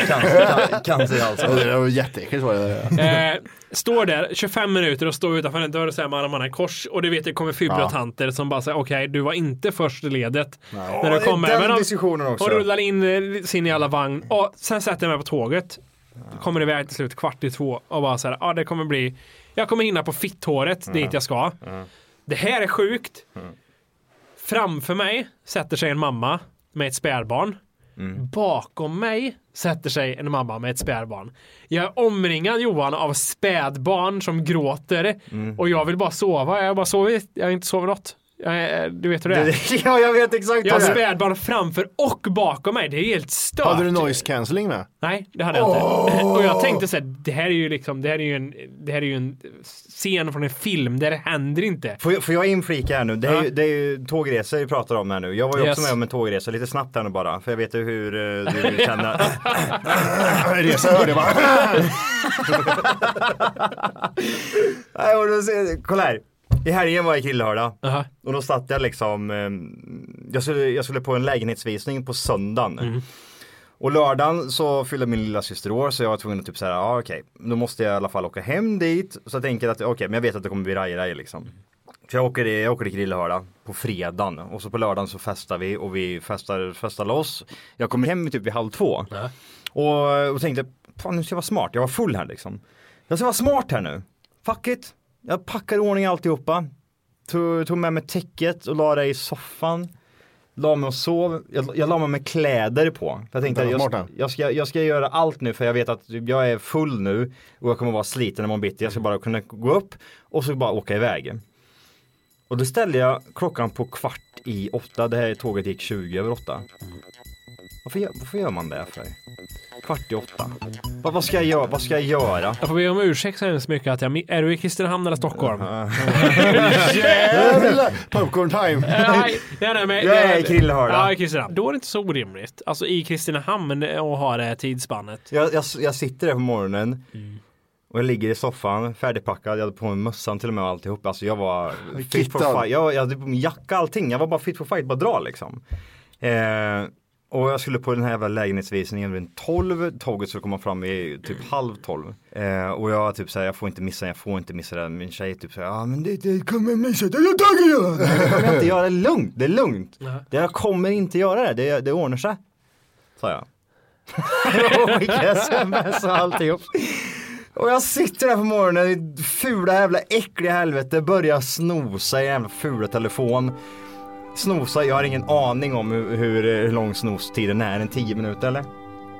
Speaker 2: där
Speaker 7: Cancer alltså.
Speaker 2: Ja, Det var jätteäckligt var det där.
Speaker 6: Eh, står där 25 minuter och står utanför en dörr så här med armarna i kors och du vet det kommer fibratanter som bara säger okej du var inte först i ledet.
Speaker 7: Ja,
Speaker 6: När du
Speaker 7: det är
Speaker 6: kommer.
Speaker 7: den
Speaker 6: Men de-
Speaker 7: diskussionen också. Mm.
Speaker 6: Och rullar in eh, sin jävla vagn och sen sätter jag mig på tåget. Kommer iväg till slut kvart i två och bara så här, ja ah, det kommer bli, jag kommer hinna på fitthåret
Speaker 2: Mm.
Speaker 6: dit jag ska. Det här är sjukt. Framför mig sätter sig en mamma med ett spädbarn.
Speaker 2: Mm.
Speaker 6: Bakom mig sätter sig en mamma med ett spädbarn. Jag är omringad Johan av spädbarn som gråter
Speaker 2: Mm.
Speaker 6: och jag vill bara sova. Jag har bara sovit, jag har inte sovit något. Jag, är- du vet hur det är.
Speaker 7: ja, jag vet exakt
Speaker 6: Jag har
Speaker 2: hur det är.
Speaker 6: spädbarn framför och bakom mig. Det är helt stört.
Speaker 2: Hade du noise cancelling med?
Speaker 6: Nej, det hade jag inte. Och jag tänkte så här, det här är ju liksom, det här är ju en, det här är ju en scen från en film där det händer inte.
Speaker 7: Får jag, får jag inflika här nu? Det är,
Speaker 6: Ja.
Speaker 7: ju, det är ju tågresor vi pratar om här nu. Jag var ju också
Speaker 6: Yes.
Speaker 7: med om en tågresa lite snabbt här nu bara. För jag vet ju hur eh, du känner.
Speaker 2: Resa hörde jag bara.
Speaker 7: Nej, Äh, och då, ser- kolla här. I helgen var jag i Killhörda. Och då satt jag liksom. eh, Jag skulle, jag skulle på en lägenhetsvisning på söndagen. Och lördagen så fyllde min lilla syster år så jag var tvungen att typ säga, ja okej, då måste jag i alla fall åka hem dit. Så jag tänker att okej, men jag vet att det kommer bli raj-raj liksom. Så jag åker, i- jag åker till Grillhörda på fredagen och så på lördagen så festar vi och vi festar, festar loss. Jag kommer hem typ vid halv två. Och, och tänkte, fan nu ska jag vara smart, jag var full här liksom. Jag ska vara smart här nu. Fuck it. Jag packar i ordning alltihopa. Tog, tog med mig täcket och la det i soffan. La mig och sov. Jag, jag la mig med kläder på. För jag tänkte
Speaker 2: Det var
Speaker 7: jag,
Speaker 2: smart,
Speaker 7: ska- jag, ska, jag ska göra allt nu för jag vet att jag är full nu och jag kommer vara sliten imorgon bitti. Jag ska bara kunna gå upp och så bara åka iväg. Och då ställde jag klockan på kvart i åtta. Det här tåget gick 20 över åtta. Varför gör, varför gör man det för? Kvart i åtta. Vad, vad, ska jag, göra? vad ska jag göra?
Speaker 6: Jag får be om ursäkt så hemskt mycket att jag... mi- Är du i Kristinehamn eller Stockholm?
Speaker 2: Jävlar! Popcorn time!
Speaker 6: Nej, nej, nej, men,
Speaker 2: Jag är
Speaker 6: nej,
Speaker 2: i Krillehörna.
Speaker 6: Ja, i Kristinehamn. Då är det inte så orimligt. Alltså i Kristinehamn och ha det här tidsspannet.
Speaker 7: Jag, jag, jag sitter där på morgonen och jag ligger i soffan färdigpackad. Jag hade på mig mössan till och med och alltihop. Alltså jag var fit for
Speaker 2: Kittad.
Speaker 7: fight. Jag, jag hade på mig jacka allting. Jag var bara fit for fight, bara dra liksom. Eh, och jag skulle på den här jävla lägenhetsvisningen vid 12. Tåget skulle komma fram vid typ halv 12. Eh, och jag typ såhär, jag får inte missa, jag får inte missa det. Min tjej typ såhär, ja ah, men det, det kommer jag missa, det är jag taggad Det kommer jag inte göra, det är lugnt, det är lugnt. Det, jag kommer inte göra det, det, det ordnar sig. Sa jag. och skickade sms och alltihop. Och jag sitter där på morgonen i det fula jävla äckliga helvete, börjar snosa i den jävla fula telefon. Snosa, jag har ingen aning om hur, hur, hur lång snostiden är, en 10 minuter eller?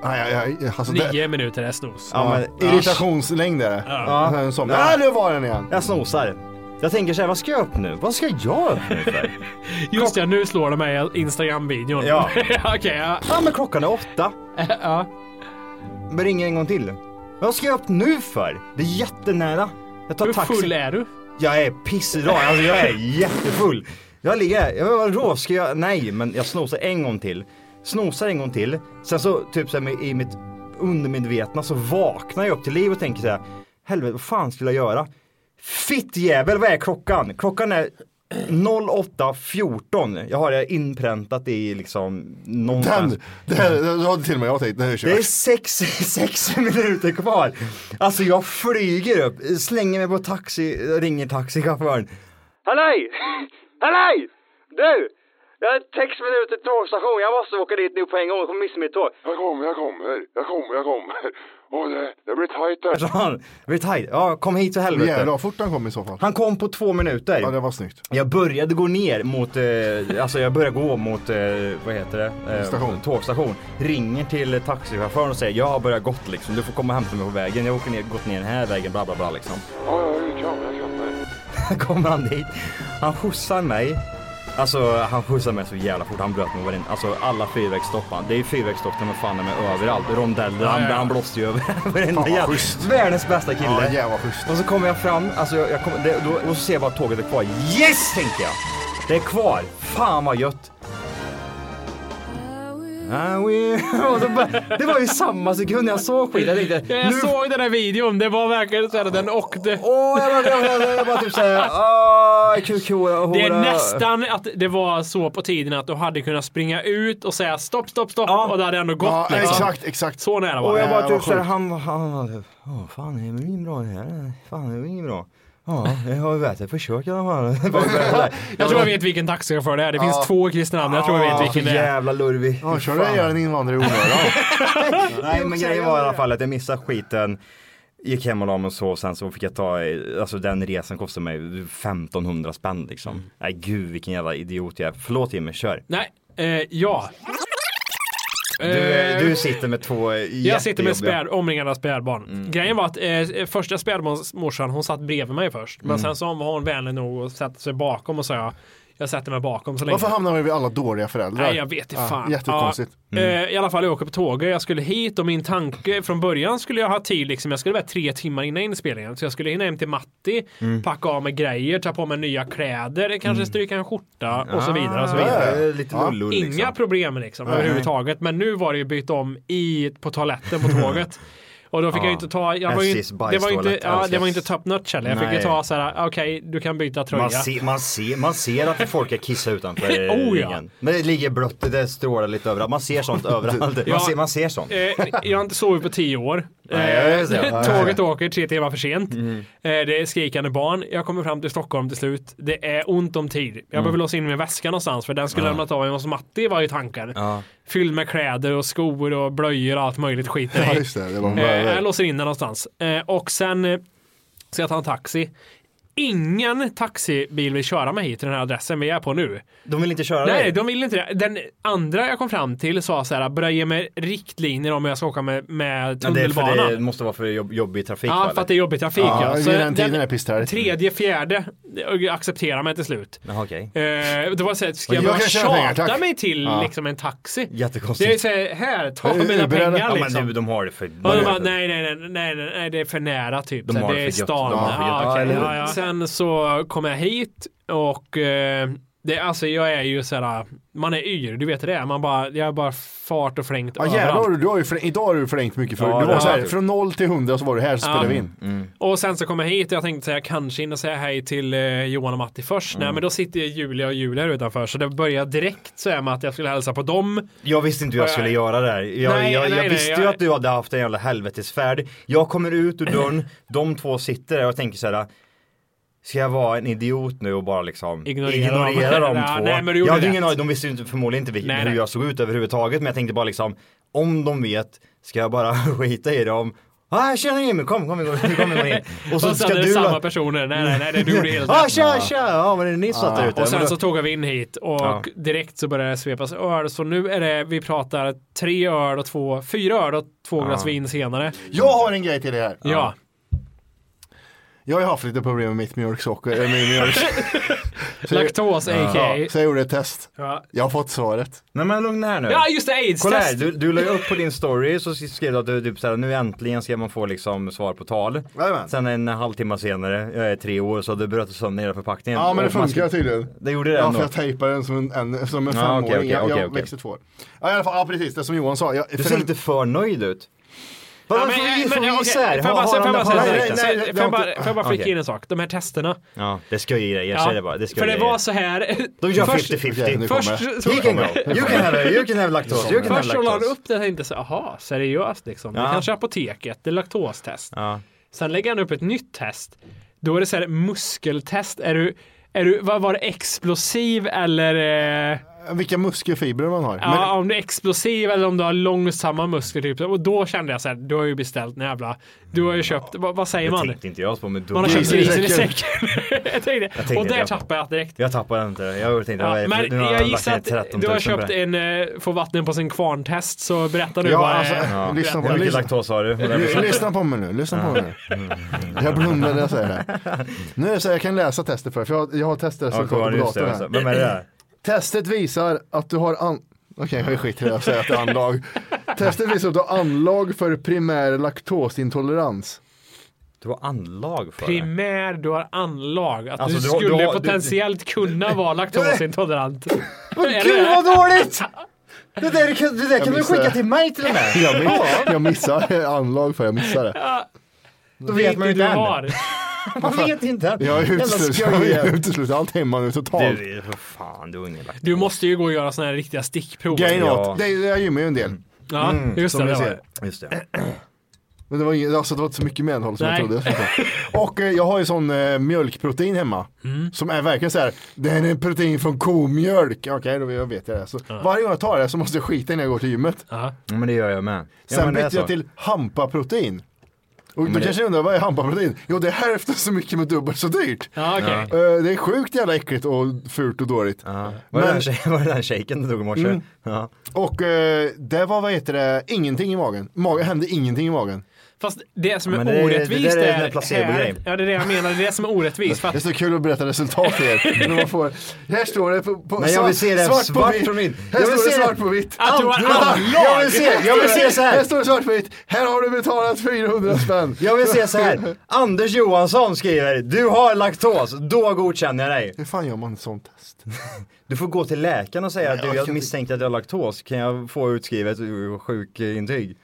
Speaker 2: Aj, aj, aj, alltså det-
Speaker 6: Nio minuter är snus.
Speaker 2: Ja, Irritationslängd är det.
Speaker 7: Ja.
Speaker 2: Ja. Som, ja, nu var den igen.
Speaker 7: Jag snosar. Jag tänker så här, vad ska jag upp nu? Vad ska jag upp nu för?
Speaker 6: Just det, nu slår det mig i Instagram-videon.
Speaker 7: Ja.
Speaker 6: Okej, ja.
Speaker 7: Ja men klockan är åtta.
Speaker 6: ja.
Speaker 7: Men ringer en gång till. Vad ska jag upp nu för? Det är jättenära. Jag tar
Speaker 6: Hur
Speaker 7: taxi.
Speaker 6: full är du?
Speaker 7: Jag är pissdrag, alltså jag är jättefull. Jag ligger här, jag var rå, ska jag, nej men jag snosar en gång till. Snosar en gång till, sen så typ så här, med- i mitt undermedvetna så vaknar jag upp till liv och tänker så här, helvete vad fan skulle jag göra? Fittjävel, vad är klockan? Klockan är 08.14, jag har det inpräntat i liksom någonstans.
Speaker 2: Den, det här, det hade till och med jag tänkt, det här är
Speaker 7: Det är
Speaker 2: kört.
Speaker 7: sex, sex minuter kvar. Alltså jag flyger upp, slänger mig på taxi, ringer taxichauffören.
Speaker 11: Halloj! Halloj! Du! Jag är sex minuter till tågstation. Jag måste åka dit nu på en gång. Jag kommer missa mitt tåg.
Speaker 12: Jag kommer, jag kommer, jag kommer, jag kommer. Åh, det, det blir tajt där.
Speaker 7: Så han, Retide, ja kom hit för helvete.
Speaker 12: Jävlar,
Speaker 7: fort han kom i så fall. Han kom på två minuter. Ja det var snyggt. Jag började gå ner mot, eh, alltså jag började gå mot, eh, vad heter det?
Speaker 2: Station.
Speaker 7: Tågstation. Ringer till taxichauffören och säger jag har börjat gått liksom, du får komma och hämta mig på vägen. Jag åker ner, gått ner den här vägen, bla bla bla liksom.
Speaker 12: Ja, ja, jag kommer, jag kommer.
Speaker 7: kommer han dit, han skjutsar mig. Alltså han skjutsar mig så jävla fort, han bröt mig varenda, alltså alla fyrverksstopp han- Det är ju fyrverksstopp men fan de är överallt, rondeller, han,
Speaker 2: Ja, ja, ja.
Speaker 7: han blåste ju över varenda
Speaker 2: Fan, vad
Speaker 7: jävla-
Speaker 2: schysst.
Speaker 7: Världens bästa kille.
Speaker 2: Ja, jävla
Speaker 7: och så kommer jag fram, alltså jag, jag kommer- det, då, och så ser jag bara att tåget är kvar. Yes tänker jag! Det är kvar, fan vad gött! I will- Ah, och så bara- Det var ju samma sekund jag såg skiten, jag tänkte
Speaker 6: Jag såg den här videon. Det var verkligen så här att den åkte.
Speaker 7: Åh, jag bara- jag bara- jag bara typ så här, "Ah, QQ, hora."
Speaker 6: Det är nästan att det var så på tiden att du hade kunnat springa ut och säga stopp, stopp, stopp och det hade ändå gått.
Speaker 7: Ja, exakt,
Speaker 6: exakt. Så nära var
Speaker 7: Och
Speaker 6: det.
Speaker 7: jag bara typ såhär, han, han var typ, åh fan det är väl inget bra det här, fan det är väl inget bra. Ja, jag har ju värt ett försök i alla fall.
Speaker 6: Jag tror jag vet vilken taxichaufför det är. Det finns
Speaker 7: Ja.
Speaker 6: två i Kristinehamn. Jag tror jag vet vilken det är.
Speaker 7: Jävla lurvig.
Speaker 6: Ja, kör du
Speaker 7: Fan.
Speaker 6: ihjäl
Speaker 2: en invandrare i onödan?
Speaker 7: Nej men grejen var i alla fall att jag missade skiten. Gick hem och la mig och sov, sen så fick jag ta, eh, alltså den resan kostade mig 1500 spänn liksom. Nej gud vilken jävla idiot jag är. Förlåt Jimmy, kör.
Speaker 6: Nej, eh, ja.
Speaker 7: Du, eh,
Speaker 6: Eh,
Speaker 7: du sitter med två eh,
Speaker 6: Jag sitter med
Speaker 7: jättejobbiga-
Speaker 6: späd, omringad av spädbarn.
Speaker 2: Mm.
Speaker 6: Grejen var att eh, första spädbarnsmorsan hon satt bredvid mig först. Men
Speaker 2: Mm.
Speaker 6: sen så var hon vänlig nog och satte sig bakom och sa jag, jag sätter mig bakom så länge.
Speaker 2: Varför hamnar vi vid alla dåliga föräldrar?
Speaker 6: Nej jag vet inte fan.
Speaker 2: Ja, jättekonstigt.
Speaker 6: Ja,
Speaker 7: Mm.
Speaker 6: eh, I alla fall jag åker på tåget, jag skulle hit och min tanke från början skulle jag ha tid liksom, jag skulle vara tre timmar innan inspelningen. Så jag skulle hinna hem till Matti,
Speaker 7: Mm.
Speaker 6: packa av mig grejer, ta på mig nya kläder, kanske stryka en skjorta och så
Speaker 7: Ah,
Speaker 6: vidare. Och så
Speaker 7: ja,
Speaker 6: vidare.
Speaker 7: ja, lite lullull,
Speaker 6: Inga
Speaker 7: liksom.
Speaker 6: problem liksom
Speaker 7: Nej.
Speaker 6: överhuvudtaget. Men nu var det ju bytt om i, på toaletten på tåget. Och då fick
Speaker 7: Ja.
Speaker 6: jag ju inte ta, jag var ju,
Speaker 7: SJs
Speaker 6: det var ju inte,
Speaker 7: bajstoalett,
Speaker 6: ja, det
Speaker 7: älskas.
Speaker 6: var inte top notch heller. Jag fick ju
Speaker 7: Nej.
Speaker 6: ta såhär, okej du kan byta tröja.
Speaker 7: Man ser, man, ser, man ser att folk har kissat utanför eh,
Speaker 6: Oh, ja.
Speaker 7: ringen. Men det ligger blött, det strålar lite överallt. Man ser sånt överallt. Man,
Speaker 6: Ja.
Speaker 7: ser, man ser sånt.
Speaker 6: Eh, jag har inte sovit på tio år.
Speaker 7: Nej, jag vet Mm. det.
Speaker 6: Eh, Tåget åker tre timmar för sent. Eh, Det är skrikande barn. Jag kommer fram till Stockholm till slut. Det är ont om tid. Jag behöver låsa in min väska någonstans för den skulle
Speaker 7: Mm. Ja.
Speaker 6: lämnat av mig hos Matti var ju tankar.
Speaker 7: Ja.
Speaker 6: Fylld med kläder och skor och blöjor och allt möjligt skit.
Speaker 2: Ja, just det. Det var
Speaker 6: Eh,
Speaker 2: möjligt.
Speaker 6: jag låser in den någonstans. Eh, Och sen eh, ska jag ta en taxi. Ingen taxibil vill köra mig hit till den här adressen vi är på nu.
Speaker 7: De vill inte köra
Speaker 6: Nej,
Speaker 7: dig?
Speaker 6: de vill inte det. Den andra jag kom fram till sa så här, börja ge mig riktlinjer om hur jag ska åka med, med
Speaker 7: Ja, det, är
Speaker 6: tunnelbanan.
Speaker 7: för det måste vara för jobb, jobbig trafik
Speaker 6: Ja,
Speaker 7: va,
Speaker 6: för
Speaker 7: eller?
Speaker 6: att det är jobbig trafik. Ja,
Speaker 2: Ja, vid den tiden är det pissträligt.
Speaker 6: tredje, fjärde accepterade mig till slut.
Speaker 7: Jaha, okej.
Speaker 6: Eh, det var så här, ska
Speaker 7: Och
Speaker 6: jag
Speaker 7: jag
Speaker 6: bara
Speaker 7: kan tjäna pengar,
Speaker 6: tjata
Speaker 7: tack.
Speaker 6: mig till
Speaker 7: Ja.
Speaker 6: liksom en taxi?
Speaker 7: Jättekonstigt.
Speaker 6: Det är så här, här, ta
Speaker 7: Men
Speaker 6: mina
Speaker 7: Uber eller-
Speaker 6: pengar
Speaker 7: Ja, men
Speaker 6: liksom.
Speaker 7: du, de har det för...
Speaker 6: Och de bara, nej, nej, nej, nej, nej, nej, det är för nära typ.
Speaker 7: De
Speaker 6: så
Speaker 7: har
Speaker 6: det
Speaker 7: det
Speaker 6: är
Speaker 7: för gött.
Speaker 6: stan.
Speaker 7: De har det för gött.
Speaker 6: Ja,
Speaker 7: Ja,
Speaker 6: okej.
Speaker 7: eller hur?
Speaker 6: ja, ja. Sen så kom jag hit och eh, det, alltså jag är ju såhär, man är yr, du vet hur det är. Man bara, jag är bara fart och flängt
Speaker 2: Ja jävlar, du har ju förläng- idag har du förlängt mycket för
Speaker 6: Ja,
Speaker 2: Du
Speaker 6: det
Speaker 2: var så
Speaker 6: har
Speaker 2: här,
Speaker 6: jag.
Speaker 2: från 0 till 100 så var du här så
Speaker 6: Ja.
Speaker 2: spelade vi in.
Speaker 6: Och sen så kom jag hit och jag tänkte säga kanske hinna säga hej till eh, Johan och Matti först.
Speaker 7: Mm.
Speaker 6: Nej men då sitter ju Julia och Julia här utanför så det började direkt så här med att jag skulle hälsa på dem.
Speaker 7: Jag visste inte hur jag
Speaker 6: Och
Speaker 7: skulle göra det här. Jag,
Speaker 6: Nej,
Speaker 7: jag, jag
Speaker 6: nej, nej,
Speaker 7: visste ju
Speaker 6: jag-
Speaker 7: att du hade haft en jävla helvetesfärd. Jag kommer ut ur dörren, de två sitter där och jag tänker så här. Ska jag vara en idiot nu och bara liksom
Speaker 6: Ignorera dem.
Speaker 7: ignorera de
Speaker 6: Ja,
Speaker 7: två?
Speaker 6: nej, men du gjorde
Speaker 7: jag hade
Speaker 6: rätt.
Speaker 7: ingen aning, de visste ju inte, förmodligen inte vilken,
Speaker 6: Nej,
Speaker 7: hur
Speaker 6: nej.
Speaker 7: jag såg ut överhuvudtaget. Men jag tänkte bara liksom, om de vet, ska jag bara skita i dem? Ah, tjena Jimmy, kom, kom, kom, kom, kom in.
Speaker 6: Och sen är det samma personer. Nej, nej, nej, det gjorde helt rätt.
Speaker 7: Ah, tja, tja, ja men det är ni som satt där ute.
Speaker 6: Och sen
Speaker 7: Men
Speaker 6: så
Speaker 7: då-
Speaker 6: tog vi in hit och
Speaker 7: Ja.
Speaker 6: direkt så började det svepas öl. Så nu är det, vi pratar tre öl och två, fyra öl och två glas
Speaker 2: Ja.
Speaker 6: vin senare.
Speaker 2: Jag har en grej till det här.
Speaker 6: Ja.
Speaker 2: Jag har ju haft lite problem med mitt mjölksocker, eller min mjölk. Så jag-
Speaker 6: Laktos, a.k.a.
Speaker 2: Ja, så jag gjorde ett test.
Speaker 6: Ja.
Speaker 2: Jag har fått svaret.
Speaker 7: Nej men lugna här nu.
Speaker 6: Ja, just det, AIDS-test.
Speaker 7: Kolla här, du, du la ju upp på din story så skrev du att du typ såhär, nu äntligen ska man få liksom svar på tal. Sen en halvtimme senare, jag är tre år, så hade du bröt sönder hela förpackningen.
Speaker 2: Ja men det
Speaker 7: Och man
Speaker 2: funkar
Speaker 7: ska-
Speaker 2: tydligen.
Speaker 7: Det gjorde det
Speaker 2: Ja
Speaker 7: ändå.
Speaker 2: för jag tejpade den som en, en, som en
Speaker 7: Ja,
Speaker 2: femåring.
Speaker 7: Ah, okej, okej,
Speaker 2: jag
Speaker 7: okej,
Speaker 2: jag
Speaker 7: okej.
Speaker 2: växte två år. Ja, i alla fall, ja precis, det som Johan sa. Jag,
Speaker 7: Du ser lite för nöjd ut. Vadå, får vi- får vi
Speaker 6: okej,
Speaker 7: gissa här?
Speaker 6: får jag bara-
Speaker 7: Har-
Speaker 6: får jag
Speaker 7: har
Speaker 6: bara
Speaker 7: han-
Speaker 6: säga
Speaker 7: har
Speaker 6: en
Speaker 7: han-
Speaker 6: sak?
Speaker 7: nej, nej,
Speaker 6: Får
Speaker 7: det
Speaker 6: jag
Speaker 7: har
Speaker 6: bara-
Speaker 7: inte-
Speaker 6: Får jag bara flika
Speaker 7: Okej.
Speaker 6: in en sak? De här testerna.
Speaker 7: Ja, det ska jag ge dig, jag säger det bara. Det ska
Speaker 6: för
Speaker 7: jag
Speaker 6: det
Speaker 7: ge dig.
Speaker 6: var så här.
Speaker 7: De gör
Speaker 6: Först-
Speaker 7: 50-50.
Speaker 6: Okej, nu kommer Först- det. så-
Speaker 7: you can go. You can have, you can have lactose. You can have
Speaker 6: Först så la han
Speaker 7: lactose.
Speaker 6: upp det här inte så, aha, seriöst liksom. Det
Speaker 7: Ja.
Speaker 6: kanske är apoteket, det är laktostest.
Speaker 7: Ja.
Speaker 6: Sen lägger han upp ett nytt test. Då är det så här muskeltest. Är du, är du, vad var det, explosiv eller? Eh,
Speaker 2: Vilka muskelfibrer man har.
Speaker 6: ja, om du är explosiv eller om du har långsamma muskler. Typ. Och då kände jag så här, du har ju beställt en jävla, du har ju köpt, vad, vad säger
Speaker 7: Det
Speaker 6: man?
Speaker 7: tänkte inte Mm. jag på, men du
Speaker 6: Man har köpt grisen i säcken. jag
Speaker 7: Jag
Speaker 6: tänkte,
Speaker 7: tänkte
Speaker 6: och där
Speaker 7: jag-
Speaker 6: tappade jag direkt.
Speaker 7: Jag tappade inte det. Jag tänkte,
Speaker 6: Ja,
Speaker 7: vad är det för-
Speaker 6: men
Speaker 7: nu har
Speaker 6: jag
Speaker 7: lagt
Speaker 6: gissar
Speaker 7: ner
Speaker 6: att
Speaker 7: 13
Speaker 6: du har
Speaker 7: 000 på
Speaker 6: köpt
Speaker 7: det.
Speaker 6: en eh, få vatten på sin kvarn-test, så berätta nu
Speaker 2: Ja,
Speaker 6: vad
Speaker 2: alltså,
Speaker 6: eh,
Speaker 2: ja. lyssna på
Speaker 7: Hur
Speaker 2: det.
Speaker 7: mycket laktos har du?
Speaker 2: Ly- Lyssna på mig nu, lyssna på mig nu. Jag blundar när jag säger det. här. Nu är det så här, jag kan läsa testet för, för jag, har- jag har testresultatet
Speaker 7: Ja,
Speaker 2: på
Speaker 7: kolla, just det,
Speaker 2: datorn
Speaker 7: just det.
Speaker 2: här.
Speaker 7: Vem är det
Speaker 6: eh.
Speaker 7: där?
Speaker 2: Testet visar att du har an... Okej, jag skiter i det, jag säger att det är anlag. Testet visar att du har anlag för primär laktosintolerans.
Speaker 7: Du har anlag för det.
Speaker 6: primär, du har anlag. Att
Speaker 7: Alltså,
Speaker 6: du
Speaker 7: du har-
Speaker 6: skulle
Speaker 7: du har- du-
Speaker 6: potentiellt kunna vara laktosintolerant. Är
Speaker 7: Gud
Speaker 6: det-
Speaker 7: vad dåligt! Det där, kan- det där kan du
Speaker 2: missar.
Speaker 7: skicka till mig till och med.
Speaker 2: Jag, miss, jag missar anlag för jag missar det.
Speaker 7: Då vet man ju inte
Speaker 6: du
Speaker 7: än.
Speaker 6: har.
Speaker 7: Man vet inte än.
Speaker 2: Jag
Speaker 7: Jävla
Speaker 2: utesluter jag
Speaker 7: skojare.
Speaker 2: utesluter allt hemma nu totalt.
Speaker 7: Du, för fan, du har ingen lakt.
Speaker 6: Du måste ju gå och göra sådana här riktiga stickprov.
Speaker 2: Grejen är att det jag gymmar ju en del.
Speaker 6: Ja,
Speaker 7: Mm,
Speaker 6: just det.
Speaker 2: som ni
Speaker 6: det var
Speaker 2: ser.
Speaker 6: det.
Speaker 7: Just det.
Speaker 2: Men det var, inget- alltså, det var inte så mycket med innehåll som
Speaker 6: Nej.
Speaker 2: jag trodde. Och eh, jag har ju sån eh, mjölkprotein hemma.
Speaker 7: Mm.
Speaker 2: Som är verkligen så här, det här är en protein från komjölk. Okej, då jag vet jag det. Så Varje gång jag tar det så måste jag skita när jag går till gymmet.
Speaker 7: Ja, men det gör jag med. Ja,
Speaker 2: Sen
Speaker 7: men det är
Speaker 2: bytte jag
Speaker 7: så.
Speaker 2: till hampaprotein. Och
Speaker 7: men
Speaker 2: då
Speaker 7: det-
Speaker 2: kanske ni undrar, vad är hampaprotein? Jo, det är hälften så mycket men dubbelt så dyrt.
Speaker 6: Ja, okej.
Speaker 2: Eh, Det är sjukt jävla äckligt och fult och dåligt.
Speaker 7: Var det
Speaker 2: Men-
Speaker 7: den tjej- var det den shaken du tog i morse?
Speaker 2: Mm.
Speaker 7: Ja.
Speaker 2: Och eh, det var, vad heter det, ingenting i magen. magen hände ingenting i magen.
Speaker 6: Fast det som är
Speaker 2: Men det är-
Speaker 6: orättvist
Speaker 2: det där är den här
Speaker 6: är...
Speaker 2: placebo-grejen.
Speaker 6: här- Ja, det är det jag menar. Det är det som är orättvist. För
Speaker 2: Det är
Speaker 6: att
Speaker 2: så kul att berätta resultat för er. När man får, här står det på, på
Speaker 7: Nej, jag vill se det svart på vitt.
Speaker 2: Här
Speaker 7: Jag vill
Speaker 2: står det
Speaker 7: se det-
Speaker 2: svart på vitt.
Speaker 7: Att du har
Speaker 2: Vänta,
Speaker 7: anlag.
Speaker 2: Jag vill se, jag vill se så här.
Speaker 7: Här
Speaker 2: står det svart på vitt. Här har du betalat 400 spänn.
Speaker 7: Jag vill se så här. Anders Johansson skriver, du har laktos, då godkänner jag dig.
Speaker 2: Hur fan gör man ett sånt test?
Speaker 7: Du får gå till läkaren och säga,
Speaker 2: Nej,
Speaker 7: du
Speaker 2: jag
Speaker 7: jag
Speaker 2: kan inte-
Speaker 7: misstänker att jag har laktos, kan jag få utskrivet ur sjukintyg?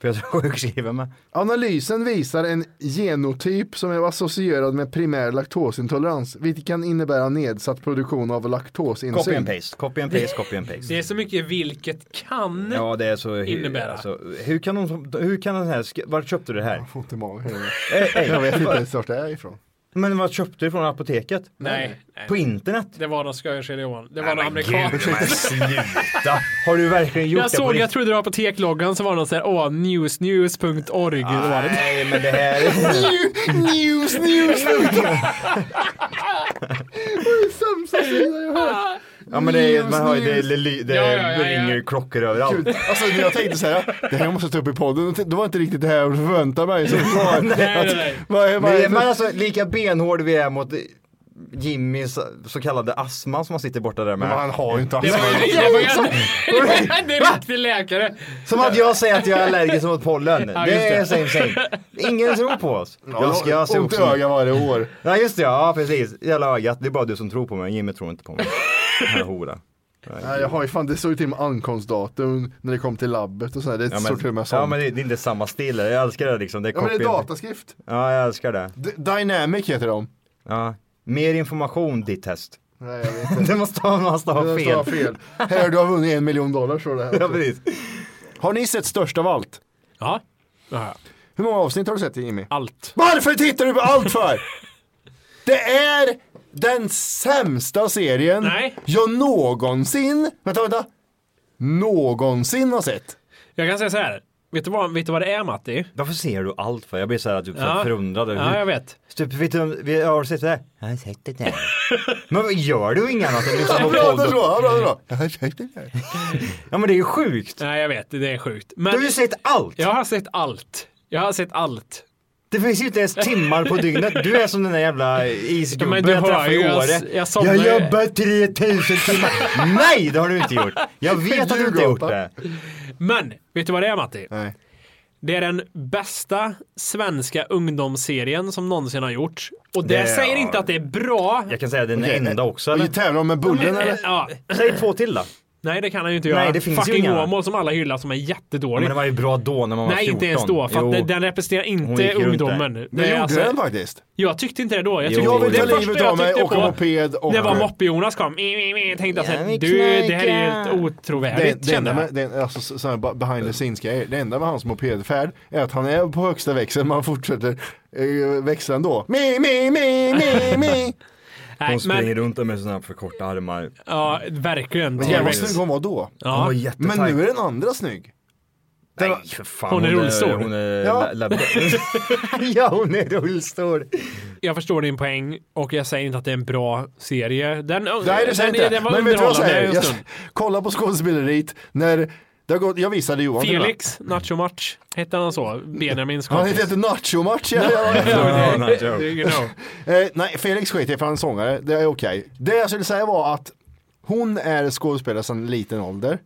Speaker 7: För jag tror sjukskriven med.
Speaker 2: Analysen visar en genotyp som är associerad med primär laktosintolerans, vilket kan innebära nedsatt produktion av laktosinsulin.
Speaker 7: Copy and paste, copy and paste, copy and paste.
Speaker 6: det är så mycket vilket kan.
Speaker 7: Ja det är så,
Speaker 6: Innebära.
Speaker 7: alltså, hur kan de, hur kan den här, sk- var köpte du det här?
Speaker 2: Fått i magen.
Speaker 7: Eh, eh,
Speaker 2: Jag vet inte
Speaker 7: va-
Speaker 2: ens vart det är ifrån.
Speaker 7: Men vad köpte du från apoteket?
Speaker 6: Nej, nej.
Speaker 7: På internet?
Speaker 6: Det var någon skojare Johan. Det var någon
Speaker 7: Gud,
Speaker 6: amerikan.
Speaker 7: men sluta! Har du verkligen gjort
Speaker 6: Jag
Speaker 7: det på
Speaker 6: såg, jag
Speaker 7: riktigt?
Speaker 6: trodde det var apotekloggan som var någon sån här, åh, newsnews.org.
Speaker 7: Nej men det här...
Speaker 2: News, news, Sämsta sida jag hört.
Speaker 7: Ja men det, är, man hör, ju- det,
Speaker 2: News,
Speaker 7: det, ly- det
Speaker 6: Ja, ja, ja, ja.
Speaker 7: ringer klockor överallt.
Speaker 2: Gud, alltså när jag tänkte så här, det här måste jag ta upp i podden, det var inte riktigt det här jag förväntade mig. Så,
Speaker 7: nej,
Speaker 6: nej, nej.
Speaker 2: Vad är- vad är-
Speaker 7: Men, men alltså lika benhård vi är mot Jimmys så kallade astma som han sitter borta där med. Men han
Speaker 2: har ju inte
Speaker 6: Det var ju det var ju en- det var en riktig läkare.
Speaker 7: Som att jag säger att jag är allergisk mot pollen.
Speaker 6: Ja, just
Speaker 7: det är
Speaker 6: det.
Speaker 7: same same. Ingen tror på oss.
Speaker 2: Ja, ont i ögat
Speaker 7: varje år. Nej just det, ja precis. Jävla ögat. Det är bara du som tror på mig. Jimmy tror inte på mig. Den här hora.
Speaker 2: Nej, jag har ju fan, det såg ju till med ankomstdatum när det kom till labbet och sådär. Det
Speaker 7: Ja
Speaker 2: såg till och med
Speaker 7: men,
Speaker 2: sånt.
Speaker 7: ja, men det, det är inte samma stil. Jag älskar det liksom. Det är,
Speaker 2: Ja, men det är
Speaker 7: copy-
Speaker 2: dataskrift.
Speaker 7: Ja jag älskar det.
Speaker 2: D- Dynamic heter de.
Speaker 7: Ja. Mer information ditt test.
Speaker 2: Nej, jag vet inte.
Speaker 7: Det måste ha, måste ha
Speaker 2: Det måste
Speaker 7: fel.
Speaker 2: ha fel. Här, du har vunnit en miljon dollar står det här.
Speaker 7: Ja, precis.
Speaker 2: Har ni sett Störst av allt?
Speaker 6: Ja.
Speaker 2: Hur många avsnitt har du sett Jimmy?
Speaker 6: Allt.
Speaker 2: Varför tittar du på allt för? Det är den sämsta serien jag någonsin, vänta, vänta, någonsin har sett.
Speaker 6: Jag kan säga så här. Vet du vad, vet du vad det är Matti?
Speaker 7: Varför ser du allt för? Jag blir så här typ så
Speaker 6: Ja.
Speaker 7: här förundrad.
Speaker 6: Ja, jag vet.
Speaker 7: Typ, vet du, vi har du sett det här? Jag har sett det där. Men vad gör du inget annat än lyssnar på
Speaker 6: Han pratar
Speaker 7: podden?
Speaker 6: så, han pratar så.
Speaker 7: Jag har sett det
Speaker 2: Mm.
Speaker 7: där. Ja men det är ju sjukt.
Speaker 6: Nej jag vet, det är sjukt.
Speaker 7: Du har ju sett allt.
Speaker 6: Jag har sett allt. Jag har sett allt.
Speaker 7: Det finns ju inte ens timmar på dygnet. Du är som den där jävla isgubben
Speaker 6: Men du
Speaker 7: jag
Speaker 6: hör
Speaker 7: träffade i
Speaker 6: ju, jag-
Speaker 7: Åre.
Speaker 6: jag somnar ju.
Speaker 7: jobbar 3000 timmar. Nej det har du inte gjort. Jag vet att du inte har gjort det.
Speaker 6: Men, vet du vad det är Matti?
Speaker 2: Nej.
Speaker 6: Det är den bästa svenska ungdomsserien som någonsin har gjorts. Och det,
Speaker 7: Det-
Speaker 6: säger inte att det är bra.
Speaker 7: Jag kan säga den
Speaker 6: Okej,
Speaker 7: enda också. Eller?
Speaker 2: Vi tävlar med Bullen eller?
Speaker 6: Ja. eh,
Speaker 7: Säg två till då.
Speaker 6: Nej det kan han ju inte
Speaker 7: Nej,
Speaker 6: göra.
Speaker 7: det finns ju
Speaker 6: Fucking
Speaker 7: inga.
Speaker 6: Åmål som alla hyllar som är
Speaker 7: Ja,
Speaker 6: jättedålig.
Speaker 7: men det var ju bra då när man var
Speaker 6: Nej
Speaker 7: 14.
Speaker 6: inte ens då, för
Speaker 7: Jo.
Speaker 6: att den, den representerar
Speaker 7: Hon
Speaker 6: inte
Speaker 7: gick runt där.
Speaker 6: ungdomen.
Speaker 7: Det
Speaker 6: är
Speaker 7: gjorde den
Speaker 2: faktiskt.
Speaker 6: Jag tyckte inte alltså, det då. Jag,
Speaker 7: Jo.
Speaker 6: tyckte,
Speaker 7: Jag vill
Speaker 6: det
Speaker 7: ta
Speaker 6: första
Speaker 7: livet
Speaker 6: jag
Speaker 7: av mig,
Speaker 6: tyckte
Speaker 7: åka
Speaker 6: på,
Speaker 2: moped och-
Speaker 6: Det var moppe-Jonas kom. Jag tänkte
Speaker 2: Jag
Speaker 6: att
Speaker 2: vill
Speaker 6: du, det här är ju
Speaker 2: knarka.
Speaker 6: helt otrovärdigt
Speaker 2: Det, det
Speaker 6: kände Mm.
Speaker 2: enda
Speaker 6: jag.
Speaker 2: med, det, alltså, så, så här, ba- behind the scenes grejer, det enda med hans mopedfärd är att han är på högsta växeln men han fortsätter eh, växla ändå. Mi, mi, mi, mi, mi.
Speaker 6: Nej,
Speaker 7: Hon springer
Speaker 6: men-
Speaker 7: runt där med sådana för korta armar.
Speaker 6: Ja, verkligen.
Speaker 2: Men jävlar vad
Speaker 7: Precis.
Speaker 2: snygg hon var då.
Speaker 7: Ja. Hon var jättetajt.
Speaker 2: men nu är den andra snygg.
Speaker 7: Nej för fan.
Speaker 6: Hon är rullstol.
Speaker 7: Hon är
Speaker 6: Ja.
Speaker 7: la- la- ja hon är rullstol.
Speaker 6: Jag förstår din poäng och jag säger inte att det är en bra serie. Den,
Speaker 2: Nej det säger
Speaker 6: den,
Speaker 2: inte
Speaker 6: den var
Speaker 2: Men vet du vad jag
Speaker 6: underhållande
Speaker 2: säger?
Speaker 6: en
Speaker 2: Jag,
Speaker 6: stund.
Speaker 2: kolla på skådespeleriet när det har gått, jag visade Johan det där.
Speaker 6: Felix, Nacho-match, hette han så? Benjamins
Speaker 2: Han
Speaker 6: kompis.
Speaker 2: heter Nacho-match. Ja, ja, ja.
Speaker 6: Ja, Nacho. Det är ingen
Speaker 2: Eh, Nej, Felix skiter i för han är sångare. Det är okej. Det jag skulle säga var att hon är skådespelare sedan liten ålder.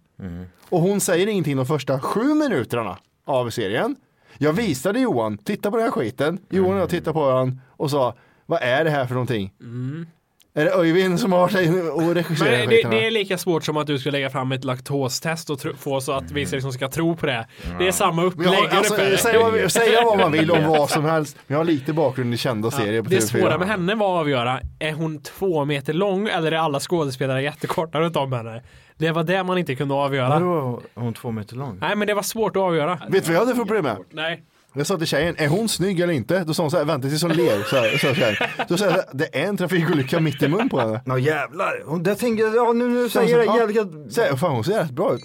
Speaker 2: Och hon säger ingenting de första sju minuterna av serien. Jag visade Johan, titta på den här skiten. Johan och jag tittade på den och sa, vad är det här för någonting? Är det Öyvind som har varit där och regisserat den här
Speaker 6: Men det,
Speaker 2: skiten?
Speaker 6: det är lika svårt som att du ska lägga fram ett laktostest och tro, få så att vissa liksom ska tro på det. Det är samma
Speaker 2: Men jag
Speaker 6: upplägg
Speaker 2: har- alltså,
Speaker 6: ungefär.
Speaker 2: säga, vad, säga vad man vill om vad som helst, men jag har lite bakgrund i kända serier på
Speaker 6: Det
Speaker 2: TV4.
Speaker 6: svåra med henne var att avgöra, är hon två meter lång eller är alla skådespelare jättekorta runt om henne? Det var det man inte kunde avgöra.
Speaker 7: Vadå, är hon två meter lång?
Speaker 6: Nej men det var svårt att avgöra.
Speaker 2: Vet du vad jag hade för problem med?
Speaker 6: Nej.
Speaker 2: Jag sa till tjejen, är hon snygg eller inte? Då sa hon så här, vänta tills hon ler. Så här, så här, så här. Då sa jag, så här, det är en trafikolycka mitt i mun på henne.
Speaker 7: Ja jävlar. Hon, jag tänker, ja nu, nu
Speaker 2: Så hon
Speaker 7: säger
Speaker 2: sa,
Speaker 7: jag
Speaker 2: "Ja."
Speaker 7: jävligt.
Speaker 2: Så här, fan hon ser rätt bra ut.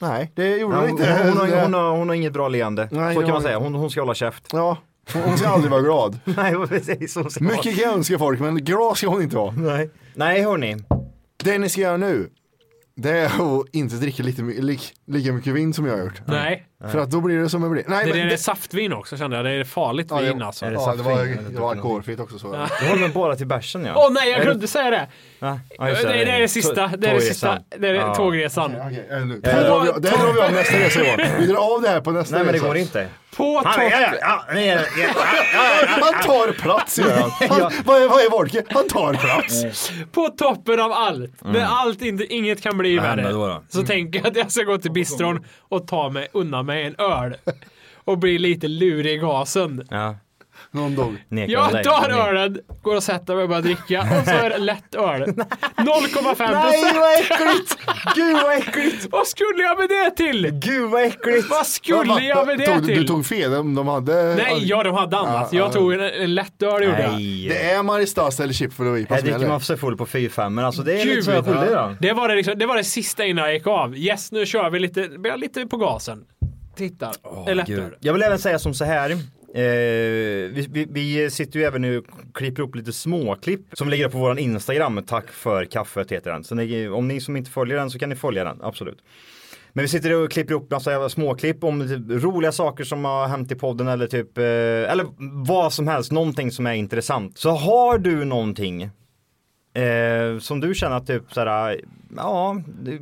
Speaker 2: Nej, det gjorde
Speaker 7: Ja,
Speaker 2: hon
Speaker 7: hon,
Speaker 2: inte.
Speaker 7: hon, har, hon, har, hon har inget bra leende.
Speaker 2: Nej,
Speaker 7: så
Speaker 2: det
Speaker 7: kan
Speaker 2: har-
Speaker 7: man säga. Hon, hon ska hålla käft.
Speaker 2: Ja, hon, hon ska aldrig vara glad.
Speaker 7: Nej, precis. Hon ska
Speaker 2: Mycket kan jag önska folk, men glad ska hon inte vara.
Speaker 7: Nej, Nej hörni.
Speaker 2: Det ni ska göra nu, det är att inte dricka lite, li, lika mycket vin som jag har gjort.
Speaker 6: Nej.
Speaker 2: För att då blir det som det blir. Nej,
Speaker 6: det,
Speaker 2: men
Speaker 6: är det... saftvin också kände jag, det är farligt
Speaker 2: Ja, det-
Speaker 6: vin alltså.
Speaker 2: Är det Ja, det var- saftvin? det var alkoholfritt också, så. Ja.
Speaker 7: Då håller man bara till bärsen ja.
Speaker 6: Åh nej, jag glömde säga det!
Speaker 7: Ja,
Speaker 6: det,
Speaker 7: just
Speaker 6: det är det sista,
Speaker 7: Tå-
Speaker 6: det är det sista,
Speaker 7: tågresan.
Speaker 6: det är
Speaker 7: Ja.
Speaker 6: tågresan.
Speaker 7: Eh,
Speaker 2: Det här drar vi av- det här drar vi av nästa resa Johan. Vi drar av det här på nästa
Speaker 7: Nej men det
Speaker 2: resa.
Speaker 7: går inte.
Speaker 6: På
Speaker 7: Ja,
Speaker 2: topp-
Speaker 7: ja, ja, ja, nej, ja, ja,
Speaker 2: Han tar plats gör han. han vad, är, vad är Wolke? Han tar plats.
Speaker 6: På toppen av allt,
Speaker 2: Mm.
Speaker 6: när allt inte, inget kan bli
Speaker 2: Vad
Speaker 6: värre,
Speaker 2: hände då då?
Speaker 6: så tänker jag att jag ska gå till bistron och ta mig undan mig en öl. Och bli lite lurig i gasen.
Speaker 7: Ja.
Speaker 2: Någon dog.
Speaker 6: Jag tar ölen, går och sätter mig och börjar dricka och så är det lätt öl. 0,5 procent.
Speaker 7: Nej, vad äckligt! Gud vad äckligt!
Speaker 6: Vad skulle jag med det till?
Speaker 7: Gud vad äckligt!
Speaker 6: Vad
Speaker 2: Va- va-
Speaker 6: skulle jag med det
Speaker 2: tog, Du
Speaker 6: till?
Speaker 2: tog fel om de hade...
Speaker 6: Nej, ja de hade annat.
Speaker 2: Ja,
Speaker 6: Jag
Speaker 2: ja.
Speaker 6: tog en, en lättöl gjorde jag.
Speaker 2: Det är Maristas eller Chipful och Ipa
Speaker 7: Här
Speaker 2: som
Speaker 7: dricker
Speaker 2: gäller.
Speaker 7: man sig full på 4-5 alltså det är
Speaker 6: Gud,
Speaker 7: liksom jag skyldig då.
Speaker 6: det, var det, liksom, det var det sista innan jag gick av. Yes, nu kör vi lite, vi har lite på gasen. Titta, det är lättare.
Speaker 7: Gud. Jag vill även säga som så här. Eh, vi, vi, vi sitter ju även nu och klipper upp lite småklipp som ligger på våran Instagram. Tack för kaffet heter den. Så ni, om ni som inte följer den så kan ni följa den, absolut. Men vi sitter och klipper upp massa jävla småklipp om typ roliga saker som har hänt i podden eller typ, eh, eller vad som helst, någonting som är intressant. Så har du någonting
Speaker 6: Eh, som du känner att typ såhär, ja, det,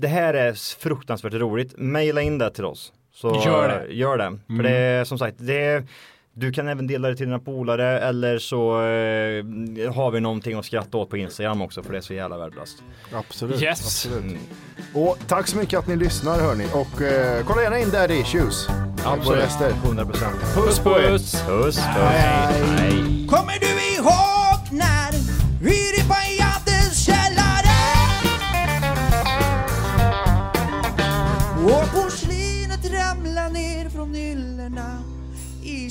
Speaker 6: det här är fruktansvärt roligt. Maila in det till oss. Så,
Speaker 7: Gör det.
Speaker 6: Gör det. För
Speaker 7: Mm.
Speaker 6: det är som sagt, det är, du kan även dela det till dina polare eller så eh, har vi någonting att skratta åt på Instagram också för det är så jävla värdelöst.
Speaker 2: Absolut.
Speaker 6: Yes.
Speaker 2: Absolut. Och tack så mycket att ni lyssnar hörni. Och eh, kolla gärna in Daddy Issues.
Speaker 6: Absolut.
Speaker 2: 100%.
Speaker 6: Puss på er. Puss. Puss. Hej.
Speaker 4: Kommer du ihåg när vi på Jades källare? Och porslinet ramlade ner från hyllorna i